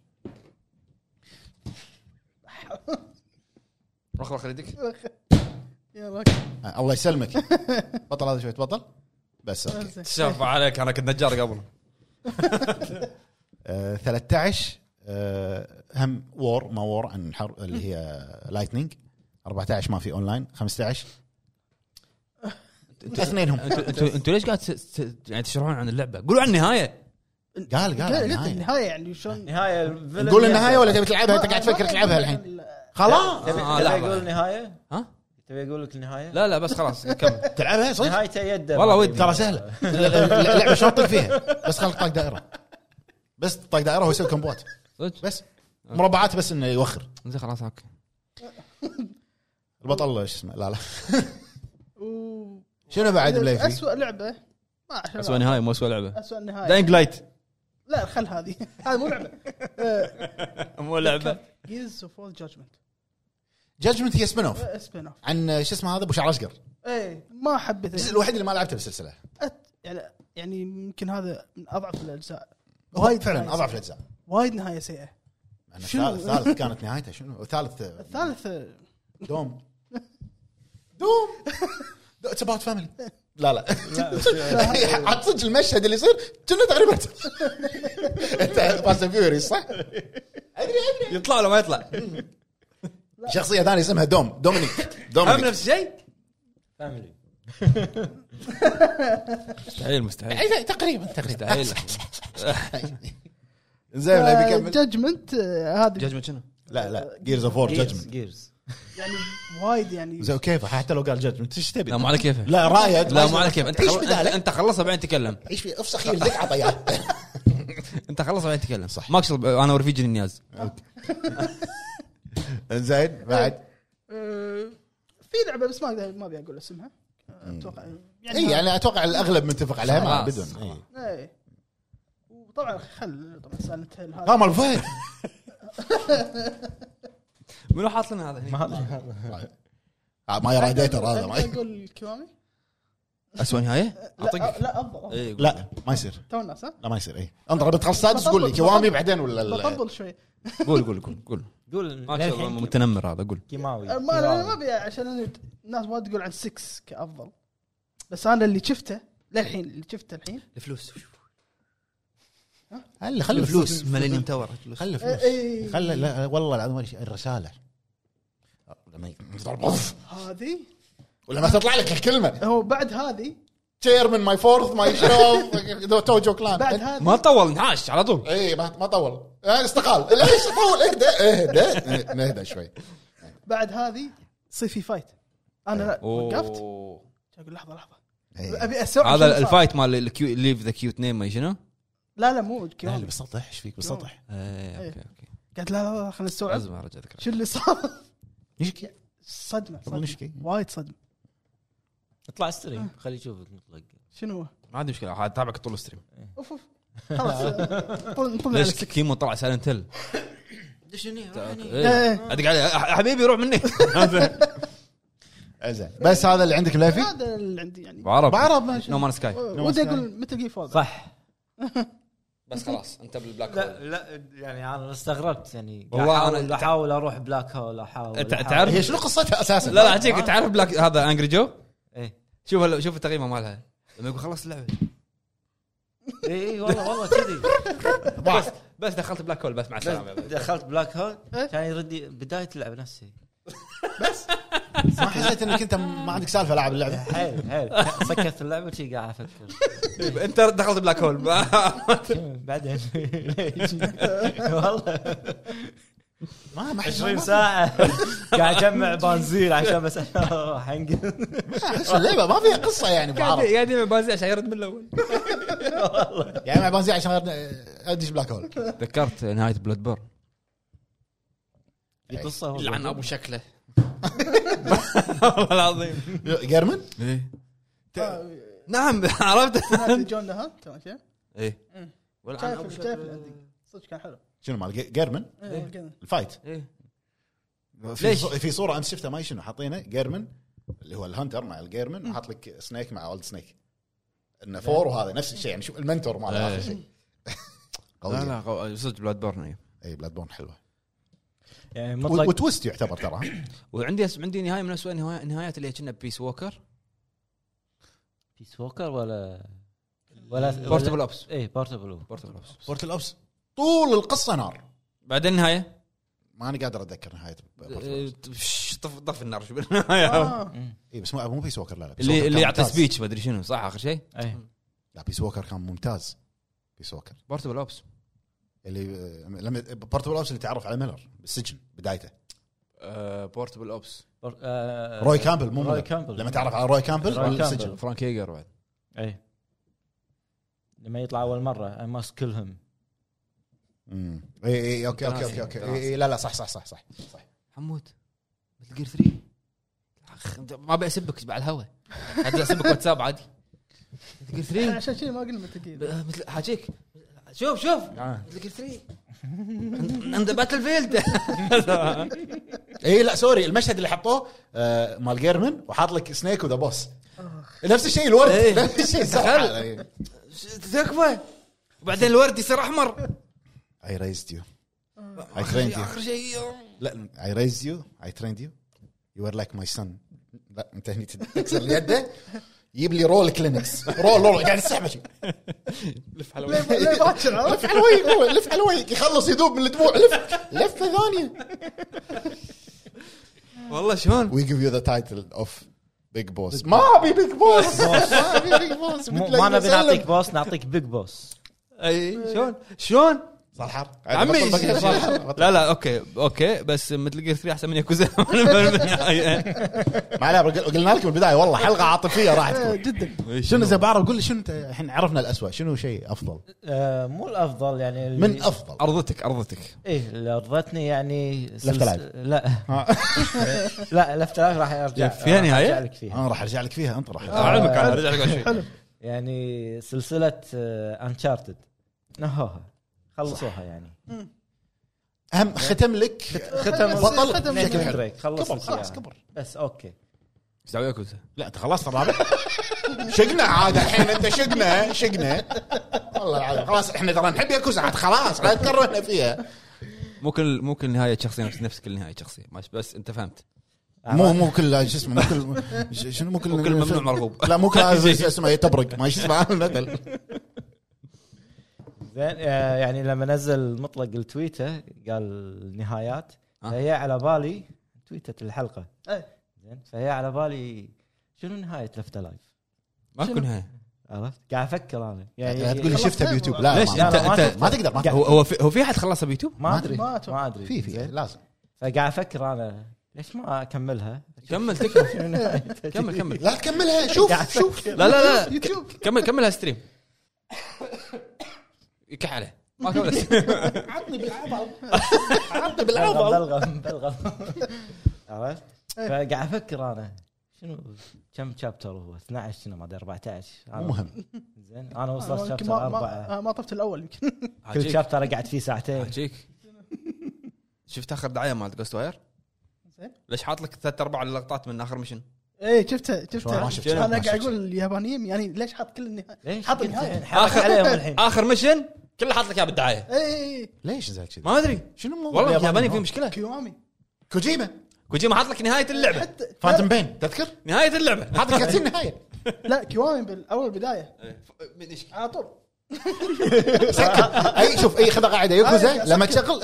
رخ رخ يدك
يلا
آه، الله يسلمك بطل هذا شوي تبطل بس اوكي
زين.
تشرف عليك انا كنت نجار قبل
آه، 13 آه، هم وور ما وور عن حرب اللي هي لايتنينج 14 ما في اونلاين 15 اثنينهم
انتوا انتوا- انتوا ليش قاعد ت- ت- يعني تشرحون عن اللعبه قولوا عن النهايه
قال
قلت
قال النهاية.
النهايه يعني شلون
نهايه
نقول النهايه ولا تبي تلعبها انت قاعد تفكر تلعبها الحين خلاص
تبي
آه،
تبي
لحظة.
اقول النهايه؟
ها؟
تبي اقول لك النهايه؟
لا لا بس خلاص كمل
تلعبها صدق
نهايته يده
والله ودي.
ترى سهله اللعبه شلون تطق فيها بس خلك طاق دائره بس طاق دائره ويسوي كمبوات
صدق؟
بس مربعات بس انه يوخر
زين خلاص اوكي
البطل شو اسمه لا لا
و-
شنو بعد بلاي فيه؟
اسوء لعبه ما أعرف.
اسوء نهايه مو اسوء لعبه
اسوء نهايه
داينج لايت
لا خل هذه هذه مو آه، لعبه
مو لعبه
جيز اوف اول جادجمنت
جادجمنت هي سبين اوف
سبين اوف
عن شو اسمه هذا ابو شعر اشقر
ايه آه، ما
الجزء
حبيت
الوحيد اللي ما لعبته بالسلسله
أت- يعني يعني يمكن هذا من اضعف الاجزاء
هو فعلا اضعف الاجزاء
وايد نهايه سيئه
أنا
شنو؟
الثالث الثالث كانت نهايته شنو؟ والثالث
الثالث آه،
دوم دوم اتس اباوت فاميلي لا لا عاد صدق المشهد اللي يصير كنا تقريبا انت فاست فيوري صح؟
يطلع ولا ما يطلع؟
شخصيه ثانيه اسمها دوم دومينيك
هم
دومينيك
نفس الشيء؟
فاميلي
مستحيل مستحيل
أي- تقريبا تقريبا
مستحيل
زين لا بيكمل
جادجمنت آه، هذه
جاجمنت شنو؟
لا لا جيرز اوف وور جادجمنت
جيرز
يعني وايد يعني
زين كيف حتى لو قال جادجمنت ايش تبي؟
لا مو على كيفه
لا رايد
لا مو على كيفه انت
عيش
خل-
بداله.
انت خلصها بعدين تكلم
عيش فيه افسخ يلدك عطى اياه
انت خلصها بعدين تكلم
صح.
ماكش انا ورفيجي النياز
زين بعد
إيه. آه، في لعبه بس ما أقدر- ما ابي اقول اسمها
إيه.
آه، اتوقع
اي يعني اتوقع الاغلب متفق عليها ما
خلاص.
بدون إي.
ايه وطبعا خل طبعا سالنت هيل
ها
هذا
آه، مال فهد
منو حاط لنا هذا هنا؟
آه، ما يرى ديتر هذا
أقدر
ما
اقول كيوامي
اسوء نهايه؟
لا
اعطيك
أه، لا افضل
إيه، قول.
لا ما يصير
تو الناس ها
لا ما يصير اي انطر بتخلص سادس قول لي
بطبل-
كوامي
بطبل-
بعدين ولا لا طيب.
بطبل شوي
قول قول قول قول
قول
ما شاء الله
للحين
متنمر هذا قول
كيماوي
أه، ما أنا- أنا ما ابي عشان أنا- الناس وايد تقول عن 6 كافضل بس انا اللي شفته للحين اللي شفته الحين
الفلوس
هلا خلي
الفلوس ميلينيوم تاور الفلوس
خلي
إي.
فلوس خلي لا والله العظيم ولا شيء، الرساله لما يضرب بوف.
هذه
ولما تطلع لك الكلمه
هو بعد هذه
تشيرمن ماي فورث ماي شو توجو
بعد
كلان
هذه
ما طول انحاش على طول
اي إيه، ما ما طول آه، استقال لا ايش طول اهدى اهدى إيه، نهدى شوي إيه.
بعد هذه يصير في فايت انا
إيه.
لا وقفت
أوه.
اقول لحظه لحظه
إي.
ابي استوعب شنو
هذا
صار.
الفايت مال الكيو ليف ذا كيوت نيم ما شنو؟
لا لا مو
لا لا
كيوامي
بالسطح ايش فيك بالسطح
ايه اوكي اوكي
قلت لا لا لا خلينا نستوعب
لازم ارجع اذكر
شو اللي صار
يشكي
صدمه
نشكي.
صدمه وايد صدمه
اطلع ستريم
آه.
خليه يشوف نطلق
شنو هو؟
ما عندي مشكله عاد تابعك طول الستريم
اوف اوف خلاص طل- طلع على
ليش
السكة.
كيمو طلع سايلنت هيل
دشني
إيه. ادق عليه حبيبي روح مني
زين بس هذا اللي عندك ملافي
هذا اللي عندي يعني
بعرب
بعرب ماشي
نو مان سكاي
ودي اقول متل جير فاضل
صح
بس خلاص انت بالبلاك
لا لا يعني انا استغربت يعني
والله
والله
أنا-
انا احاول اروح بلاك هول احاول
أنت
أحاول.
تعرف؟
هي شنو قصتها اساسا؟
لا لا عجيك تعرف بلاك هذا انجري جو
ايه
شوف هلا- شوف التقييمه مالها لما يقول خلص اللعبه
اي اي إيه، والله والله كذي
بس بس دخلت بلاك هول بس مع السلامه يلا.
دخلت بلاك هول
إيه.
كان يردي بدايه اللعبه نفسها
ما حسيت انك انت ما عندك سالفه لاعب اللعبه
حيل حيل سكرت اللعبه وشي قاعد افكر
إيه، انت دخلت بلاك هول
بعدين ليش؟ والله
ما ما أحس-
20
ما-
ساعه قاعد اجمع بنزين عشان بس حنقل
احس اللعبه ما فيها قصه يعني بعرب
قاعد يبيع بازي عشان يرد من الاول
يعني مع بنزين عشان أرن- ادش بلاك هول
تذكرت نهايه بلاد بيرن
في قصه والله.
لعن ابو شكله والله العظيم
جيرمن
إيه. نعم عرفت
آه، هذا جون لها تمام شايف
ايه
شايف شايف اللي عندي صدق كان حلو
شنو مال جي- جيرمن
إيه، كذا.
الفايت
ايه
في
ليش؟
ليش؟ في صوره امس شفتها ما شنو حاطينه جيرمن اللي هو الهانتر مع الجيرمن وحاط لك سنيك مع اولد سنيك انه فور وهذا نفس الشيء يعني شوف المنتور ماله
إيه.
اخر شيء
لا
قوي
لا قو- صدق إيه. بلاد بيرن
اي إيه، بلاد بون حلوه
يعني
و-
مطلق
وتويست يعتبر ترى ها؟
وعندي أس- عندي نهايه من اسوء النهايات اللي هي كنا بيس ووكر
بيس ووكر ولا ولا إيه،
بورتبل اوبس
اي بورتبل
بورتبل اوبس
بورتل اوبس طول القصه نار
بعدين النهايه
ما انا قادر اتذكر نهايه
آه،
بورتل
طف طف- طف النار شو بالنهايه
آه،
اي إيه، بس مو مو بيس ووكر لا لا بيس ووكر
اللي
كان
اللي يعطي
ممتاز.
سبيتش ما ادري شنو صح اخر شيء
اي
لا بيس ووكر كان ممتاز بيس ووكر
بورتبل اوبس
اللي آه، لما بورتل اوبس اللي تعرف على ميلر بالسجن بدايته
بورتبل اوبس
بور- آه،
روي كامبل مو
روي
ميلر
كامبل
لما تعرف على روي كامبل
روي كامبل.
بالسجن
فرانك هيجر بعد
اي إيه. لما يطلع اول مره ماسك كلهم
امم اي اي اوكي اوكي اوكي اوكي اي اي إيه، لا لا صح صح صح صح صح
حمود مثل جير 3 أخ، أنت ما ابي اسبك على الهواء عاد اسبك واتساب عادي مثل جير 3
عشان شيء ما قلنا متل جير
ب- مثل حاجيك شوف شوف مثل جير 3 عند باتل فيلد
اي إيه، لا سوري المشهد اللي حطوه آه، مال جيرمن وحاط لك سنيك وذا بوس نفس الشيء الورد
إيه.
نفس الشيء صح
دخل.
اي
تكفى وبعدين الورد يصير احمر
ريزد يو اي تريند يو
اخر شيء
لا اي ريز يو اي تريند يو يو ار لايك ماي سن لا انت هني تكسر لي يده جيب لي رول كلينكس رول رول قاعد يسحب شيء
لف على
ليه ليه باكر عرفت؟
لف على وجهك هو لف على وجهك يخلص يذوب من الدموع لف لفه ثانيه
والله شلون
وي جيف يو ذا تايتل اوف بيج بوس ما ابي بيج بوس
آه،
ما ابي بيج بوس
مو- ما نبي نعطيك بوس نعطيك بيج بوس
اي شلون شلون
صالحر
عمي
بطل بقى.
شلون؟ لا لا اوكي اوكي بس مثل جير 3 احسن من ياكوزا بالنهاية.
ما عليه قل- قلنا لك بالبدايه والله حلقه عاطفيه راح
آه،
تكون
جدا
شنو اذا بعرف قول لي شنو انت الحين عرفنا الاسوء شنو شيء افضل
آه، مو الافضل يعني اللي-
من افضل
ارضتك ارضتك
ايه اللي ارضتني يعني سلس-
العاب.
لا
آه.
لا لفت العاب راح ارجع
فيها
راح
نهاية؟
ارجع لك فيها
انا راح ارجع لك فيها انت راح
اعلمك انا ارجع لك آه، على شيء
يعني سلسله انشارتد نهوها خلصوها يعني
اهم ختم لك
ختم
بطل
ختم
بشكل
نيثن
حلو.
دريك
كبر
خلص لك
خلاص
إياها.
كبر
بس اوكي
ايش دعوه ياكوزا؟
لا انت خلصت الرابع شقنا عاد الحين انت شقنا شقنا والله العظيم خلاص احنا ترى نحب ياكوزا عاد خلاص عاد كرهنا فيها
مو كل مو كل نهايه شخصيه نفس نفس كل نهايه شخصيه ماشي بس انت فهمت
مو مو كل شو اسمه مو كل ش- شنو مو كل
مو كل ممنوع مرغوب.
لا مو كل شو اسمه تبرق ما شو اسمه المثل
زين آه، يعني لما نزل مطلق التويته قال النهايات
آه.
فهي على بالي تويتة الحلقه
إيه.
زين فهي على بالي شنو نهايه لفت لايف
ماكو
شنو؟
نهايه
عرفت قاعد افكر انا
لا
يعني
تقول لي شفتها بيوتيوب لا
ليش
ما-
انت
لا، ما
انت
ما تقدر ما تقدر
هو هو في, هو في احد خلصها بيوتيوب؟
ما ادري
ما أتوقع.
ما ادري
في في
زين.
لازم
فقاعد افكر انا ليش ما اكملها؟
كمل تكمل
شنو نهايتها؟
كمل كمل
لا تكملها شوف
قاعد
شوف
لا لا لا
يوتيوب
كمل كملها ستريم يكح عليه ما كمل
عطني بالعبط
عرفت بالعضل
بلغم بلغم عرفت؟ فقاعد افكر انا شنو كم شابتر هو 12 شنو ما ادري 14 أنا-
مو مهم
زين انا وصلت
يمكن
شابتر
ما-
اربعه
ما- آه، ما طفت الاول يمكن
كل
حاجيك
شابتر قعدت فيه ساعتين
حاجيك شفت اخر دعايه مالت جوست واير؟
زين
ليش حاط لك ثلاث ارباع اللقطات من اخر مشن؟
اي شفتها
شلون؟
شفتها
ما
شفت.
انا
ما
قاعد
شفت.
اقول اليابانيين يعني ليش حاط كل النهايه
ليش؟
حط
قلت
النهاية.
الحين، حرك عليهم الحين
اخر مشن كله حاط لك اياه بالدعايه
اي
ليش زي كذي؟
ما ادري
شنو الموضوع؟
والله الياباني في
هون؟
مشكله
كيوامي
كوجيما
كوجيما حاط لك نهايه اللعبه
حتى
فانتوم بين تذكر؟
نهايه اللعبه
حاط لك كاتسين نهايه
لا كيوامي بالاول بدايه
إيه.
على طول
سكر اي شوف اي خذ قاعده يوكوزا لما تشغل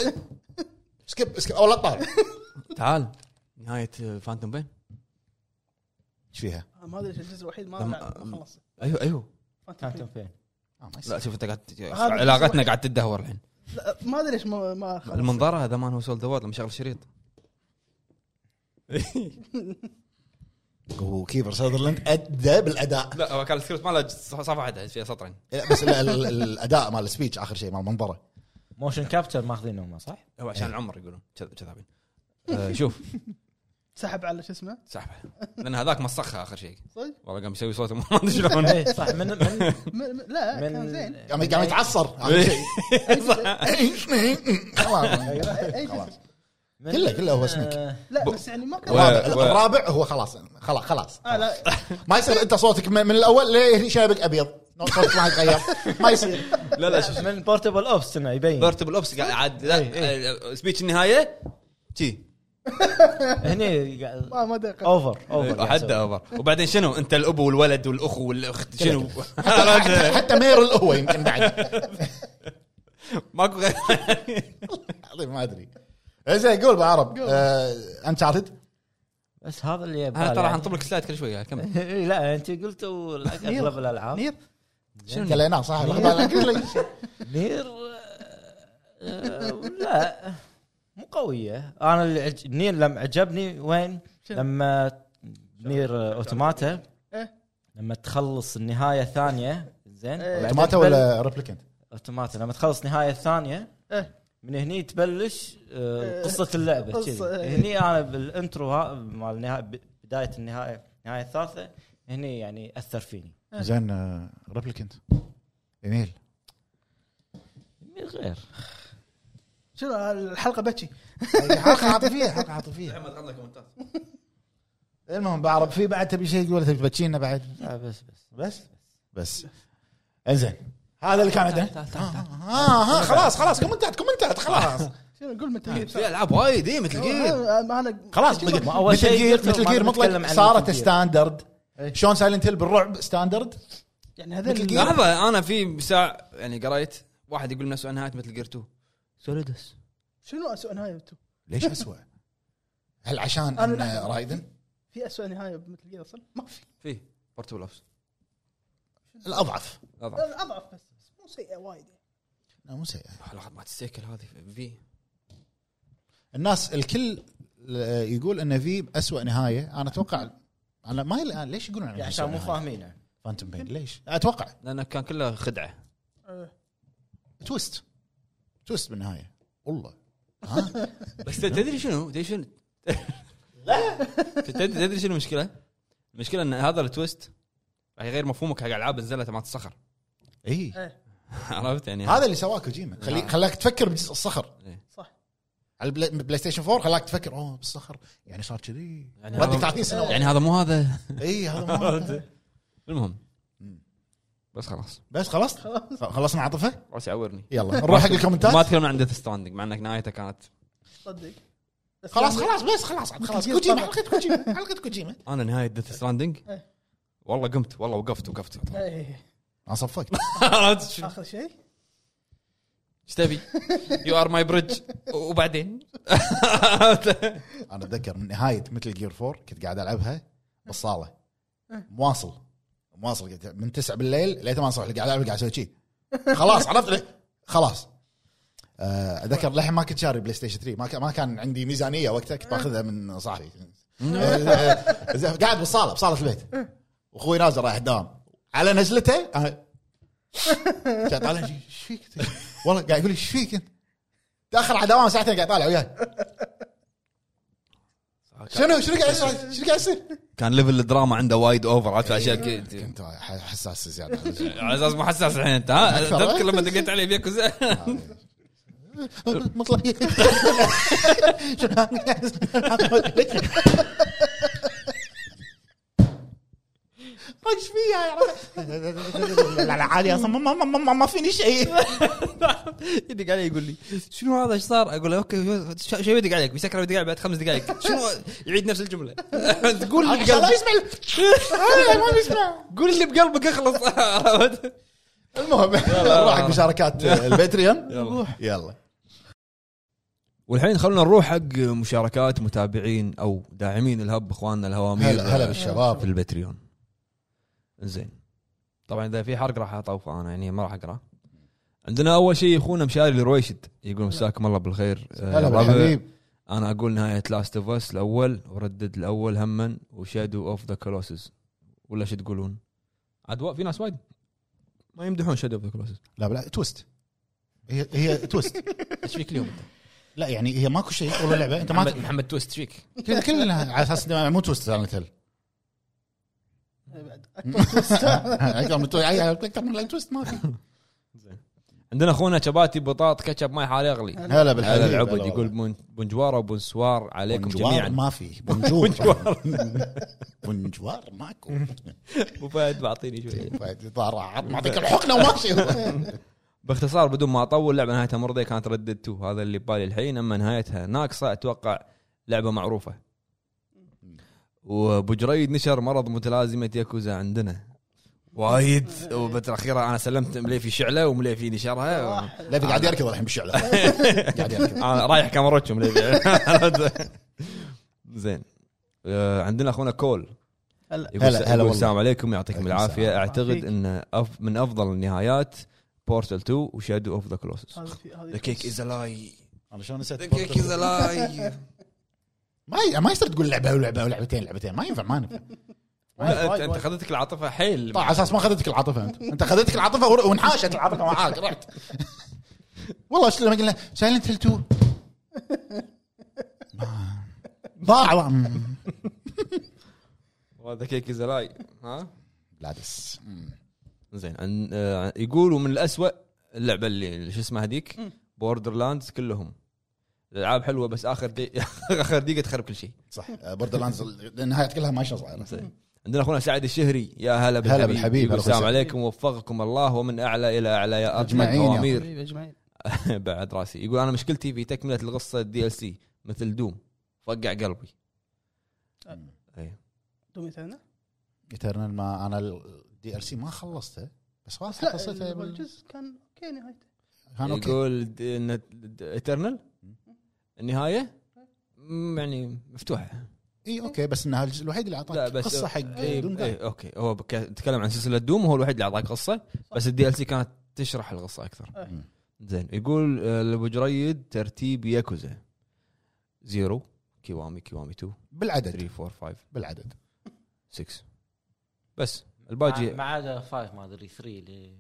سكيب سكيب اول طار
تعال نهايه فانتوم بين
ايش فيها؟
أنا ما ادري إيش الجزء الوحيد ما
لما-
ما خلص
ايوه ايوه
كانت فين؟
آه، ما يصير.
لا شوف انت قاعد
هذا
علاقتنا
الجزء
قاعد تدهور الحين
لا، ما ادري ليش ما ما خلص.
المنظره هذا مان هو سولد وورد لما شغل شريط
وكيفر ساذرلاند ادى بالاداء
لا هو كان السكريبت ماله صفحه واحده فيها سطرين
لا، بس ال- ال- الاداء مال السبيتش اخر شيء مال منظره
موشن كابتشر ماخذينه هم صح؟
هو عشان العمر يقولون كذ- كذابين أيوه. آه، شوف
سحب على شو اسمه
سحبه لان هذاك مسخها اخر شيء
صدق؟
والله قام يسوي صوته ما ادري شلون
اي إيه، صح من من
م- م- لا كان
من
زين
قام قام يتعصر إيه. اخر
إيه.
شيء خلاص.
أي- أي جزء.
من-
كله- كله هو سنيك.
آه،
لا
بو-
بس يعني ما كان
و-
الرابع- الرابع هو خلاص خلاص خلاص
آه لا
ما يصير انت صوتك من من الاول لهني شابك ابيض صوتك ما يتغير ما يصير
لا لا شوف إيه،
من بورتبل اوبس انه يبين
بيرتبل اوبس قاعد عاد لا آه، سبيتش النهايه كذي
هني قاعد-
ما ما دقق
اوفر اوفر
حد اوفر وبعدين شنو انت الاب والولد والاخ والاخت شنو
حتى حتى مير القهوه يمكن بعد
ماكو غير
عظيم ما ادري زين قول آه، بعرب انشارتد
بس هذا اللي يعني.
انا
يبغى
ترى حنطب لك سلايد كل شويه
إيه،
كمل
لا انت قلت اغلب الالعاب
نير
شنو
كليناه صح لحظة، كله شيء.
نير آه، لا مو قوية انا اللي عج... نير لما عجبني وين؟
شنو؟
لما نير اوتوماتا
إيه.
لما تخلص النهاية الثانية زين
إيه.
بعدين
اوتوماتا
تبل-
ولا ريبليكنت
اوتوماتا لما تخلص النهاية الثانية
إيه.
من هني تبلش آه،
إيه.
قصة اللعبة
قصة،
كذي
إيه.
هني انا بالانترو ها- مال النهاية ب- بداية النهاية النهاية الثالثة هني يعني اثر فيني
زين ريبليكنت ايميل
من غير
شنو الحلقه بكي
حلقه عاطفيه حلقه عاطفيه المهم بعرب في بعد تبي شيء تقول تبي تبكينا بعد
لا آه، بس بس
بس بس انزين هذا اللي كان عندنا ها ها خلاص خلاص كومنتات كومنتات خلاص
شنو قول متى جير
في العاب وايد اي مثل جير
انا
خلاص
شنو؟
ما
مثل
أول شيء
جير
قلت
مثل
ما
جير
بنتكلم
مطلق
عن
صارت
مثل جير.
ستاندرد
إيه.
شلون سايلنت هيل بالرعب ستاندرد
يعني هذول
مثل
اللي-
لحظه انا في ساعه يعني قريت واحد يقول نفسه نهايه مثل جير 2 سوليدس
شنو اسوء نهايه بتو؟
ليش اسوء؟ هل عشان
أنا
إن
لحظة.
رايدن
في اسوء نهايه مثل جير اصلا ما في
في بورتبل اوبس
الاضعف
اضعف
اضعف بس بس مو سيئه وايد يعني.
لا مو سيئه
حلقه مالت السيكل هذه في
الناس الكل آه، يقول ان في اسوء نهايه انا اتوقع انا ما يل- أنا ليش يقولون
يعني عشان مو فاهمينه
فانتوم بين ليش؟ اتوقع
لانه كان كله خدعه
آه.
تويست تويست بالنهايه والله ها
بس تدري شنو تدري شنو لا تدري تدري شنو المشكله؟ المشكله ان هذا التويست راح يغير مفهومك حق العاب نزلت مالت الصخر
اي
آه.
إيه،
عرفت يعني
إيه. هذا اللي سواه كوجيما خلي
نعم.
خلاك تفكر بجزء الصخر
صح
على البلاي بلاي ستيشن 4 خلاك تفكر اوه بالصخر يعني صار كذي
يعني
ردك
هذا-
30 سنه ورا.
يعني هذا مو هذا
اي إيه، هذا مو-
المهم
مم.
بس خلاص
بس خلص
خلاص
خلصنا عاطفه
راس يعورني
يلا نروح حق
ما
الكومنتات
تكلمنا عن ديث ستراندنج مع انك نهايتها كانت
صدق بس
خلاص
يعني-
خلاص بس خلاص خلاص كوجيما حلقه كوجيما حلقه كوجيما
انا نهايه ديث ستراندنج
إيه.
والله قمت والله وقفت وقفت
إيه.
انا صفقت
عرفت شو-
اخر شيء
ايش تبي؟ يو ار ماي بريدج وبعدين
انا اتذكر من نهايه مثل جير 4 كنت قاعد العبها بالصاله مواصل مواصل قاعد- من 9 بالليل ل 8 الصبح قاعد العب قاعد اسوي شي خلاص عرفت ليه؟ خلاص آه، اتذكر للحين ما كنت شاري بلاي ستيشن 3 ما كان ما كان عندي ميزانيه وقتها كنت باخذها من صاحبي آه، زين، قاعد بالصاله بصاله البيت واخوي نازل رايح الدوام على نزلته انا قاعد طالع شي- ايش فيك أنت؟ والله قاعد يقول لي ايش فيك انت؟ داخل على دوام ساعتين قاعد طالع وياي شنو شنو قاعد يصير؟ شنو قاعد يصير؟
كان ليفل الدراما عنده وايد اوفر عرفت اشياء كذا
كنت حساس زياده
على اساس مو حساس الحين انت ها
أكثر.
تذكر لما دقيت عليه بياكوزا
مطلع ايش فيها يا رب؟ لا لا عادي اصلا ما- ما- ما- ما- ما فيني شيء
يدق علي يقول لي شنو هذا ايش صار؟ اقول له اوكي شو شو يدق عليك؟ بيسكر يدق علي بعد خمس دقائق شنو يعيد نفس الجمله تقول اللي
عشان لا
بقلبك
يسمع ال- ما بيسمع
قول اللي بقلبك اخلص عرفت؟
المهم نروح حق مشاركات الباتريون
يلا.
يلا
والحين خلونا نروح حق مشاركات متابعين او داعمين الهب اخواننا الهوامير آه،
هلا هلا
في
بالشباب
البتريون زين طبعا اذا في حرق راح اطوفه انا يعني ما راح اقرا عندنا اول شيء اخونا مشاري الرويشد يقول مساكم الله بالخير آه،
هلا
ربع.
بالحبيب
انا اقول نهايه لاست اوف اس الاول وردد الاول هما وشادو اوف ذا كلوسز ولا شو تقولون؟ عاد وا- في ناس وايد ما يمدحون شادو اوف ذا كلوسز
لا بلا توست هي هي توست
ايش فيك اليوم انت؟
لا يعني هي ماكو شيء والله لعبه انت ما
محمد تويست ايش فيك؟
كذا كلها على اساس إنها مو توست سايلنت هيل
بعد
اكثر من توست اكثر من توست ما في
عندنا اخونا شباتي بطاط كاتشب ماي حالي اغلي
هلا
هذا
بالحبيب
العبد يقول بون- بونجوار وبونسوار عليكم
بونجوار
جميعا
ما في بونجور بونجوار ماكو
ابو فهد بعطيني شويه
طار معطيك الحقنه وماشي
باختصار بدون ما اطول لعبه نهايتها مرضيه كانت ردد 2 هذا اللي ببالي الحين اما نهايتها ناقصه اتوقع لعبه معروفه وابو جريد نشر مرض متلازمه ياكوزا عندنا وايد وبالفتره الاخيره انا سلمت مليفي شعله ومليفي
آه،
نشرها
لا في قاعد يركض الحين بالشعله قاعد يركض
انا آه، رايح كاميروتشو مليفي زين آه، عندنا اخونا كول
هلا.
يقول
هلا- هلا
يقول
والله.
السلام عليكم يعطيكم
عليكم
العافيه
السلام.
اعتقد
يعافيك.
ان أف- من افضل النهايات بورتال 2 وشادو اوف ذا كلوسس
هذا في- هذا
ذا كيك
في-
از لاي
انا شلون نسيت
لاي
ما ي- ما يصير تقول لعبه ولعبه ولعبتين لعبتين ما ينفع ما ينفع
انت انت خذتك العاطفه حيل
طبعا على اساس ما اخذتك العاطفه انت انت اخذتك العاطفه ور- وانحاشت العاطفه معاك رحت والله شو لما قلنا سايلنت هيل 2 ما- ضاع مم.
ذا كيك از لاي ها
بلادس مم.
زين عن آه، يقولوا من الأسوأ اللعبه اللي شو اسمها هذيك بوردر لاندز كلهم الالعاب حلوه بس اخر دي اخر دقيقه تخرب كل شيء
صح بوردر لاندز النهايه كلها ما شلون صايره
زين. عندنا اخونا سعد الشهري يا هلا بالحبيب,
بالحبيب.
يقول
هلا أخوي
السلام
سعد.
عليكم ووفقكم الله ومن اعلى الى اعلى يا اجمل
أجمعين يا
الأوامر.
حبيبي اجمعين
بعد راسي يقول انا مشكلتي في تكمله القصه الدي ال سي مثل دوم فقع قلبي
دومي ثانية
ايترنال ما انا الدي ال سي ما خلصته بس واضح
لا
قصته
أول
بال-
جزء كان اوكي نهايته
كان اوكي
يقول ايترنال النهايه مم، يعني مفتوحه
اي اوكي بس انه الجزء الوحيد اللي اعطاك
لا بس
قصه حق
إيه
دون
إيه اوكي هو بك- تكلم عن سلسله دوم وهو الوحيد اللي اعطاك قصه بس الدي ال سي كانت تشرح القصه اكثر
أي.
مم.
زين يقول آه، لابو جريد ترتيب ياكوزا زيرو كيوامي كيوامي 2
بالعدد
3 4 5
بالعدد
6 بس الباقي
ما عدا فايف ما ادري 3 اللي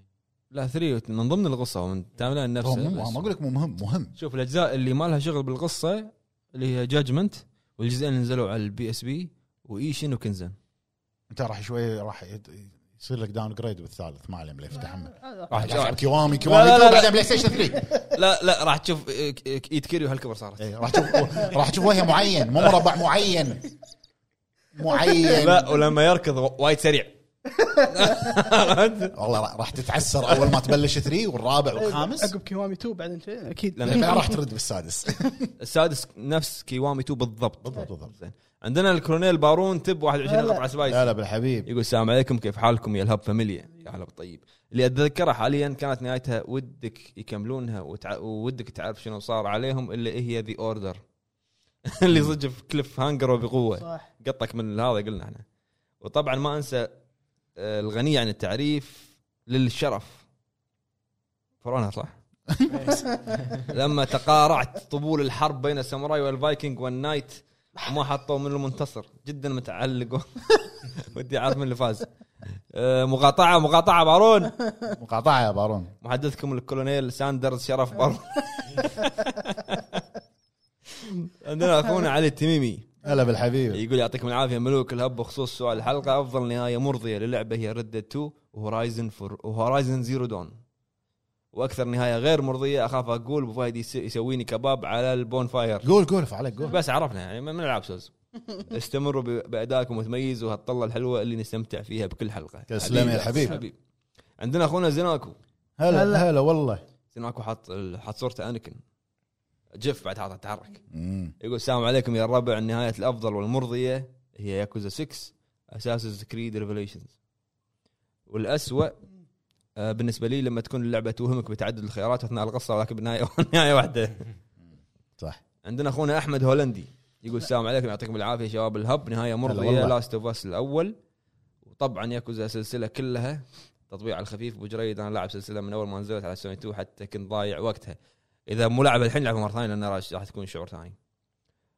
لا 3 من ضمن القصه ومن تايم
هو
نفسه
مو ما
بس.
اقول لك مو مهم مهم
شوف الاجزاء اللي ما لها شغل بالقصه اللي هي جاجمنت والجزئين اللي نزلوا على البي اس بي وايشن وكنزن
انت راح شوي راح يت- يصير لك داون جريد بالثالث ما عليه مليف تحمل
هذا
راح
راح تلعب
تشوف
كيوامي
لا،
كيوامي
لا، لا.
بعدين بلاي ستيشن 3
لا لا راح تشوف إيه، إيه، ايد كيريو هالكبر صارت
إيه، راح تشوف راح تشوف وجه معين مو مربع معين معين
لا ولما يركض وايد سريع
والله راح- راح تتعسر اول ما تبلش 3 والرابع
إيه،
والخامس
طيب، عقب كيوامي 2 بعدين شيء اكيد
لأن-
بعدين راح ترد بالسادس
السادس نفس كيوامي 2 بالضبط
بالضبط بالضبط
زين عندنا الكولونيل بارون تب 21
هلا.
قطعه سبايس
لا لا بالحبيب
يقول السلام عليكم كيف حالكم يا الهب فاميليا يا هلا بالطيب اللي اتذكره حاليا كانت نهايتها ودك يكملونها وتع... ودك تعرف شنو صار عليهم اللي هي ذي اوردر اللي صدق في كليف هانجر وبقوه
صح
قطك من هذا قلنا احنا وطبعا ما انسى آه، الغنيه عن التعريف للشرف فرعونها صح؟ لما تقارعت طبول الحرب بين الساموراي والفايكنج والنايت وما حطوا من المنتصر جدا متعلق ودي اعرف من اللي فاز آه، مقاطعه مقاطعه بارون
مقاطعه يا بارون
محدثكم الكولونيل ساندرز شرف بارون عندنا اخونا علي التميمي
هلا بالحبيب
يقول يعطيكم العافيه ملوك الهب بخصوص سؤال الحلقه افضل نهايه مرضيه للعبه هي ريد 2 وهورايزن فور وهورايزن زيرو دون واكثر نهايه غير مرضيه اخاف اقول ابو فهد يس- يسويني كباب على البون فاير
قول قول فعلك قول
بس عرفنا يعني من العاب سوز استمروا ب- بادائكم المتميز وهالطله الحلوه اللي نستمتع فيها بكل حلقه
تسلم يا حبيب.
حبيب عندنا اخونا زيناكو
هلا هلا والله
زيناكو حاط حاط صورته انكن جف بعد حاط تحرك
مم.
يقول السلام عليكم يا الربع النهايه الافضل والمرضيه هي ياكوزا 6 اساس كريد ريفليشنز والاسوء آه، بالنسبه لي لما تكون اللعبه توهمك بتعدد الخيارات اثناء القصه ولكن بالنهايه نهايه واحده
صح.
عندنا اخونا احمد هولندي يقول السلام عليكم يعطيكم العافيه شباب الهب نهايه مرضيه
والله.
لاست اوف اس الاول وطبعا ياكوزا السلسله كلها تطبيع على الخفيف ابو جريد انا لاعب سلسله من اول ما نزلت على سوني 2 حتى كنت ضايع وقتها اذا مو لعبها الحين لعبها مره ثانيه لان راح راح تكون شعور ثاني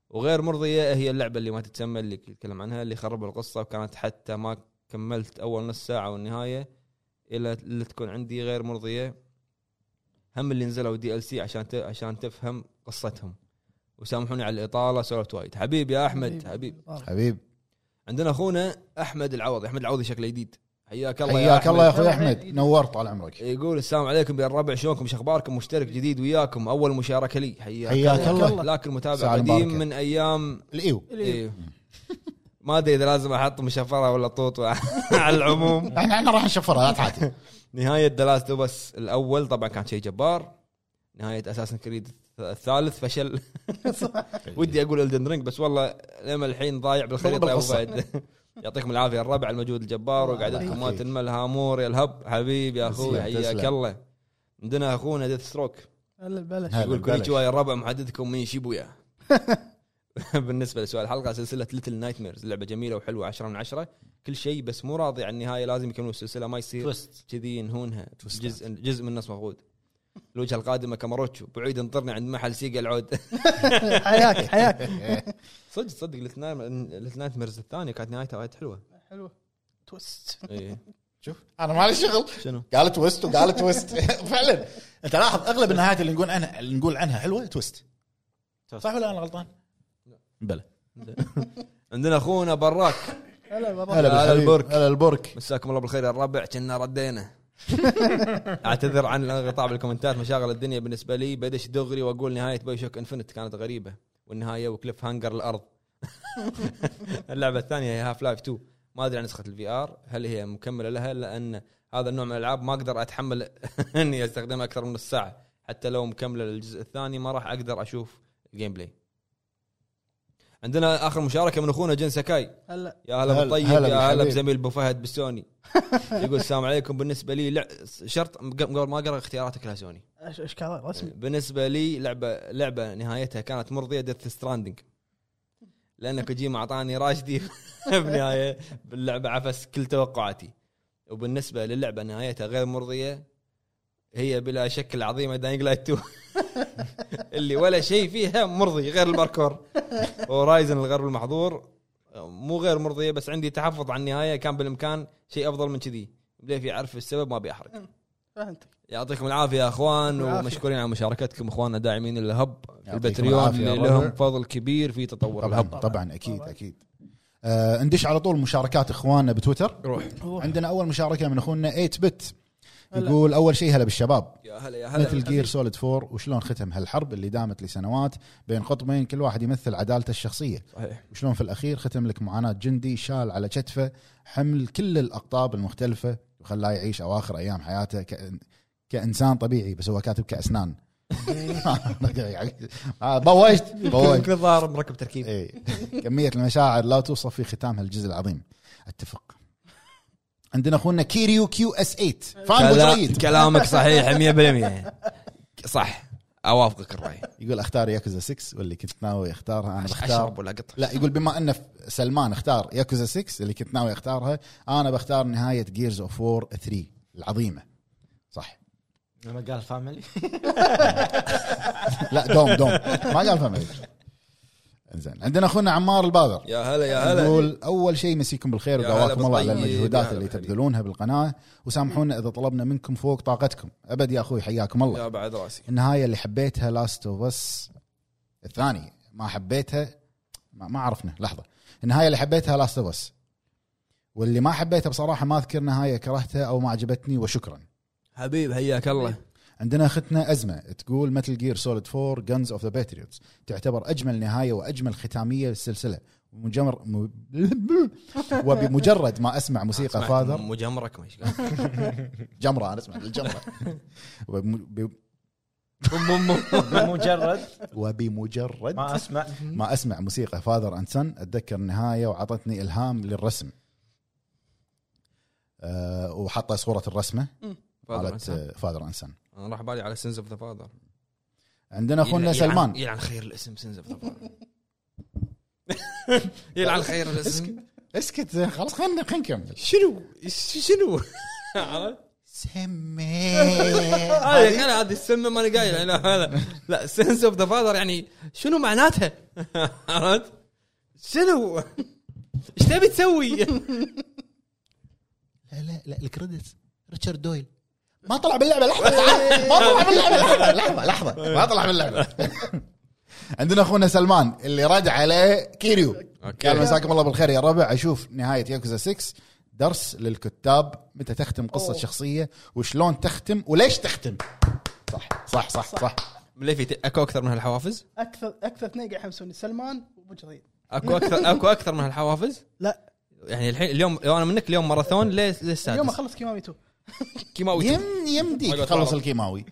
وغير مرضيه هي اللعبه اللي ما تتسمى اللي نتكلم عنها اللي خرب القصه وكانت حتى ما كملت اول نص ساعه والنهايه الى اللي تكون عندي غير مرضيه هم اللي نزلوا دي ال سي عشان ت... عشان تفهم قصتهم وسامحوني على الاطاله سولفت وايد حبيبي يا
طيب.
احمد حبيب
حبيب
عندنا اخونا احمد العوضي احمد العوضي شكله جديد حياك الله
حياك الله يا
أحمد.
اخوي احمد نورت طال عمرك
يقول السلام عليكم يا الربع شلونكم شو اخباركم مشترك جديد وياكم اول مشاركه لي حياك
حياك الله
لكن متابع
ساعة
قديم
مباركة.
من ايام
الايو
إيه. ما ادري اذا لازم احط مشفره ولا طوط على العموم
احنا احنا راح نشفرها لا تعاتي
نهايه دلاس بس الاول طبعا كان شيء جبار نهايه اساسن كريد الثالث فشل ودي اقول الدن رينج بس والله لما الحين ضايع بالخريطه يا ابو
بالقصة.
فهد يعطيكم العافيه يا الربع المجهود الجبار وقعدتكم ما
يعافيك.
تنمل هامور يا الهب حبيبي يا اخوي
تسلم،
حياك
تسلم.
الله عندنا اخونا ديث ستروك
هلا بلاش
هلا،
يقول
بلاش.
كونيتشوا يا الربع محددكم من شيبويا بالنسبه لسؤال الحلقه سلسله ليتل نايت ميرز لعبه جميله وحلوه 10 من 10 كل شيء بس مو راضي عن النهايه لازم يكملون السلسله ما يصير
تويست
كذي ينهونها جزء جزء من النص مفقود الوجهه القادمه كاماروتشو بعيد انطرنا عند محل سيجا العود
حياك حياك
إيه.
صدق صدق ليتل نايت ميرز الثانيه كانت نهايتها وايد حلوه
حلوه توست
إيه.
شوف انا مالي شغل
شنو؟
قال تويست وقال تويست فعلا انت لاحظ اغلب النهايات اللي نقول عنها اللي نقول عنها حلوه تويست صح ولا انا غلطان؟ بلى
عندنا اخونا براك
هلا والله
هلا بالحبيب.
البرك.
هلا البرك
مساكم الله بالخير يا الربع كنا ردينا اعتذر عن الانقطاع بالكومنتات مشاغل الدنيا بالنسبه لي بدش دغري واقول نهايه باي شوك انفنت كانت غريبه والنهايه وكليف هانجر الارض اللعبه الثانيه هي هاف لايف 2 ما ادري عن نسخه الفي ار هل هي مكمله لها لان هذا النوع من الالعاب ما اقدر اتحمل اني استخدمها اكثر من نص ساعه حتى لو مكمله للجزء الثاني ما راح اقدر اشوف الجيم بلاي عندنا اخر مشاركه من اخونا جن سكاي
هلا
يا هلا
هلا-
بالطيب
هلا
يا هلا
بالحبيب.
بزميل ابو فهد بالسوني يقول السلام عليكم بالنسبه لي لع... شرط قبل ما اقرا اختياراتك لها سوني
إيش- ايش كان
إيه.
رسمي
بالنسبه لي لعبه لعبه نهايتها كانت مرضيه ديث ستراندنج لان كوجيما اعطاني راشدي بنهايه باللعبه عفس كل توقعاتي وبالنسبه للعبه نهايتها غير مرضيه هي بلا شك العظيمه داينج لايت 2 اللي ولا شيء فيها مرضي غير الباركور ورايزن الغرب المحظور مو غير مرضيه بس عندي تحفظ على النهايه كان بالامكان شيء افضل من كذي بليفي اعرف السبب ما ابي احرق
فهمتك
يعطيكم العافيه يا اخوان
العافية.
ومشكورين على مشاركتكم اخواننا داعمين الهب
يعطيكم
البتريون
العافية يا
اللي
ربع.
لهم فضل كبير في تطور
طبعا
الهب
طبعا اكيد اكيد آه، ندش على طول مشاركات اخواننا بتويتر
روح
روح.
عندنا اول مشاركه من اخونا 8 بت
هلا.
يقول اول شيء هلا بالشباب
يا هلا يا هلا
مثل جير سوليد 4 وشلون ختم هالحرب اللي دامت لسنوات بين قطبين كل واحد يمثل عدالته الشخصيه
صحيح
وشلون في الاخير ختم لك معاناه جندي شال على كتفه حمل كل الاقطاب المختلفه وخلاه يعيش اواخر ايام حياته كإن كانسان طبيعي بس هو كاتب كاسنان آه، بوجت بوجت
كل ظاهر مركب تركيب
إيه. كمية المشاعر لا توصف في ختام هالجزء العظيم اتفق عندنا اخونا كيريو كيو اس 8 فان أبو
كلا-
جريد
كلامك صحيح 100% صح اوافقك الراي
يقول اختار ياكوزا 6 واللي كنت ناوي اختارها انا
اشرب
بختار
ولا قطع
لا يقول بما ان سلمان اختار ياكوزا 6 اللي كنت ناوي اختارها انا بختار نهايه جيرز اوف وور 3 العظيمه صح
لما قال فاميلي
لا دوم دوم ما قال فهمت زين عندنا اخونا عمار البادر
يا هلا يا هلا
نقول اول شيء مسيكم بالخير
يا هلا
ودعواكم الله على
بالطيب. يا
المجهودات
هلا
اللي
بالحبيب.
تبذلونها بالقناه وسامحونا اذا طلبنا منكم فوق طاقتكم ابد يا اخوي حياكم الله
يا بعد راسي
النهايه اللي حبيتها لاست اوف اس الثاني ما حبيتها ما, ما عرفنا لحظه النهايه اللي حبيتها لاست اوف اس واللي ما حبيتها بصراحه ما اذكر نهايه كرهتها او ما عجبتني وشكرا
حبيب حياك الله
عندنا اختنا ازمه تقول متل جير سوليد 4 جنز اوف ذا باتريوتس تعتبر اجمل نهايه واجمل ختاميه للسلسله مجمر م... وبمجرد ما اسمع موسيقى
أسمع
فاذر
مجمرك ما إيش قال.
جمره انا اسمع الجمره وبم... ب-
بوم بوم بوم.
بمجرد
وبمجرد
ما اسمع
ما اسمع موسيقى فاذر اند سن اتذكر النهايه وعطتني الهام للرسم أه وحط صوره الرسمه
فاذر
مالت
إنسان.
فاذر اند سن
انا راح بالي على سنز اوف ذا فاذر
عندنا اخونا
يلعن-
سلمان
يلعن خير الاسم سنز اوف ذا فاذر يلعن خير الاسم
اسكت خلاص خلينا خلينا نكمل
شنو شنو عرفت؟
سمي
هذه كان هذه السمه ماني قايل يعني لا هذا لا سنس اوف ذا فاذر يعني شنو معناتها؟ عرفت؟ شنو؟ ايش تبي تسوي؟
لا لا لا الكريدتس ريتشارد دويل ما طلع باللعبه لحظه تعال. ما طلع باللعبه لحظه لحظه لحظه ما طلع باللعبه عندنا اخونا سلمان اللي رد عليه كيريو قال مساكم الله بالخير يا ربع اشوف نهايه ياكوزا 6 درس للكتاب متى تختم قصه شخصيه وشلون تختم وليش تختم صح صح صح صح, صح.
مليفي اكو اكثر من هالحوافز؟
اكثر اكثر اثنين قاعد يحمسوني سلمان وابو جريد
اكو اكثر اكو اكثر من هالحوافز؟
لا
يعني الحين اليوم لو انا منك اليوم ماراثون ليش ليش
اليوم
سادس؟
اخلص كيمامي 2
كيماوي
يم يمديك
حلقة
تخلص
تعرض.
الكيماوي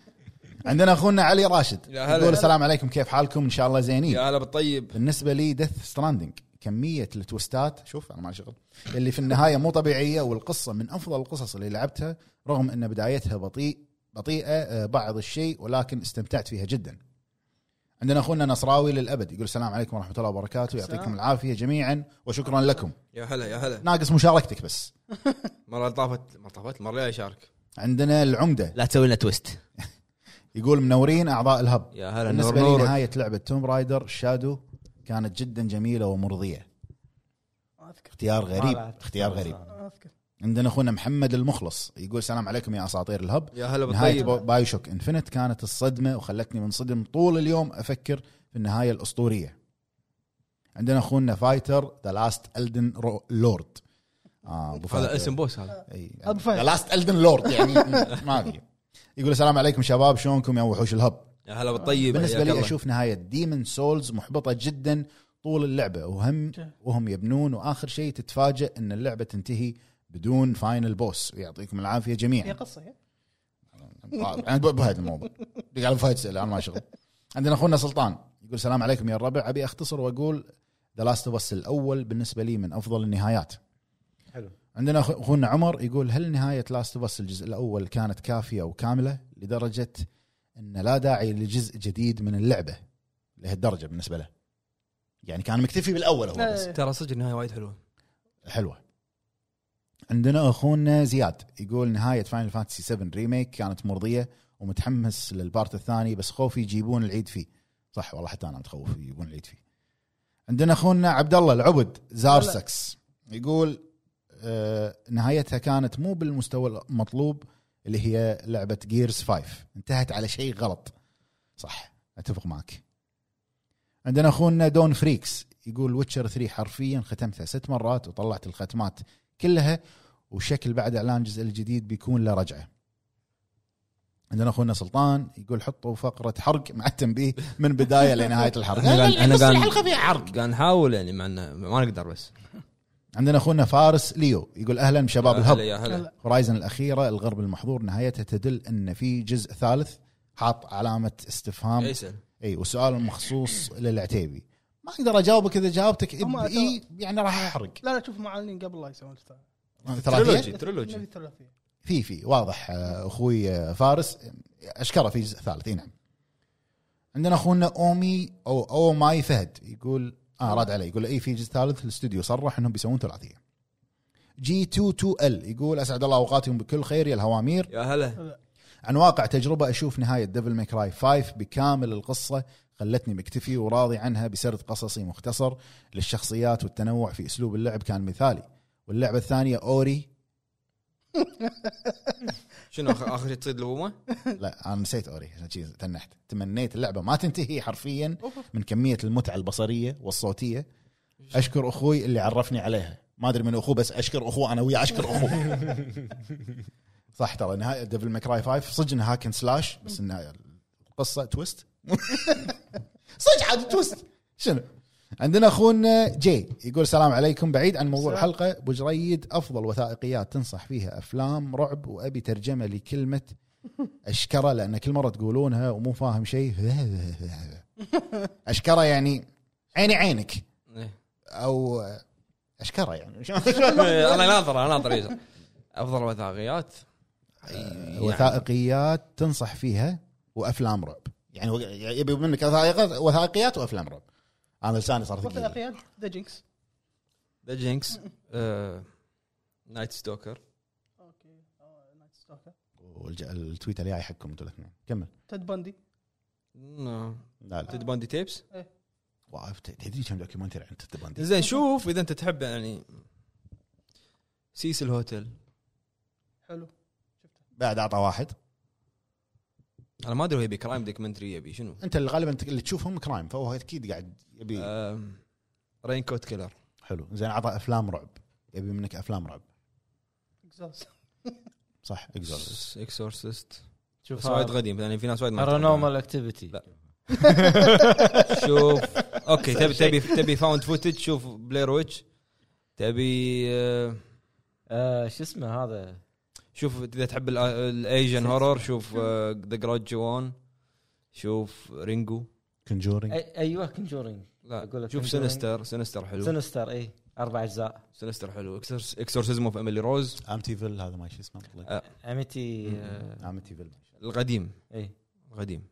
عندنا اخونا علي راشد
يا هلا.
يقول السلام عليكم كيف حالكم ان شاء الله زينين
يا هلا بالطيب
بالنسبه لي دث ستراندنج كميه التوستات شوف انا ما شغل اللي في النهايه مو طبيعيه والقصه من افضل القصص اللي لعبتها رغم ان بدايتها بطيء بطيئه آه، بعض الشيء ولكن استمتعت فيها جدا عندنا اخونا نصراوي للابد يقول السلام عليكم ورحمه الله وبركاته يعطيكم
السلام.
العافيه جميعا وشكرا لكم
يا هلا يا هلا
ناقص مشاركتك بس
المره اللي طافت ما طافت المره اللي شارك
عندنا العمده
لا تسوي لنا تويست
يقول منورين اعضاء الهب
يا هلا نور
بالنسبه لي
نور
نهايه لعبه توم رايدر شادو كانت جدا جميله ومرضيه
ما اذكر
اختيار غريب
ما بعد.
اختيار غريب
ما اذكر
عندنا اخونا محمد المخلص يقول السلام عليكم يا اساطير الهب
يا هلا
نهايه
بالطيب
بايو شوك انفنت كانت الصدمه وخلتني منصدم طول اليوم افكر في النهايه الاسطوريه عندنا اخونا فايتر ذا لاست الدن لورد اه ابو فهد.
هذا اسم بوس هذا
أبو فهد.
ذا لاست الدن لورد يعني ما في يقول السلام عليكم شباب شلونكم يا وحوش الهب
يا هلا بالطيب
بالنسبه
طيب، حياك
لي
الله.
اشوف نهايه ديمن سولز محبطه جدا طول اللعبه وهم وهم يبنون واخر شيء تتفاجئ ان اللعبه تنتهي بدون فاينل بوس ويعطيكم العافيه
هي
جميعا
قصه هي
انا ب- طيب، بهذا الموضوع قال فهد سأل انا ما شغل عندنا اخونا سلطان يقول السلام عليكم يا الربع ابي اختصر واقول ذا لاست اوف اس الاول بالنسبه لي من افضل النهايات
حلو.
عندنا أخ- اخونا عمر يقول هل نهايه لاست اوف اس الجزء الاول كانت كافيه وكامله لدرجه ان لا داعي لجزء جديد من اللعبه لهالدرجه بالنسبه له يعني كان مكتفي بالاول هو بس
إيه.
ترى صدق النهايه وايد حلوه
حلوه عندنا اخونا زياد يقول نهايه فاينل فانتسي 7 ريميك كانت مرضيه ومتحمس للبارت الثاني بس خوفي يجيبون العيد فيه صح والله حتى انا متخوف يجيبون العيد فيه عندنا اخونا عبد الله العبد زارسكس يقول آه نهايتها كانت مو بالمستوى المطلوب اللي هي لعبه جيرز 5 انتهت على شيء غلط صح اتفق معك عندنا اخونا دون فريكس يقول ويتشر 3 حرفيا ختمتها ست مرات وطلعت الختمات كلها وشكل بعد اعلان الجزء الجديد بيكون له رجعه عندنا اخونا سلطان يقول حطوا فقره حرق مع التنبيه من بدايه لنهايه الحرق
إحنا قاعد- إحنا
بس
قاعد-
الحلقه فيها حرق
قاعد نحاول يعني مع إنه ما نقدر بس
عندنا اخونا فارس ليو يقول اهلا شباب
يا هلا،
الهب
يا هلا
هلا.
هورايزن الاخيره الغرب المحظور نهايتها تدل ان في جزء ثالث حاط علامه استفهام
يسأل
اي وسؤال مخصوص للعتيبي ما اقدر اجاوبك اذا جاوبتك
هم أتوا-
اي يعني راح احرق
لا لا شوف معلنين قبل لا يسوون الثاني
ثلاثيه
تريلوجي.
نبي ثلاثيه
في في واضح آه، اخوي آه، فارس اشكره في جزء ثالث اي نعم عندنا اخونا اومي او او ماي فهد يقول اه رد علي يقول اي في جزء ثالث الاستوديو صرح انهم بيسوون ثلاثيه جي 2 ال يقول اسعد الله اوقاتكم بكل خير يا الهوامير
يا هلا
عن واقع تجربه اشوف نهايه ديفل ماي كراي 5 بكامل القصه خلتني مكتفي وراضي عنها بسرد قصصي مختصر للشخصيات والتنوع في اسلوب اللعب كان مثالي واللعبه الثانيه اوري
شنو آخر- اخر شيء تصيد الامومه؟
لا انا نسيت اوري عشان شي تنحت تمنيت اللعبه ما تنتهي حرفيا من كميه المتعه البصريه والصوتيه اشكر اخوي اللي عرفني عليها ما ادري من اخوه بس اشكر اخوه انا وياه اشكر اخوه صح ترى نهايه ديفل ماكراي 5 صدق انها هاكن سلاش بس انها القصه تويست صدق عاد تويست شنو عندنا اخونا جي يقول السلام عليكم بعيد عن موضوع
السلام.
الحلقه ابو جريد افضل وثائقيات تنصح فيها افلام رعب وابي ترجمه لكلمه اشكره لان كل مره تقولونها ومو فاهم شيء اشكره يعني عيني عينك
إيه.
او اشكره يعني
انا ناظر انا ناظر يزر. افضل وثائقيات يعني.
وثائقيات تنصح فيها وافلام رعب يعني هو يبي منك وثائقيات وثائقيات وافلام رعب انا لساني صار ثقيل
وثائقيات ذا جينكس
ذا جينكس آه، نايت ستوكر
اوكي آه، نايت ستوكر
والج- التويت الجاي حقكم انتم الاثنين كمل
تد بندي
لا لا
تد باندي تيبس
واقف ت- تدري كم دوكيومنتري عن تيد باندي
زين شوف اذا انت تحب يعني سيس الهوتل
حلو
بعد اعطى واحد
انا ما ادري هو يبي كرايم دوكيومنتري يبي شنو
انت اللي غالبا تك- اللي تشوفهم كرايم فهو اكيد قاعد
آه.
يبي
رين كوت كيلر
حلو زين اعطى افلام رعب يبي منك افلام رعب
اكزاست
صح
آه.
اكزورسيست
اكسورسيست
شوف آه،
بس وايد قديم يعني في ناس وايد ما
بارانورمال اكتيفيتي
لا. شوف اوكي تبي تبي تبي فاوند فوتج شوف بلاير ويتش تبي آه،
آه، شو اسمه هذا
شوف اذا تحب ال- الايجن هورر شوف آه، ذا جراج 1 شوف رينجو
كونجورينج
أي- ايوه كونجورينج أقول
لا
لك
شوف
Conjuring.
سينستر سينستر حلو
سينستر اي اربع اجزاء
سينستر حلو اكسورسيزم اوف ايميلي روز
امتيفيل هذا ما شو اسمه
آه.
اميتي آه،
امتيفيل
القديم
اي
القديم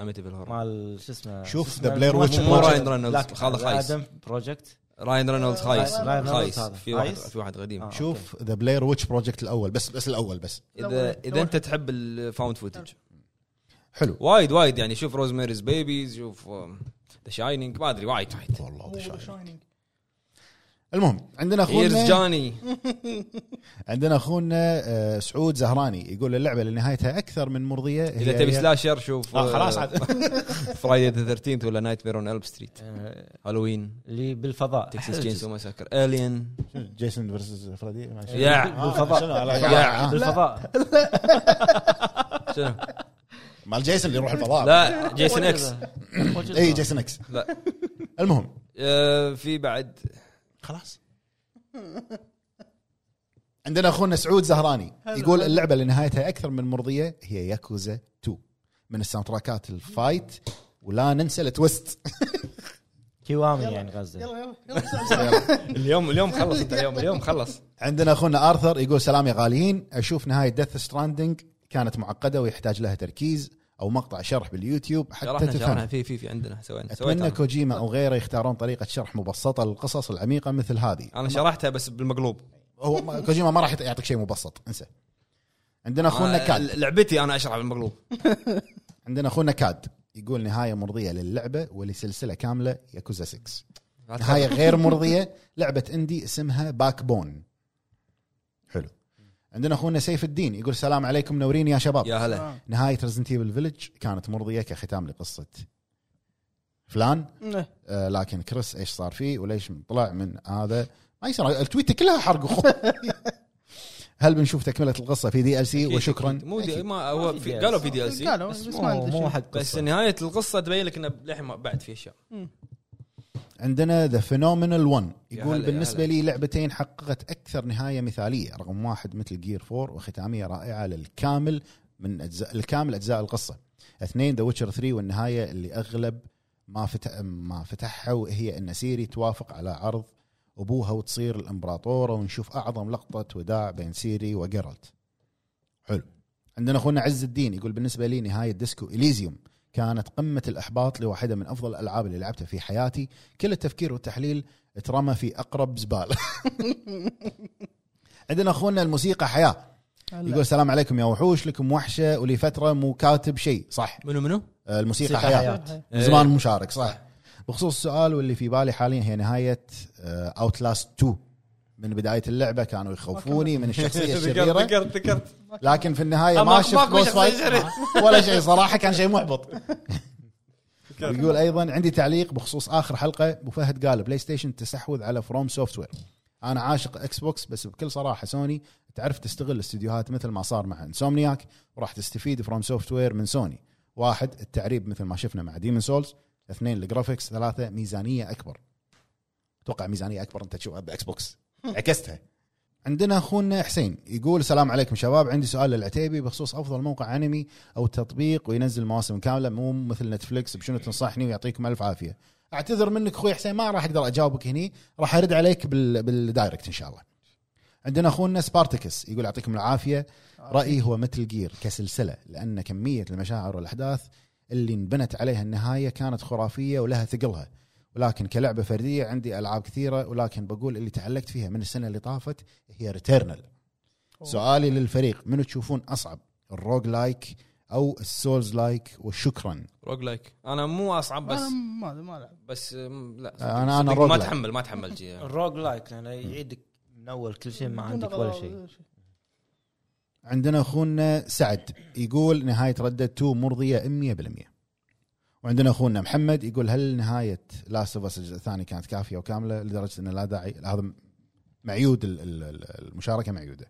اميتيفل هورر
مال شو اسمه
شوف
شو اسمه؟
The Blair Witch
مو
Project.
راين رينولدز،
لا،
هذا خايس.
آدم بروجكت
راين رينولدز خايس
راين رينولدز
خايس
آه، هذا.
في واحد
خايس؟
في واحد قديم
آه،
شوف ذا بلاير ويتش بروجكت الاول بس بس الاول بس
اذا اذا انت تحب الفاوند فوتج
حلو
وايد وايد يعني شوف روزميريز بيبيز شوف ذا شاينينج ما ادري وايد وايد
والله هذا شايف.
شاينينج
المهم عندنا
هيرز
اخونا
جاني
عندنا اخونا آه، سعود زهراني يقول اللعبه اللي نهايتها اكثر من مرضيه هي-
اذا تبي
هي-
سلاشر شوف
آه، خلاص عاد
فرايدي ذا 13 ولا نايت مير اون الب ستريت
آه،
هالوين
اللي بالفضاء
تكساس تشينسو ماساكر الين
جيسون فيرسز فريدي ما شاء الله.
يا
بالفضاء.
شنو على-
يا.
بالفضاء
شنو؟
مال جيسون اللي يروح الفضاء
لا جيسون اكس
اي جيسون اكس
لا.
المهم
آه، في بعد
خلاص عندنا اخونا سعود زهراني يقول اللعبه اللي نهايتها اكثر من مرضيه هي ياكوزا 2 من الساوند تراكات الفايت ولا ننسى التويست
كيوامي يعني غزه
يلا يلا يلا سلام.
اليوم اليوم خلص انت اليوم اليوم خلص
عندنا اخونا ارثر يقول سلام يا غاليين اشوف نهايه ديث ستراندنج كانت معقده ويحتاج لها تركيز او مقطع شرح باليوتيوب حتى
شرحنا شرحنا
تفهم
في في في عندنا سوينا
اتمنى
سويتها
كوجيما او غيره يختارون طريقه شرح مبسطه للقصص العميقه مثل هذه
انا شرحتها بس بالمقلوب
هو ما- كوجيما ما راح يط- يعطيك شيء مبسط انسى عندنا اخونا
آه،
كاد
لعبتي انا اشرح بالمقلوب
عندنا اخونا كاد يقول نهايه مرضيه للعبه ولسلسله كامله ياكوزا 6
لا
نهايه
تخاف.
غير مرضيه لعبه اندي اسمها باك بون حلو عندنا اخونا سيف الدين يقول السلام عليكم منورين يا شباب
يا هلا
آه.
نهايه ريزنت ايفل فيلج كانت مرضيه كختام لقصه فلان
إيه.
آه لكن كريس ايش صار فيه وليش طلع من هذا ما يصير التويته كلها حرق اخو هل بنشوف تكمله القصه في دي ال سي وشكرا
مو دي
أكيد.
ما هو
ما في
في
DLC.
قالوا في دي ال سي
قالوا بس
بس
ما
مو
ادري
مو
شنو.
حق
بس
قصة.
نهايه القصه تبين لك انه للحين ما- بعد في اشياء
عندنا ذا فينومينال 1
يا
يقول
هلا، يا
بالنسبه
هلا.
لي لعبتين حققت اكثر نهايه مثاليه رقم واحد مثل جير 4 وختاميه رائعه للكامل من اجزاء الكامل اجزاء القصه اثنين ذا ويتشر 3 والنهايه اللي اغلب ما فتح ما فتحها وهي ان سيري توافق على عرض ابوها وتصير الامبراطوره ونشوف اعظم لقطه وداع بين سيري وجيرالت حلو عندنا اخونا عز الدين يقول بالنسبه لي نهايه ديسكو اليزيوم كانت قمه الاحباط لواحده من افضل الالعاب اللي لعبتها في حياتي كل التفكير والتحليل اترمى في اقرب زباله عندنا اخونا الموسيقى حياه
هلا.
يقول السلام عليكم يا وحوش لكم وحشه ولفتره مو كاتب شيء صح
منو منو؟
آه، الموسيقى
موسيقى
حياه
حياة.
إيه.
من زمان مشارك صح بخصوص السؤال واللي في بالي حاليا هي نهايه اوتلاست 2 من بدايه اللعبه كانوا يخوفوني من الشخصيه الشريره
إيه، ذكرت ذكرت
لكن في النهايه
أما
ما
أخباك
شفت بوس
وش
فايت
يصير؟
ولا شيء صراحه كان شيء محبط يقول ايضا عندي تعليق بخصوص اخر حلقه ابو فهد قال بلاي ستيشن تستحوذ على فروم سوفت وير انا عاشق اكس بوكس بس بكل صراحه سوني تعرف تستغل استديوهات مثل ما صار مع انسومنياك وراح تستفيد فروم سوفت وير من سوني واحد التعريب مثل ما شفنا مع ديمن سولز اثنين الجرافيكس ثلاثه ميزانيه اكبر اتوقع ميزانيه اكبر انت تشوفها باكس بوكس عكستها عندنا اخونا حسين يقول السلام عليكم شباب عندي سؤال للعتيبي بخصوص افضل موقع انمي او تطبيق وينزل مواسم كامله مو مثل نتفلكس بشنو تنصحني ويعطيكم الف عافيه اعتذر منك اخوي حسين ما راح اقدر اجاوبك هني راح ارد عليك بال... بالدايركت ان شاء الله عندنا اخونا سبارتكس يقول يعطيكم العافيه رايي هو مثل جير كسلسله لان كميه المشاعر والاحداث اللي انبنت عليها النهايه كانت خرافيه ولها ثقلها ولكن كلعبه فرديه عندي العاب كثيره ولكن بقول اللي تعلقت فيها من السنه اللي طافت هي ريتيرنال
أوه.
سؤالي للفريق منو تشوفون اصعب الروج لايك او السولز لايك وشكرا
روج لايك انا مو اصعب بس
انا ما ما العب
بس أم، لا
أنا- أنا
صدق
روج
ما
لايك.
تحمل ما تحمل جي يعني.
الروج لايك لانه يعيدك من اول كل شيء ما عندك ولا شيء
عندنا اخونا سعد يقول نهايه ردة 2 مرضيه 100% وعندنا اخونا محمد يقول هل نهايه لاست اوف الجزء الثاني كانت كافيه وكامله لدرجه ان لا داعي هذا معيود ال- ال- ال- المشاركه معيوده.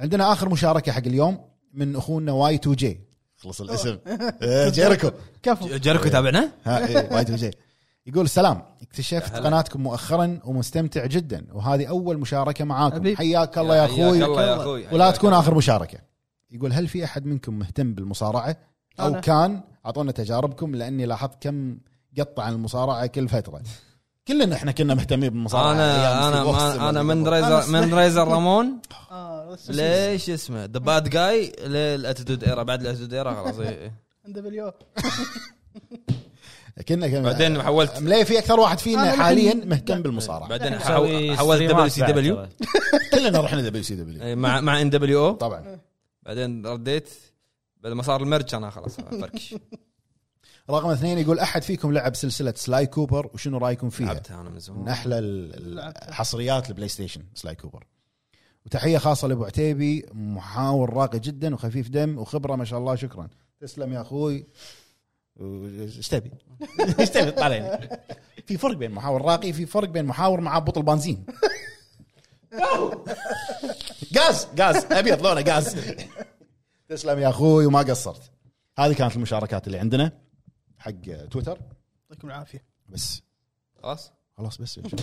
عندنا اخر مشاركه حق اليوم من اخونا واي 2 جي خلص الاسم إيه، جيريكو
كفو
جاركو تابعنا؟
ها، إيه، وايد وجيه يقول سلام اكتشفت
هلا.
قناتكم مؤخرا ومستمتع جدا وهذه اول مشاركه معاكم
حبيب.
حياك الله يا
حياك
اخوي
الله يا اخوي
ولا
حياك
تكون
الله.
اخر مشاركه يقول هل في احد منكم مهتم بالمصارعه او
أنا.
كان اعطونا تجاربكم لاني لاحظت كم قطع عن المصارعه كل فتره كلنا احنا كنا مهتمين بالمصارعه
انا
أيام
انا
ستيف أوستن
ما انا
ولا-
من
أنا
ريزر
سمعت.
من ريزر رامون
اه بس-
ليش اسمه ذا باد جاي للاتيتود ايرا بعد الاتيتود ايرا خلاص إيه.
عند بليو
كنا كنا
بعدين حولت
ملي في اكثر واحد فينا
أنا لحن-
حاليا مهتم بالمصارعه
بعدين حو-
مسوي
حولت دبليو
ستريمات
سي
بعد
دبليو
ترى.
كلنا رحنا دبليو سي دبليو
إيه، مع مع ان دبليو او
طبعا
بعدين رديت بعد ما صار المرج انا خلاص فركش
رقم اثنين يقول احد فيكم لعب سلسله سلاي كوبر وشنو رايكم فيها؟
لعبتها انا من
من
زمان
احلى ال- ال- حصريات البلاي ستيشن سلاي كوبر وتحيه خاصه لابو عتيبي محاور راقي جدا وخفيف دم وخبره ما شاء الله شكرا تسلم يا اخوي و- ايش تبي؟ ايش تبي طالعني؟ في فرق بين محاور راقي في فرق بين محاور مع بطل بنزين غاز غاز ابيض لونه غاز تسلم يا اخوي وما قصرت هذه كانت المشاركات اللي عندنا حق تويتر
يعطيكم العافيه
بس
خلاص
خلاص بس يا شباب.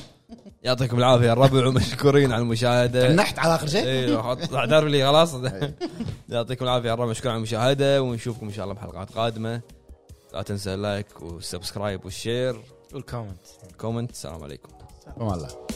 يعطيكم العافيه الربع ومشكورين على المشاهده
نحت على اخر شيء
ايوه حط- اعتذر لي خلاص يعطيكم العافيه الربع مشكور على المشاهده ونشوفكم ان شاء الله بحلقات قادمه لا تنسى اللايك والسبسكرايب والشير
والكومنت
كومنت السلام عليكم
والله